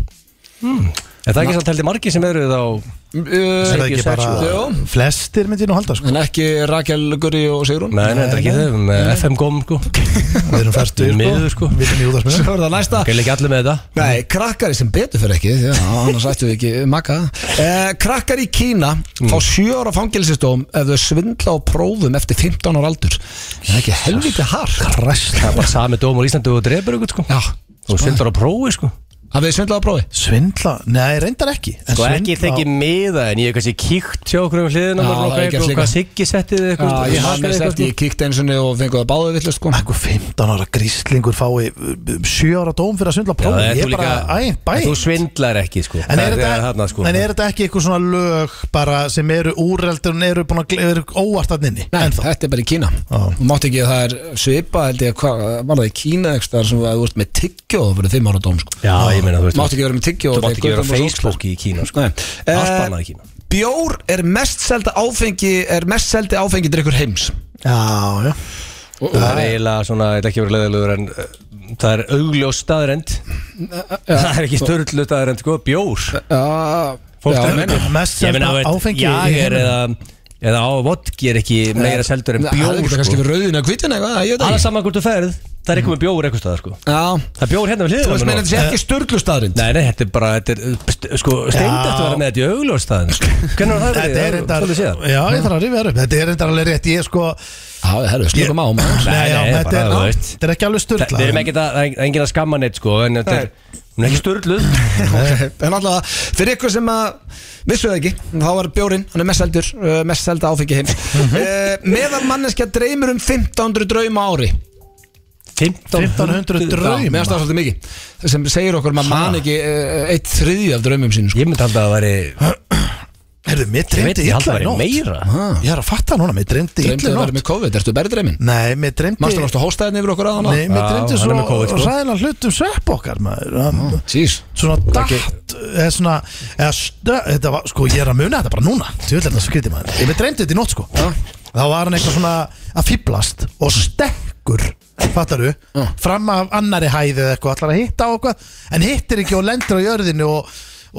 Speaker 3: En það er ekki samt heldur margir sem eru þá
Speaker 1: Mm,
Speaker 2: Er það ekki bara
Speaker 1: Jú.
Speaker 2: Flestir myndi ég nú halda
Speaker 1: eh,
Speaker 2: sko
Speaker 1: En ekki Rakel, Gurri og Sigrun
Speaker 3: Nei, nei, það er ekki þau, með FM góm sko
Speaker 2: Við erum fæstu
Speaker 3: Miður sko
Speaker 2: Við erum í útarsmiður
Speaker 1: Svo er það næsta
Speaker 3: Það er ekki allir með þetta
Speaker 1: Nei, krakkar sem betur fyrir ekki Já, annars ættu við ekki maka eh, Krakkar í Kína fá sjö ára fangilsistóm ef þau svindla á prófum eftir 15 ára aldur Það er ekki helviti hart
Speaker 3: Það er bara sami dóm á Íslandi og drefur ykkur sko
Speaker 1: Já,
Speaker 3: Þú sindar á prófi sko
Speaker 1: hafið þið svindlað á prófi?
Speaker 2: Svindla Nei, reyndar ekki En
Speaker 3: Sko ekki
Speaker 2: svindla-
Speaker 3: þekki miða en ég hef kannski kíkt hjá okkur um hliðina
Speaker 1: Já, það er
Speaker 3: bara nokkuð
Speaker 1: gert
Speaker 3: eitthvað,
Speaker 1: líka.
Speaker 3: Hvað Siggi settið þið
Speaker 1: Já,
Speaker 3: eitthvað
Speaker 1: ég sko. hafði mér sett, ég kíkti eins og og fengið það báðu villust sko
Speaker 2: Eitthvað 15 ára gríslingur fái 7 ára dóm fyrir að svindla prófi Ég er bara, æ, bæ
Speaker 3: Þú svindlar ekki sko
Speaker 2: En er,
Speaker 3: Það
Speaker 2: þetta,
Speaker 3: þarna, sko.
Speaker 2: en er þetta ekki eitthvað svona lög bara sem eru úreldur en eru búin að gle- eru óvart að nynni
Speaker 1: Nei,
Speaker 2: ennþá?
Speaker 1: þetta er bara í Kína
Speaker 2: Já.
Speaker 1: Þú mátt ekki að það er svipa held ég, hvað, var það í Kína ekki þar sem að þú ert með tyggjó fyrir fimm ára dóm sko
Speaker 3: Já, ég meina þú veist
Speaker 1: Mátt ekki vera með tyggjó
Speaker 3: Þú
Speaker 1: þegar
Speaker 3: mátt ekki
Speaker 1: götum
Speaker 3: vera á
Speaker 1: og svo-
Speaker 3: Facebook í Kína sko
Speaker 1: Nei.
Speaker 3: Allt
Speaker 1: Eh,
Speaker 3: annað í Kína
Speaker 1: Bjór er mest selda áfengi er mest seldi áfengi drikkur heims
Speaker 2: Já, já
Speaker 3: Það er eiginlega svona, ég ætla ekki að vera leðilegur en uh, það er augljós staðrend Það er ekki störlu staðrend sko, bjór
Speaker 1: Já,
Speaker 3: Fólk
Speaker 1: já,
Speaker 3: er-
Speaker 1: menn-
Speaker 2: Mest
Speaker 3: Ég meina,
Speaker 2: selda
Speaker 3: þú veit,
Speaker 2: áfengi í
Speaker 3: Jager
Speaker 2: heiminum.
Speaker 3: eða, eða á vodki er ekki meira seldur en
Speaker 1: Það hefði
Speaker 3: bjór
Speaker 1: getað kannski
Speaker 3: sko.
Speaker 1: verið rauðin að hvitin eitthvað ég veit
Speaker 3: Alla
Speaker 1: ekki.
Speaker 3: saman hvort þú ferð, það er ekki með bjór eitthvað staðar sko
Speaker 1: Já,
Speaker 3: Það er bjór hérna við
Speaker 1: þú
Speaker 3: hliðum
Speaker 1: veist meina þetta sé ekki störglustadrind
Speaker 3: Nei, nei, þetta er bara, þetta er, uh, st- sko, steind eftir að vera með þetta í sko. augljós staðin Hvernig var það
Speaker 2: Þetta er
Speaker 3: verið?
Speaker 2: reyndar
Speaker 3: Svolítið síðan
Speaker 2: Já, ég þarf að rifja það upp Þetta er reyndar alveg rétt Ég sko
Speaker 1: Já, herru, slökum á maður
Speaker 2: Nei, já,
Speaker 3: Sko, nei,
Speaker 2: þetta
Speaker 3: bara,
Speaker 2: er-
Speaker 3: þú
Speaker 2: já,
Speaker 3: veist.
Speaker 2: þetta er ekki alveg
Speaker 3: Það-
Speaker 2: sturla
Speaker 3: Við erum ekkert að, það er engin að skamma neitt sko En þetta er, hún er ekki störluð
Speaker 1: Eh, En allavega, fyrir ykkur sem að vissu það ekki, þá er bjórin, hann er mest seldur uh, mest selda áfengi heims
Speaker 2: Mhm.
Speaker 1: uh, Meðal manneskja dreymir um 1500 drauma á ári
Speaker 2: 1500
Speaker 1: Já,
Speaker 2: draum
Speaker 1: meðan það er svolítið mikið sem segir okkur að maður man ekki uh, eitt þriði af draumum sín sko.
Speaker 3: Ég myndi alltaf að það væri
Speaker 2: Herðu, mér
Speaker 3: Ég veit
Speaker 2: dreymdi
Speaker 3: ekki, alltaf
Speaker 2: illa í
Speaker 3: væri
Speaker 2: nótt Ég
Speaker 3: meira
Speaker 2: er að fatta núna, mér dreymdi
Speaker 1: Dreymdi að
Speaker 2: illa í
Speaker 1: vera
Speaker 2: nótt
Speaker 1: með COVID, ertu berri dreymin?
Speaker 2: Nei, mér dreymdi
Speaker 1: Mástu náttúrulega hóstaðin yfir okkur aðan á?
Speaker 2: Nei, mér
Speaker 3: Já,
Speaker 2: dreymdi
Speaker 3: hann er með COVID,
Speaker 2: svo
Speaker 3: sko.
Speaker 2: ræðilega hlutum svepp okkar maður Hann-
Speaker 1: Sís
Speaker 2: Svona dætt Eða svona eða stö, Þetta var, sko, ég er að muna þetta bara núna Tjóðlega skriti maður Ég mér dreymdi þetta í nótt, sko Þá var hann eitthvað svona að fýblast Og stekkur, fattaru Fram af annari hæði eða eitthvað Allar að hitta á eitthvað En hittir ekki og lendir á jörðinu Og,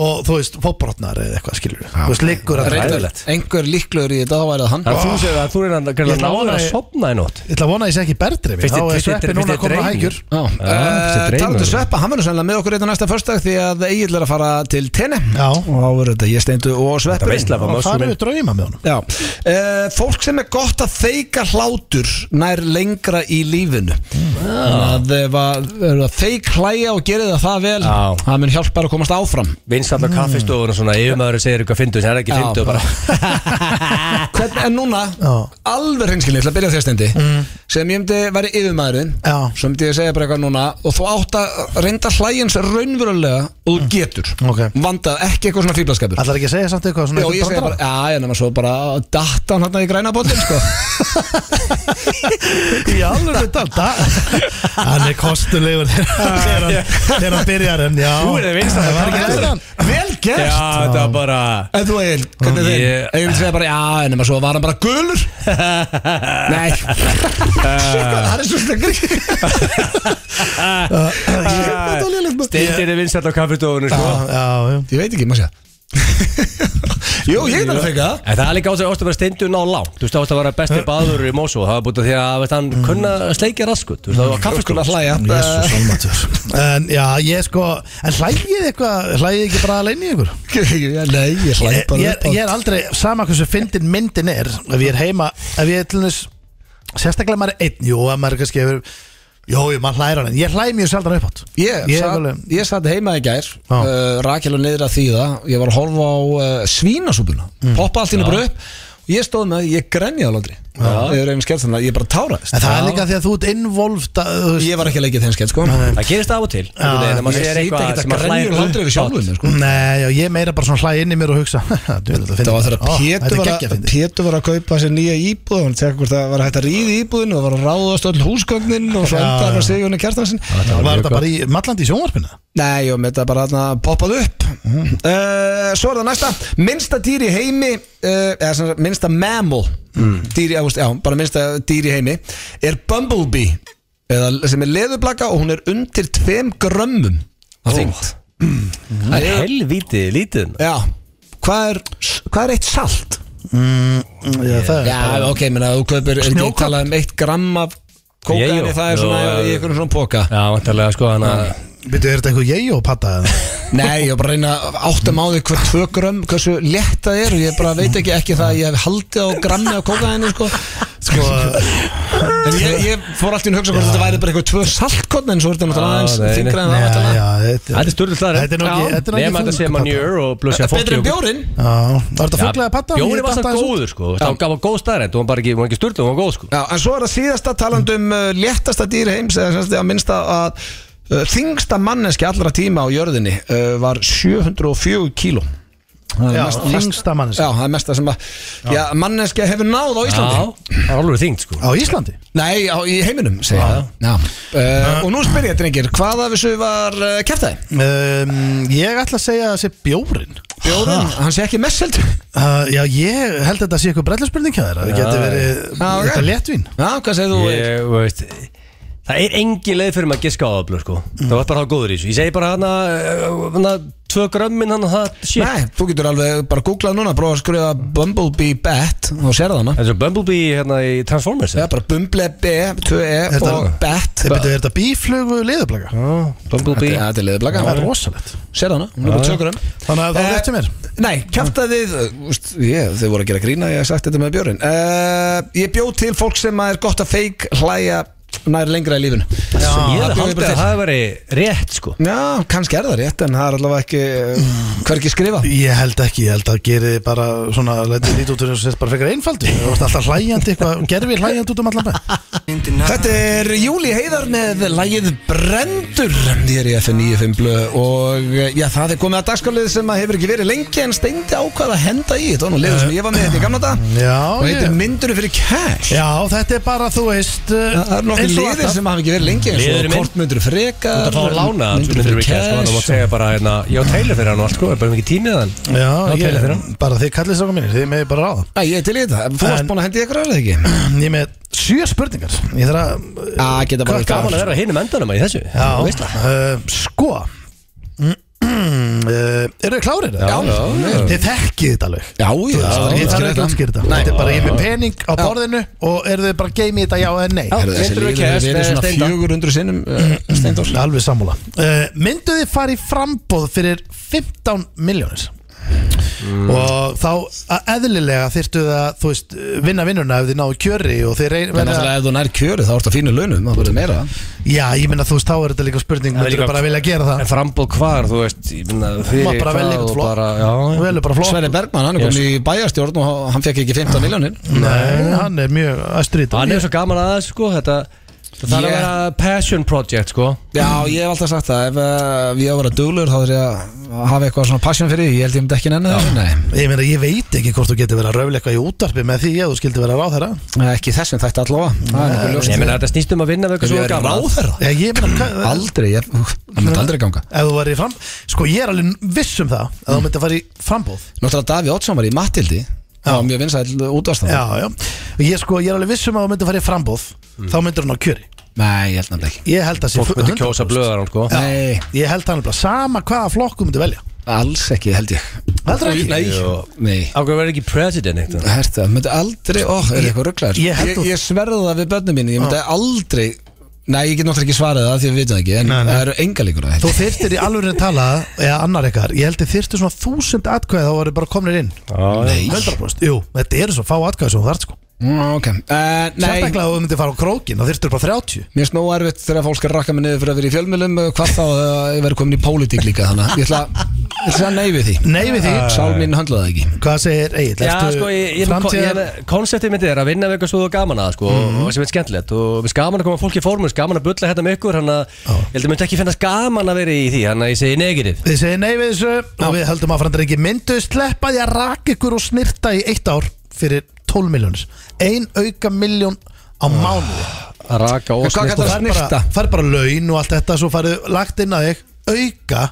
Speaker 2: og þú veist, fóbrotnar eða eitthvað skilur Þú veist, liggur að
Speaker 1: Reyndar, einhver líklegur í þetta, þá væri það hann
Speaker 3: Það er þú segir að þú er að
Speaker 2: Ég náði-
Speaker 3: náður að sopna í nótt
Speaker 2: Ég ætla að vona að ég sé ekki berðdreimi
Speaker 3: Fyrst
Speaker 2: Þá
Speaker 3: ég-
Speaker 2: er
Speaker 3: fyrst ég-
Speaker 2: sveppi
Speaker 3: fyrst
Speaker 2: núna
Speaker 3: ég
Speaker 2: að koma
Speaker 3: dreymir.
Speaker 2: hægjur
Speaker 1: Já,
Speaker 3: Já, þessi
Speaker 1: uh,
Speaker 3: draumur.
Speaker 1: talandu sveppa, hann verður sannlega með okkur eitthvað næsta förstak því að Egil er að fara til tenni
Speaker 2: Já.
Speaker 1: og þá verður þetta ég steindu og
Speaker 3: Það
Speaker 1: sveppurinn
Speaker 3: veistlega var
Speaker 2: Og það
Speaker 3: maður
Speaker 2: eru drauma með honum
Speaker 1: Já, uh, fólk sem er gott að feika hlátur nær lengra í lífinu
Speaker 3: Ah.
Speaker 1: að eh, ef að eru að feik hlæja og gera það það vel
Speaker 3: Já.
Speaker 1: það mun hjálpa þær að komast áfram
Speaker 3: Vinsall
Speaker 2: Hmm.
Speaker 3: á kaffistofun og svona Yfirmaður segir eitthvað fyndu Það er ekki
Speaker 1: Já,
Speaker 3: fyndu bara
Speaker 1: Hvern, En núna,
Speaker 2: Já. Mm.
Speaker 1: alveg hreinskilni til að byrja á þér stendi sem ég myndi væri yfirmaðurinn
Speaker 2: Já.
Speaker 1: sem myndi ég segja bara eitthvað núna og þú átt að reynda hlæjins raunverulega og þú getur
Speaker 2: Mm. Ok.
Speaker 1: vandað ekki eitthvað svona fíblaskapur
Speaker 2: Ætlar ekki að segja samt eitthvað
Speaker 1: Já,
Speaker 2: svona
Speaker 1: ég
Speaker 2: eitthvað
Speaker 1: segi bara,
Speaker 2: brandara?
Speaker 1: já, en það var svo bara datt hann hérna í græna bóttin, sko
Speaker 2: Í alveg þetta Hann er kostulegur þegar hann- þegar hann byrjar en já
Speaker 3: Þú er það vinsæll
Speaker 2: Það var ekki
Speaker 3: kaffistofun.
Speaker 2: þetta
Speaker 1: Vel gert!
Speaker 3: Já, þetta var bara
Speaker 1: En þú Egil, hvernig þið?
Speaker 3: Ég-
Speaker 1: Egil myndi segja bara, já, en það var svo var hann bara gulur Nei Eh. Það er svo slengur
Speaker 3: Stindir er vinsall á kaffistofun sko.
Speaker 2: Já,
Speaker 1: Ég
Speaker 2: já
Speaker 1: veit ekki, maður sé það. Jú, ég er það að feka það
Speaker 3: En það er líka ástæður ástæður að stindur ná langt Þú veist það ástæður að vera besti baður í Mosó Það var búin að því að veist, hann kunna að sleikja raskut Þú veist það var
Speaker 1: Kaffiskóla
Speaker 3: kaffistofun
Speaker 1: hlæja
Speaker 2: Jésus almatur En já, ég sko En hlægið eitthvað Hlægið ekki bara alveg í ykkur
Speaker 1: Eh, Nei, ég hlæði
Speaker 2: ég,
Speaker 1: bara
Speaker 2: ég, ég er aldrei Sama hversu fyndin myndin er Ef ég er heima Ef ég er til næs Sérstaklega ef maður er einn Jú, að maður er kannski hefur Jó, jú, maður hlægir hann En ég hlæg mjög sjaldan upp átt
Speaker 1: Ég,
Speaker 2: Ég er
Speaker 1: sat,
Speaker 2: alveg-
Speaker 1: ég satt heima í gær
Speaker 2: Já.
Speaker 1: uh, Rakel og niður að þýða Ég
Speaker 2: Mm.
Speaker 1: var að horfa á uh, svínasúpuna Poppa allt hérna bara upp Og ég stóð með, ég grenjaði alveg aldrei yfir einu skett þannig að ég bara táraðist
Speaker 2: En það er líka því að þú ert involvd að, þú veist-
Speaker 1: Ég var ekki að leikja þeim skett sko
Speaker 3: Það gerist af og til
Speaker 2: Já,
Speaker 3: einhvern veginn, að maður
Speaker 1: ég
Speaker 3: segir
Speaker 1: sýt
Speaker 3: eitthvað
Speaker 1: ekkert að
Speaker 3: sem maður
Speaker 1: grenja
Speaker 3: hlær
Speaker 1: og hlundra yfir
Speaker 3: upphátt.
Speaker 1: sjálfum mér, sko.
Speaker 2: Nei, já, ég meira bara svona hlæði inn í mér og hugsa
Speaker 1: Það var þegar
Speaker 2: Pétur
Speaker 1: Pétur var, að- Pétur var að kaupa sér nýja íbúð og hann tekkur hvort það var hægt að ríði íbúðin og var að ráðast öll húsgögnin og svo
Speaker 2: Já,
Speaker 1: endaði hann
Speaker 2: já.
Speaker 1: að segja henni kjartansin
Speaker 2: Var þetta bara í mallandi í sjónvarpinu?
Speaker 1: Nei, og með þetta bara þarna poppað upp uh, Svo er það næsta Minnsta dýr í heimi uh, eða, sem sagt, Minnsta mammal mm. dýr, já, veist, já, bara minnsta dýr í heimi er Bumblebee eða, sem er leðurblaka og hún er undir tveim grömmum
Speaker 3: Ó.
Speaker 1: að þyngd
Speaker 3: Það er helvítið lítið
Speaker 1: Já, hvað er, hvað er eitt salt?
Speaker 2: Já, það er
Speaker 1: Já, ok, menna þú kaupir, er ekki
Speaker 2: Snjókorn?
Speaker 1: talað um eitt gramm af
Speaker 3: Ég,
Speaker 1: kókaini,
Speaker 3: jú.
Speaker 1: það er svona í
Speaker 3: Jú, já.
Speaker 1: einhverjum svona póka
Speaker 3: Já, vantarlega sko hana
Speaker 2: Býtu, er þetta einhver ég og patta eða?
Speaker 1: Nei, ég var bara að reyna að áttum á því hver tvö grömm, hversu létt það er og ég bara veit ekki ekki það að ég hef haldið á grammi á kókaðinu, sko
Speaker 2: Sko,
Speaker 1: En ég, ég fór alltaf inn að hugsa hvort þetta væri bara eitthvað tvö saltkotn en svo er þetta náttúrulega
Speaker 3: Já,
Speaker 1: aðeins
Speaker 3: nei, nei.
Speaker 1: þingra en það
Speaker 2: já,
Speaker 1: væntanlega.
Speaker 2: já, þetta
Speaker 3: Þetta er styrðið þar
Speaker 2: Þetta er nú ekki- þetta er nú ekki
Speaker 3: Nefn að þetta sé
Speaker 2: þung
Speaker 3: manjur og
Speaker 1: Þetta
Speaker 3: blössja
Speaker 1: er betur en bjórin
Speaker 2: Já, var þetta fugglega patta?
Speaker 3: Bjóri var það góður sko Það gaf að góð staðrætt Hún var bara ekki, hún var ekki styrðið, hún var góð sko
Speaker 1: Já, en svo er það síðasta talandi um uh, léttasta dýr heims eða semst að minnsta að uh, þingsta manneski allra tíma á jörðinni uh, var 704 kíló Það er
Speaker 2: Já,
Speaker 1: mest- mest-
Speaker 2: þingsta manneski
Speaker 1: Já, það er mesta sem að já, manneskja hefur náð á Íslandi
Speaker 3: Já, það er alveg þingt sko
Speaker 2: Á Íslandi?
Speaker 1: Nei, á, í heiminum, segja
Speaker 2: Já.
Speaker 1: það já. Uh, Og nú spyr ég, drengir, hvað af þessu var uh, kæftæði?
Speaker 2: Um, ég ætla að segja að það sé bjórin
Speaker 1: Bjóðin, hann sé ekki mest heldur
Speaker 2: uh, Já, ég held að þetta sé eitthvað brellarspurning hjá þér að Það geti verið
Speaker 1: Já, ok.
Speaker 2: Þetta léttvín
Speaker 1: Já, hvað segir þú? Egill?
Speaker 3: Ég, þú veist Það er engin leið fyrir maður að giska á það blöð sko Það var bara að hafa góður í þessu Ég segi bara hana, uh, hana Tvö grömmin hana, það shit
Speaker 1: Nei, þú getur alveg bara googlað núna Bróða að skrifa Bumblebee Bat og sér það hana
Speaker 3: Það er svo Bumblebee hérna í Transformers
Speaker 1: Já, bara Bumblebee, 2E
Speaker 2: Þetta-
Speaker 1: og Bat
Speaker 2: Þeir byrjuðu, er þetta bíflugu liðublaka?
Speaker 3: Bumblebee
Speaker 1: Já, þetta er liðblaka
Speaker 2: Það er rosalegt
Speaker 1: Sér hana, hún er bara tjókur um
Speaker 2: Þannig að það
Speaker 1: Eh,
Speaker 2: er rétt hjá mér
Speaker 1: Nei, kæftæðið, úst, ég, þau voru að gera grína Ég hef sagt þetta með bjórin uh, Ég bjóð til fólk sem er gott að feik hlæja nær lengra í lífinu
Speaker 3: Já, ég
Speaker 1: það
Speaker 3: hefði
Speaker 1: bjó ég
Speaker 3: haldið
Speaker 1: bara Ah,
Speaker 3: að
Speaker 1: til.
Speaker 3: það væri rétt sko
Speaker 1: Já, kannski er það rétt en það er allavega ekki eh, hverki skrifa
Speaker 2: Ég held ekki, ég held að geri þið bara svona Lætið lítið út úr þessu bara frekar einfaldu Það varst alltaf hlægjandi eitthvað Gerfi hlægjandi út um allan bæ
Speaker 1: Þetta er Júli Heiðar með lægið Brendur hér í FN 95 blö og eh, já, það er komið að dagskalið sem að hefur ekki verið lengi en steindi ákvað að henda í þetta var nú liður sem ég var með þetta í gamla dag
Speaker 2: Já,
Speaker 1: og heitir
Speaker 2: ég-
Speaker 1: myndur fyrir cash
Speaker 2: Já, þetta er bara, þú veist uh,
Speaker 1: Það er nokkuð
Speaker 2: eins og
Speaker 1: liðir
Speaker 2: alltaf.
Speaker 1: sem hafa ekki verið lengi eins
Speaker 3: Liður
Speaker 1: og
Speaker 3: minn.
Speaker 1: kort myndur freka
Speaker 3: Þú ert að fá að lána það, þú
Speaker 1: myndur
Speaker 3: myndir
Speaker 1: fyrir
Speaker 3: ekki að sko, þannig að maður
Speaker 1: cash
Speaker 3: segja bara hérna, ég á tælu fyrir hann og allt sko, er bara mikið tímið hann.
Speaker 2: Já,
Speaker 3: ég, fyrir hann.
Speaker 2: ég, bara þið kallið strákum mínir, þið meði bara ráða
Speaker 1: Æ, ég er til í þetta, þú
Speaker 2: En-
Speaker 1: varst búin að henda í ykkur aðrað ekki
Speaker 2: Ég er með sjö spurningar Ég þarf að
Speaker 1: Æ, geta bara
Speaker 2: Gaman
Speaker 3: Gaman að vera hinum endanum að í þessu.
Speaker 2: Já,
Speaker 3: Veist það?
Speaker 2: uh, sko uh, Eru þið klárir? Já,
Speaker 1: já.
Speaker 2: Þið þekkið þetta alveg
Speaker 1: Já, já,
Speaker 2: Ég þarf ekki að útskýra þetta Þetta er bara ég er með pening á
Speaker 1: Já.
Speaker 2: borðinu og eru þið bara að geimi þetta já eða nei
Speaker 1: Herðu, þessi
Speaker 3: Myndur við
Speaker 1: liður hefur
Speaker 3: cash
Speaker 1: verið
Speaker 3: með
Speaker 1: svona
Speaker 3: Steinda?
Speaker 1: 400 sinnum eh, Steindórs
Speaker 2: Alveg sammála uh, Myndu þið fara í frambóð fyrir 15 miljónir
Speaker 3: Mm.
Speaker 2: og þá að eðlilega þyrftu það þú veist, vinna vinnuna ef þið náðu kjöri og þið reyn,
Speaker 1: En náttúrulega ef þú nær kjöri þá ertu að fínu launum Það verður meira
Speaker 2: já, ég minna þú veist, þá er þetta líka spurning
Speaker 3: Það er
Speaker 2: myndu
Speaker 3: líka-
Speaker 2: þið bara vilja gera það
Speaker 3: En frambóð hvar, þú veist, ég finna,
Speaker 2: Þú mátt
Speaker 3: fyrir
Speaker 2: bara velja
Speaker 3: hvað
Speaker 2: eitthvað
Speaker 3: og
Speaker 2: flott.
Speaker 3: bara, já,
Speaker 2: Þú velur bara flott
Speaker 1: Sverri Bergmann, hann er komin í bæjarstjórn og hann fekk ekki 15 miljónir
Speaker 2: Nei, hann er mjög æstur í þetta
Speaker 3: Hann er svo gaman að þessu sko, þetta, það þarf að
Speaker 1: Ég-
Speaker 3: vera passion project sko.
Speaker 1: Já, ég hef alltaf sagt það Ef uh, ég á að vera duglur þá þarf ég að hafa eitthvað svona passion fyrir því Ég held ég myndi ekki nenni það Nei,
Speaker 2: Ég meina, ég veit ekki hvort þú getur verið að röfla eitthvað í útarpi með því að þú skildi vera ráðherra
Speaker 1: Eh, ekki í þessum þætti allavega Það er nokkuð ljóst
Speaker 3: Ég meina þetta snýst um að vinna við eitthvað
Speaker 1: Ef
Speaker 3: svo
Speaker 1: ég er
Speaker 3: gaman.
Speaker 1: ráðherra?
Speaker 2: Já, ég meina, hvað-
Speaker 1: Aldrei, ég, það myndi aldrei ganga
Speaker 2: ef þú væri fram Sko, ég er alveg viss um það að þú myndi að fara í frambóð
Speaker 1: Náttúrulega Daví Oddsson var í Mattildi Það var mjög vinsæll útvarstað
Speaker 2: Já, já Ég, sko, ég er alveg viss um að þú myndi að fara í frambóð þá myndir hann á kjöri
Speaker 1: Nei, ég held nefnilega ekki
Speaker 2: Ég held að sé
Speaker 3: Mm. Fólk
Speaker 2: 100%.
Speaker 3: myndi kjósa blöðar hann sko.
Speaker 1: Nei,
Speaker 2: Ég held hann alveg sama hvaða flokk þú myndi velja
Speaker 1: alls ekki held ég
Speaker 2: Heldur ekki?
Speaker 1: Nei,
Speaker 3: Jú.
Speaker 1: Nei.
Speaker 3: Ákveður verður ekki president eitt.
Speaker 1: Herta, myndi aldrei, ó, er eitthvað rugglar
Speaker 2: Ég
Speaker 1: Ég,
Speaker 2: held
Speaker 1: ég,
Speaker 2: þú-
Speaker 1: ég sverðu það við börnum mínu Ég myndi aldrei, nei, ég get náttúrulega ekki svarað það Því við vitum það ekki, en það eru enga líkur að
Speaker 2: Þú
Speaker 1: þetta
Speaker 2: þyrftir í alveg að tala eða annar ykkar, ég held þið þyrftir svona þúsund atkvæði þá voru bara komnir inn
Speaker 3: Nei.
Speaker 2: 100% Jú, þetta eru svo fá atkvæði sem þú þarft sko
Speaker 1: Mm, Ok, uh, nei,
Speaker 2: Sérstaklega að þú myndir fara á krókin, þá þyrftir bara 30
Speaker 1: mér snó eh, erfitt þegar fólk er rakka mig niður fyrir að vera í fjölmjölum Hvað þá að ég verið komin í pólitík líka þannig að Ég ætla að Ég sagði nei við því
Speaker 2: Nei við því.
Speaker 1: Sál mín höndlaði það ekki
Speaker 2: Hvað segir Egil?
Speaker 3: Já, sko, ég, ég, ég,
Speaker 2: framtíðar...
Speaker 3: ég, konseptið mitt er að vinna við eitthvað svo þú er gaman að, sko,
Speaker 1: Mhm.
Speaker 3: og sem er skemmtilegt og við skaman að koma fólki í formur, skaman að bulla hérna með ykkur, hann að, ég held að myndi ekki finnast gaman að vera í því, hann að ég segi negativ
Speaker 2: Þið segir nei við þessu og við höldum að frandar ekki myndu sleppa því að raka ykkur og snirta í eitt ár fyrir 12 miljónus Ein auka miljón á mánuði
Speaker 3: að raka og snirta.
Speaker 2: Fær bara, fær bara laun og allt þetta svo farið lagt inn að þig auka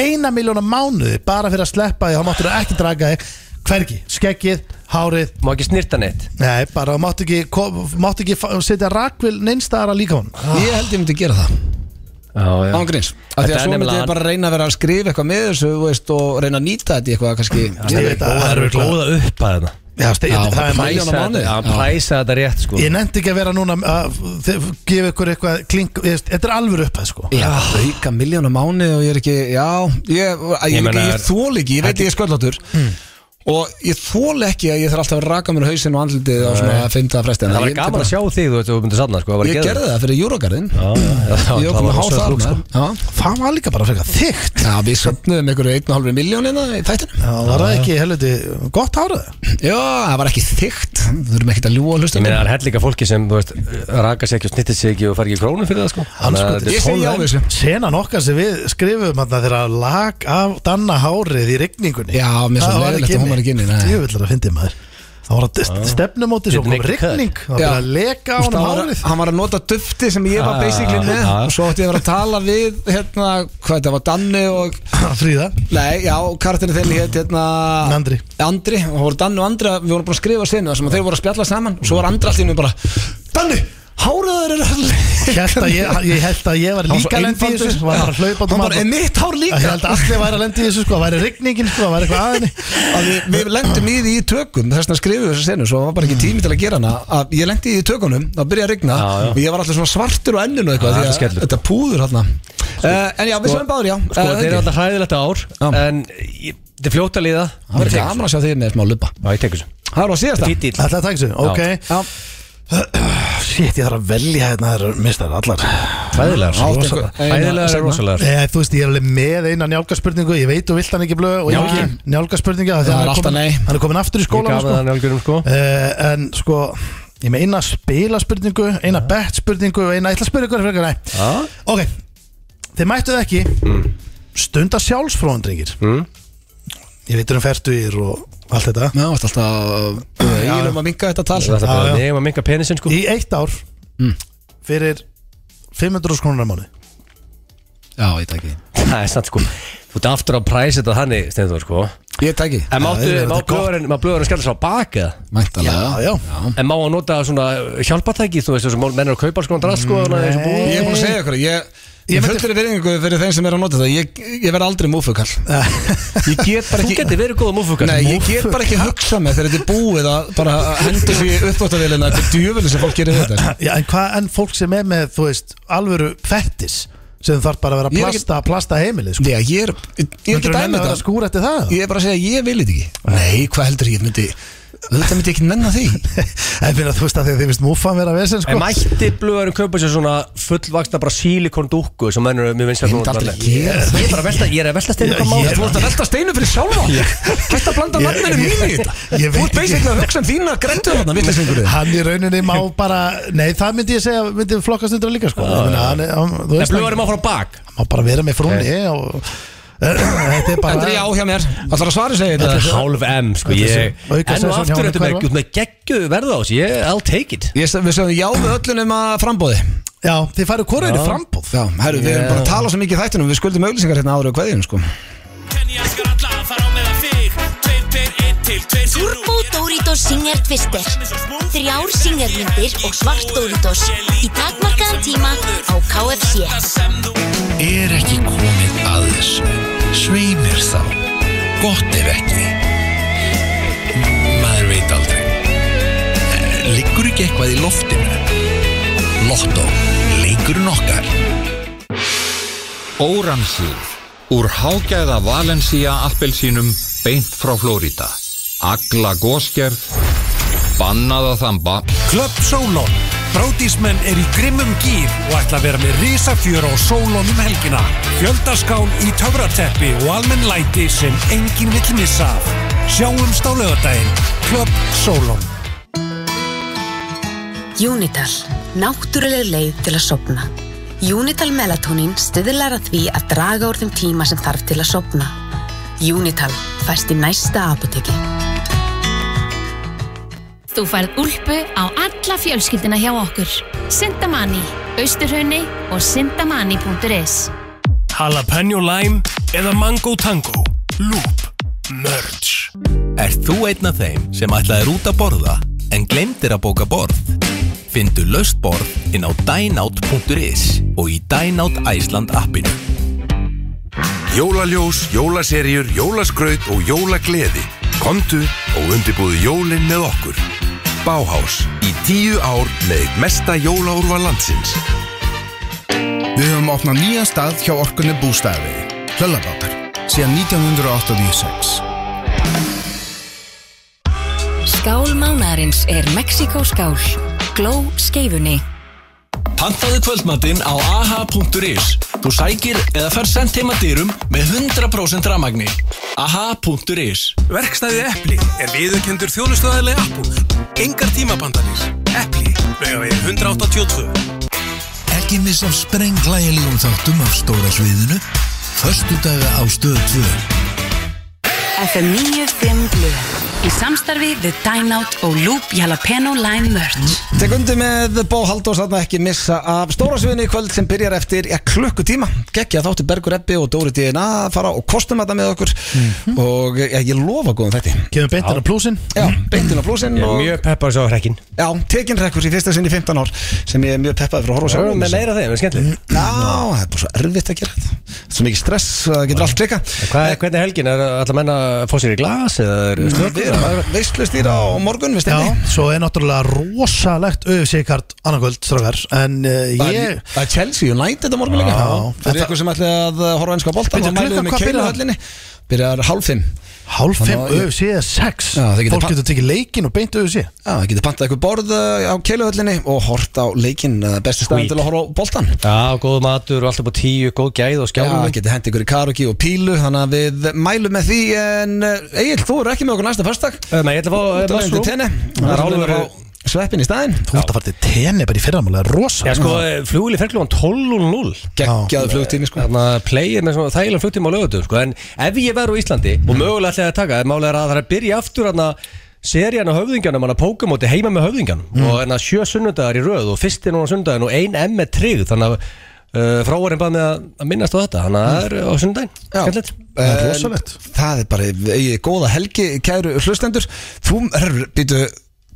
Speaker 2: eina miljón á mánuði bara fyrir að sleppa því þá máttu þú ekki draga þig hvergi, skeggið, hárið
Speaker 3: Má ekki snirta neitt
Speaker 2: Nei, bara máttu ekki, kom- máttu ekki fa- setja rakvill neinstæðara líka hún
Speaker 1: Ég held ég myndi gera það
Speaker 3: Já, já.
Speaker 1: Ángríns Af því
Speaker 3: Þetta
Speaker 1: að
Speaker 3: er
Speaker 1: svo myndi
Speaker 3: nefnilega
Speaker 1: ég
Speaker 3: hann.
Speaker 1: bara reyna að vera að skrifa eitthvað með þessu þú veist, og reyna að nýta þetta í eitthvað kannski
Speaker 2: Ég veit að það er örugglega-
Speaker 3: góða upp að þetta
Speaker 2: Já, ste-
Speaker 1: Já,
Speaker 2: það er mæs
Speaker 1: Milljón á mánuði?
Speaker 3: Hann
Speaker 1: Já.
Speaker 3: præsa þetta rétt, sko
Speaker 2: Ég nefndi ekki að vera núna að þið- gefa ykkur eitthvað klink, ég veist, þetta er alveg upphæð sko
Speaker 1: Já, auka miljónum mánu og ég er ekki Já, ég, ég,
Speaker 3: Ég
Speaker 1: ég,
Speaker 3: meina-
Speaker 1: ég, ég þól ekki, ég veit ég er sköldlóttur
Speaker 2: Hmm.
Speaker 1: Og ég þól ekki að ég þarf alltaf að raka mér hausinn og andlitið á svona fymta fresti
Speaker 3: Það var gaman að sjá þig, þú veist, þú myndir sanna, sko það var
Speaker 1: Ég
Speaker 3: geðveikt.
Speaker 1: gerði það fyrir Júrógarðin
Speaker 3: Já, já, já, það
Speaker 1: Ég
Speaker 3: var
Speaker 1: kom að há
Speaker 3: rosa
Speaker 1: það
Speaker 3: flúk, sko.
Speaker 1: maður. Já.
Speaker 2: Það var líka bara frekar þygt
Speaker 1: Já, við söpnuðum einhverju 1,5 miljónina hérna í þættinum
Speaker 2: Já, var það ekki helviti gott árað
Speaker 1: Já, það var ekki þygt Þú þurfum ekkert að ljúa að hlusta
Speaker 3: Ég meina, það er held líka fólki sem, þú veist, raka sig ekki og snittir sig ekki og fær ekki krónu fyrir það, sko Þannig að
Speaker 2: sko,
Speaker 3: þetta er
Speaker 1: Ég segi já
Speaker 3: tólf-
Speaker 1: við þessu
Speaker 2: Senan okkar sem við skrifum þarna þegar lag af danna hárið í rigningunni
Speaker 1: Já, mér er svo leiðilegt að hún var ekki inni, nei.
Speaker 2: Ég vil að fyndi maður Það var að stefnumóti svo
Speaker 3: Didn't
Speaker 2: kom
Speaker 3: make the cut.
Speaker 2: rigning Það var
Speaker 1: Já.
Speaker 2: bara að leka á
Speaker 1: Þú veist,
Speaker 2: honum
Speaker 1: hann var-
Speaker 2: hárið
Speaker 1: Hann var að nota dufti sem ég var
Speaker 3: Ah,
Speaker 1: basically með
Speaker 3: ah.
Speaker 1: og svo ætti ég að vera að tala við hérna, hvað þetta var, Danni og
Speaker 2: Fríða
Speaker 1: Nei, já, karakterinn þeirri hétt hérna
Speaker 2: Andri.
Speaker 1: Andri, og það voru Danni og Andri við vorum bara að skrifa senu þar sem að þeir voru að spjalla saman og svo var Andri allir bara Danni, háraður er allir
Speaker 2: Hélt að ég, ég held að ég var
Speaker 1: Hann var svo
Speaker 2: líka lendi í þessu
Speaker 1: einfaldur.
Speaker 2: Var bara að hlaupa út um
Speaker 1: Hann bara,
Speaker 2: allt.
Speaker 1: er mitt hár líka?
Speaker 2: Ég held að allir væri að lendi í þessu sko Væri rigningin sko, væri eitthvað aðinni
Speaker 1: að við, við lendum í því í tökum þess vegna skrifum við þessa senu svo var bara ekki tími til að gera hana að ég lendi í því í tökunum, það byrja að rigna
Speaker 3: Já, já.
Speaker 1: og ég var alltaf svona svartur og enninu eitthvað
Speaker 3: Já,
Speaker 1: því
Speaker 3: þetta er skellur.
Speaker 1: þetta púður hérna uh, en já, við
Speaker 3: Sko-
Speaker 1: sögum báður já
Speaker 3: Sko,
Speaker 1: Eh,
Speaker 3: þetta er
Speaker 1: ekki?
Speaker 3: alltaf hræðilegt ár
Speaker 1: Já.
Speaker 3: En ég- þetta er fljóta líða
Speaker 1: það verður gaman að sjá þig með smá lupa
Speaker 3: Já, ég tekur þessu
Speaker 1: það var að síðast
Speaker 3: Fýtt
Speaker 2: Ætlaði að taka þessu, ok
Speaker 1: Já.
Speaker 2: Shit, ég þarf að velja hérna Það eru mistar allar
Speaker 3: Hræðilegar
Speaker 1: Átt
Speaker 3: rosa-
Speaker 1: einhver- eina
Speaker 3: Hræðilegar er
Speaker 1: seinna.
Speaker 3: rosalegar
Speaker 2: Eh, þú veist, ég er alveg með eina njálgarspurningu Ég veit og vilt hann ekki blöð og ég
Speaker 1: Njálginn.
Speaker 2: ekki njálgarspurninga
Speaker 1: Það er alltaf
Speaker 2: komin,
Speaker 1: nei.
Speaker 2: hann er komin aftur í
Speaker 3: Ég
Speaker 2: skólan
Speaker 3: gaf það
Speaker 2: sko.
Speaker 3: njálgurum, sko
Speaker 2: uh, En sko, ég er með eina spilaspurningu Eina bettspurningu og eina ætla að spyrja ykkur frekar nei.
Speaker 3: Já.
Speaker 2: Ok, þið mættuð ekki Stunda sjálfsfróðundringir
Speaker 3: Mm.
Speaker 2: Ég veitur um færtugir og allt þetta
Speaker 1: já, þetta er alltaf uh, ég um að minga þetta tal
Speaker 3: Það
Speaker 2: Já,
Speaker 3: er bara
Speaker 2: já.
Speaker 3: nefn að minga penisinn, sko
Speaker 2: Í eitt ár
Speaker 1: Mm.
Speaker 2: Fyrir 500 krónar á mánu
Speaker 1: já, ég tæki
Speaker 3: Það er satt, sko Þú ert aftur að præsa þetta þannig, Steindur, sko
Speaker 1: ég tæki,
Speaker 3: En máttu,
Speaker 2: þetta er
Speaker 3: má
Speaker 2: gott.
Speaker 3: blöðurinn, má blöðurinn skalla sér á baka
Speaker 1: mæntalega
Speaker 2: já.
Speaker 3: En má að nota svona hjálpatæki, þú veist, þessum menn eru að kaupa alls konar drast, sko svona eins og búið.
Speaker 1: ég er búin að segja ykkur ég,
Speaker 2: Ég
Speaker 1: ég
Speaker 2: myndi-
Speaker 1: fullri virðingu fyrir þeim sem er að nota þetta ég, ég verð aldrei múfukall ég get bara
Speaker 3: Þú
Speaker 1: ekki
Speaker 3: getur verið góða múfukar
Speaker 1: Nei, ég get bara ekki hugsað með þegar þetta er búið að bara hendur því uppvátavélina þetta er djöfili sem fólk gerir þetta
Speaker 2: Já, en hvað enn fólk sem er með, þú veist, alvöru fettis sem þarf bara að vera að
Speaker 1: Ég er
Speaker 2: plasta, plasta heimilið, sko.
Speaker 1: Já, ég er, ég er ekki
Speaker 2: Myndirðu
Speaker 1: dæmið
Speaker 2: nenna að vera að
Speaker 1: þetta
Speaker 2: skúra eftir það?
Speaker 1: Ég er bara að segja, ég vil þetta ekki Nei, hvað heldur ég myndi Þetta myndi ég ekki nennan því
Speaker 2: En finna, þú veist að því að þið finnst múfan vera vesen, sko.
Speaker 3: En mætti blöðurinn kaupa sér svona fullvaksna bara sílikondúkku sem mennur mjög vinslega
Speaker 1: Ég myndi aldrei
Speaker 3: Ég
Speaker 1: gera
Speaker 3: ég er bara að velta, ég er að velta steinu hvað
Speaker 2: Ég-
Speaker 3: máli
Speaker 1: Þú ert að velta steinu fyrir sjálfa Hætt að blanda
Speaker 2: Ég-
Speaker 1: nafninu
Speaker 2: ég-
Speaker 1: mínu í þetta Þú
Speaker 2: ég veit
Speaker 1: ert
Speaker 2: ekki.
Speaker 1: basically að hugsa um þína grendu þarna, vitleysingurinn
Speaker 2: Hann í rauninni má bara, nei, það myndi ég segja, myndi flokkast undir líka, sko. Ah, hann, er- hann, þú
Speaker 3: En
Speaker 2: veist,
Speaker 3: blöðurinn
Speaker 2: hann
Speaker 3: má fara á bak
Speaker 2: má bara vera með frúni og... Þetta er bara...
Speaker 1: Þetta er já hjá mér Það þarf að svara segja þetta
Speaker 3: Hálf M, sko
Speaker 2: Þetta
Speaker 3: ég
Speaker 2: sé- auka
Speaker 3: En
Speaker 2: session
Speaker 3: og
Speaker 2: hjá
Speaker 3: aftur
Speaker 2: honum
Speaker 3: þetta með,
Speaker 2: hverfa.
Speaker 3: með geggju verða á þessu Ég, I'll take it
Speaker 1: Ég, við sögum já við öllunum að frambóði
Speaker 2: Já, þið færu hvoreinu
Speaker 3: Já.
Speaker 2: frambóð.
Speaker 1: Já, herru, við erum bara að tala svo mikið í þættinum Við skuldum auglýsingar hérna ára og kveðjum sko.
Speaker 11: Kenja skar alla að fara á meðan þig 2, 2, 1 til 2, 0
Speaker 12: Turbo Doritos Singer Twister Þrjár singermyndir og svart Doritos Í takmarkaðan tíma á KFC
Speaker 11: Er ekki komið að þessu Sveinir þá Gott ef ekki Maður veit aldrei Eh, Liggur ekki eitthvað í loftinu Lotto Leikur nokkar
Speaker 13: Óransjúr úr hágæða Valencia appelsínum beint frá Flórida. Agla góskerð, bannað að þamba
Speaker 11: Club Solon
Speaker 14: Bróðísmenn er í grimmum gýr og ætla að vera með risafjör á sólón um helgina. Fjöldaskál í töfrateppi og almenn læti sem enginn vill missa af. Sjáumst á lögadaginn. Klöpp Sólón.
Speaker 15: Júnital, náttúruleg leið til að sopna. Júnital melatonin stiðlar að því að draga úr þeim tíma sem þarf til að sopna. Júnital fæst í næsta apoteki.
Speaker 16: Þú færð úlpu á alla fjölskyldina hjá okkur. Sintamani, Austurhunni og sintamani.is
Speaker 14: Jalapeno Lime eða Mango Tango. Loop. Merge.
Speaker 17: Ert þú einn af þeim sem ætlaðir út að borða en glemtir að bóka borð? Findu löst borð inn á dineout.is og í Dineout Æsland appinu.
Speaker 18: Jólaljós, jólaserjur, jólaskraut og jólagleði. Komdu og undirbúðu jólinn með okkur. Bauhaus í tíu ár með eitt mesta jólaúrval landsins.
Speaker 19: Við höfum opnað nýjan stað hjá orkunni bústæðavegi, Hlöllabátar, síðan 1986.
Speaker 20: Skál mánaðarins er Mexiko skál. Gló skeifunni.
Speaker 11: Pantaðu kvöldmatinn á aha.is Þú sækir eða fær sendt heima dyrum með 100% ramagni aha.is
Speaker 21: Verkstæði Eppli er viðurkendur þjónustöðaðileg Apple. Engar tímabandanir. Eppli, vegavegi 182.
Speaker 22: Ekki missa af sprenglægilegum þáttum af stóra sviðinu. Föstudaga á stöð 2.
Speaker 8: FM 95 Blu Í samstarfi við Dynout og Loop Jalapeno Lime Merch
Speaker 1: Tek undir með Bó Halldórs að ekki missa af stóra sviðinu í kvöld sem byrjar eftir ja, klukkutíma Gekki að þáttu Bergur Ebbi og Dóri DNA að fara og kostum þetta með okkur
Speaker 3: Mhm.
Speaker 1: og ja, ég lofa góðum þetta
Speaker 2: Kemur hérna beintin á plúsin
Speaker 1: Já, beintin á plúsin
Speaker 3: Mhm. Ég er mjög peppar svo hrekkin
Speaker 1: Já, tekin rekurs í fyrsta sinn í 15 ár sem ég er mjög peppaði fyrir að horfa
Speaker 3: Já, með meira af þeim,
Speaker 1: það er skemmtilegt Já, það er bara svo erfitt að gera þetta Þetta er Svo mikið stress, það getur allt klika
Speaker 3: Hvað er, hvernig er helgin, er allar menna að fá sér í glas eða er
Speaker 1: Mm, Við erum veistlustýra á morgun, við
Speaker 2: Já,
Speaker 1: stefni
Speaker 2: svo er náttúrulega rosalegt öfusíkart annarkvöld, strákar En uh,
Speaker 1: Það er-
Speaker 2: ég
Speaker 1: Það er Chelsea United á morgun líka
Speaker 2: Já.
Speaker 1: Það er ykkur sem ætli að horfa einska bolta
Speaker 2: Bíddu,
Speaker 1: Það mælum við
Speaker 2: klukkan hvað
Speaker 1: með
Speaker 2: byrjar?
Speaker 1: keiluhöllinni Byrjar hálf fimm
Speaker 2: Hálf fimm
Speaker 1: Þannig að-
Speaker 2: öfusí eða sex
Speaker 1: Já, það getur
Speaker 2: Fólk
Speaker 1: pa-
Speaker 2: getur tekið leikin og beint öfusí
Speaker 1: Já, það getur pantað eitthvað borð uh, á keiluhöllinni og hort á leikinn uh, bestu staðan
Speaker 3: Sweet.
Speaker 1: til að horfa á boltan
Speaker 3: Já, góð matur og alltaf búið tíu, góð gæð og
Speaker 1: Já,
Speaker 3: skjáðum
Speaker 1: það getur hendt ykkur í karaoke og pílu Þannig að við mælum með því En Egil, þú eru ekki með okkur næsta fyrstak
Speaker 3: Nei, ég ætla að fá, eh, mushroom. Það
Speaker 1: Það
Speaker 3: er
Speaker 1: er álum að
Speaker 3: álfur-
Speaker 1: fá sveppin í staðin
Speaker 2: Þú ert að fara til tenni bara í fyrramála, það er rosa
Speaker 3: Já, sko, flugvili fer klúan 12.00
Speaker 1: Geggjaður flugtími, sko
Speaker 3: Þannig að playið með svona þægilega flugtíma á lögutum, sko En ef ég verður í Íslandi
Speaker 1: Mhm.
Speaker 3: og mögulega ætlaði að taka Málega er að það er að byrja aftur hann að Serían á höfðingjanum, hann að pókamóti heima með höfðingjanum
Speaker 1: Mhm.
Speaker 3: Og hann að sjö sunnudagar í röð og fyrsti núna sunnudaginn og ein M með tryggð Þannig að uh, frávarinn bað með að minnast á þetta Þannig að það er á sunnudaginn Skemmtilegt.
Speaker 1: En Það er bara, eigið góða helgi, kæru hlustendur Þú, herru, býtu,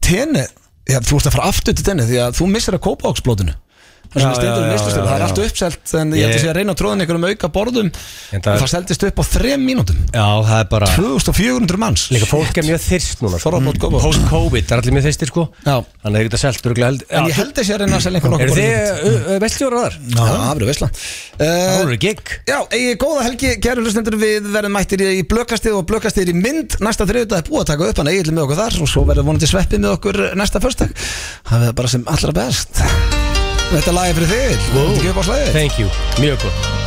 Speaker 1: tenni já, Þú ert að fara aftur til tenni Því að þú missir að kópa áksblótinu Það sem
Speaker 3: Já,
Speaker 1: við stendur
Speaker 3: já,
Speaker 1: um
Speaker 3: já,
Speaker 1: neyslustölu,
Speaker 3: já,
Speaker 1: það er
Speaker 3: já.
Speaker 1: allt uppselt En ég held að
Speaker 3: Ég-
Speaker 1: sé að reyna að tróða einhverjum auka borðum
Speaker 3: En
Speaker 1: Og
Speaker 3: það-
Speaker 1: það seldist upp á þrem mínútum
Speaker 3: Já, það er bara
Speaker 1: 2400 manns
Speaker 3: Líka fólk er mjög þyrst núna sko.
Speaker 1: Þorrablót Gógó.
Speaker 3: Post-Covid, það er allir mjög þyrstir sko
Speaker 1: Já.
Speaker 3: Þannig að ég geta selt örugglega held-
Speaker 1: En ég held að sé að reyna að selja einhverjum
Speaker 3: Eru
Speaker 1: borðum.
Speaker 3: þið vestjórar þar?
Speaker 1: Já, það verður veistla Það
Speaker 3: verður gig
Speaker 1: Já, eigi góða helgi, kæru hlustendur Við verðum mættir í blökastið og blökastið í mynd Næsta þriðudag er búið að taka upp hann eigið með okkur þar Og svo verður vonandi sveppið með okkur næsta förstak Það verður bara sem allra best Þetta er lagið fyrir þig Þetta er ekki upp á slæðið
Speaker 3: Thank you, mjög góð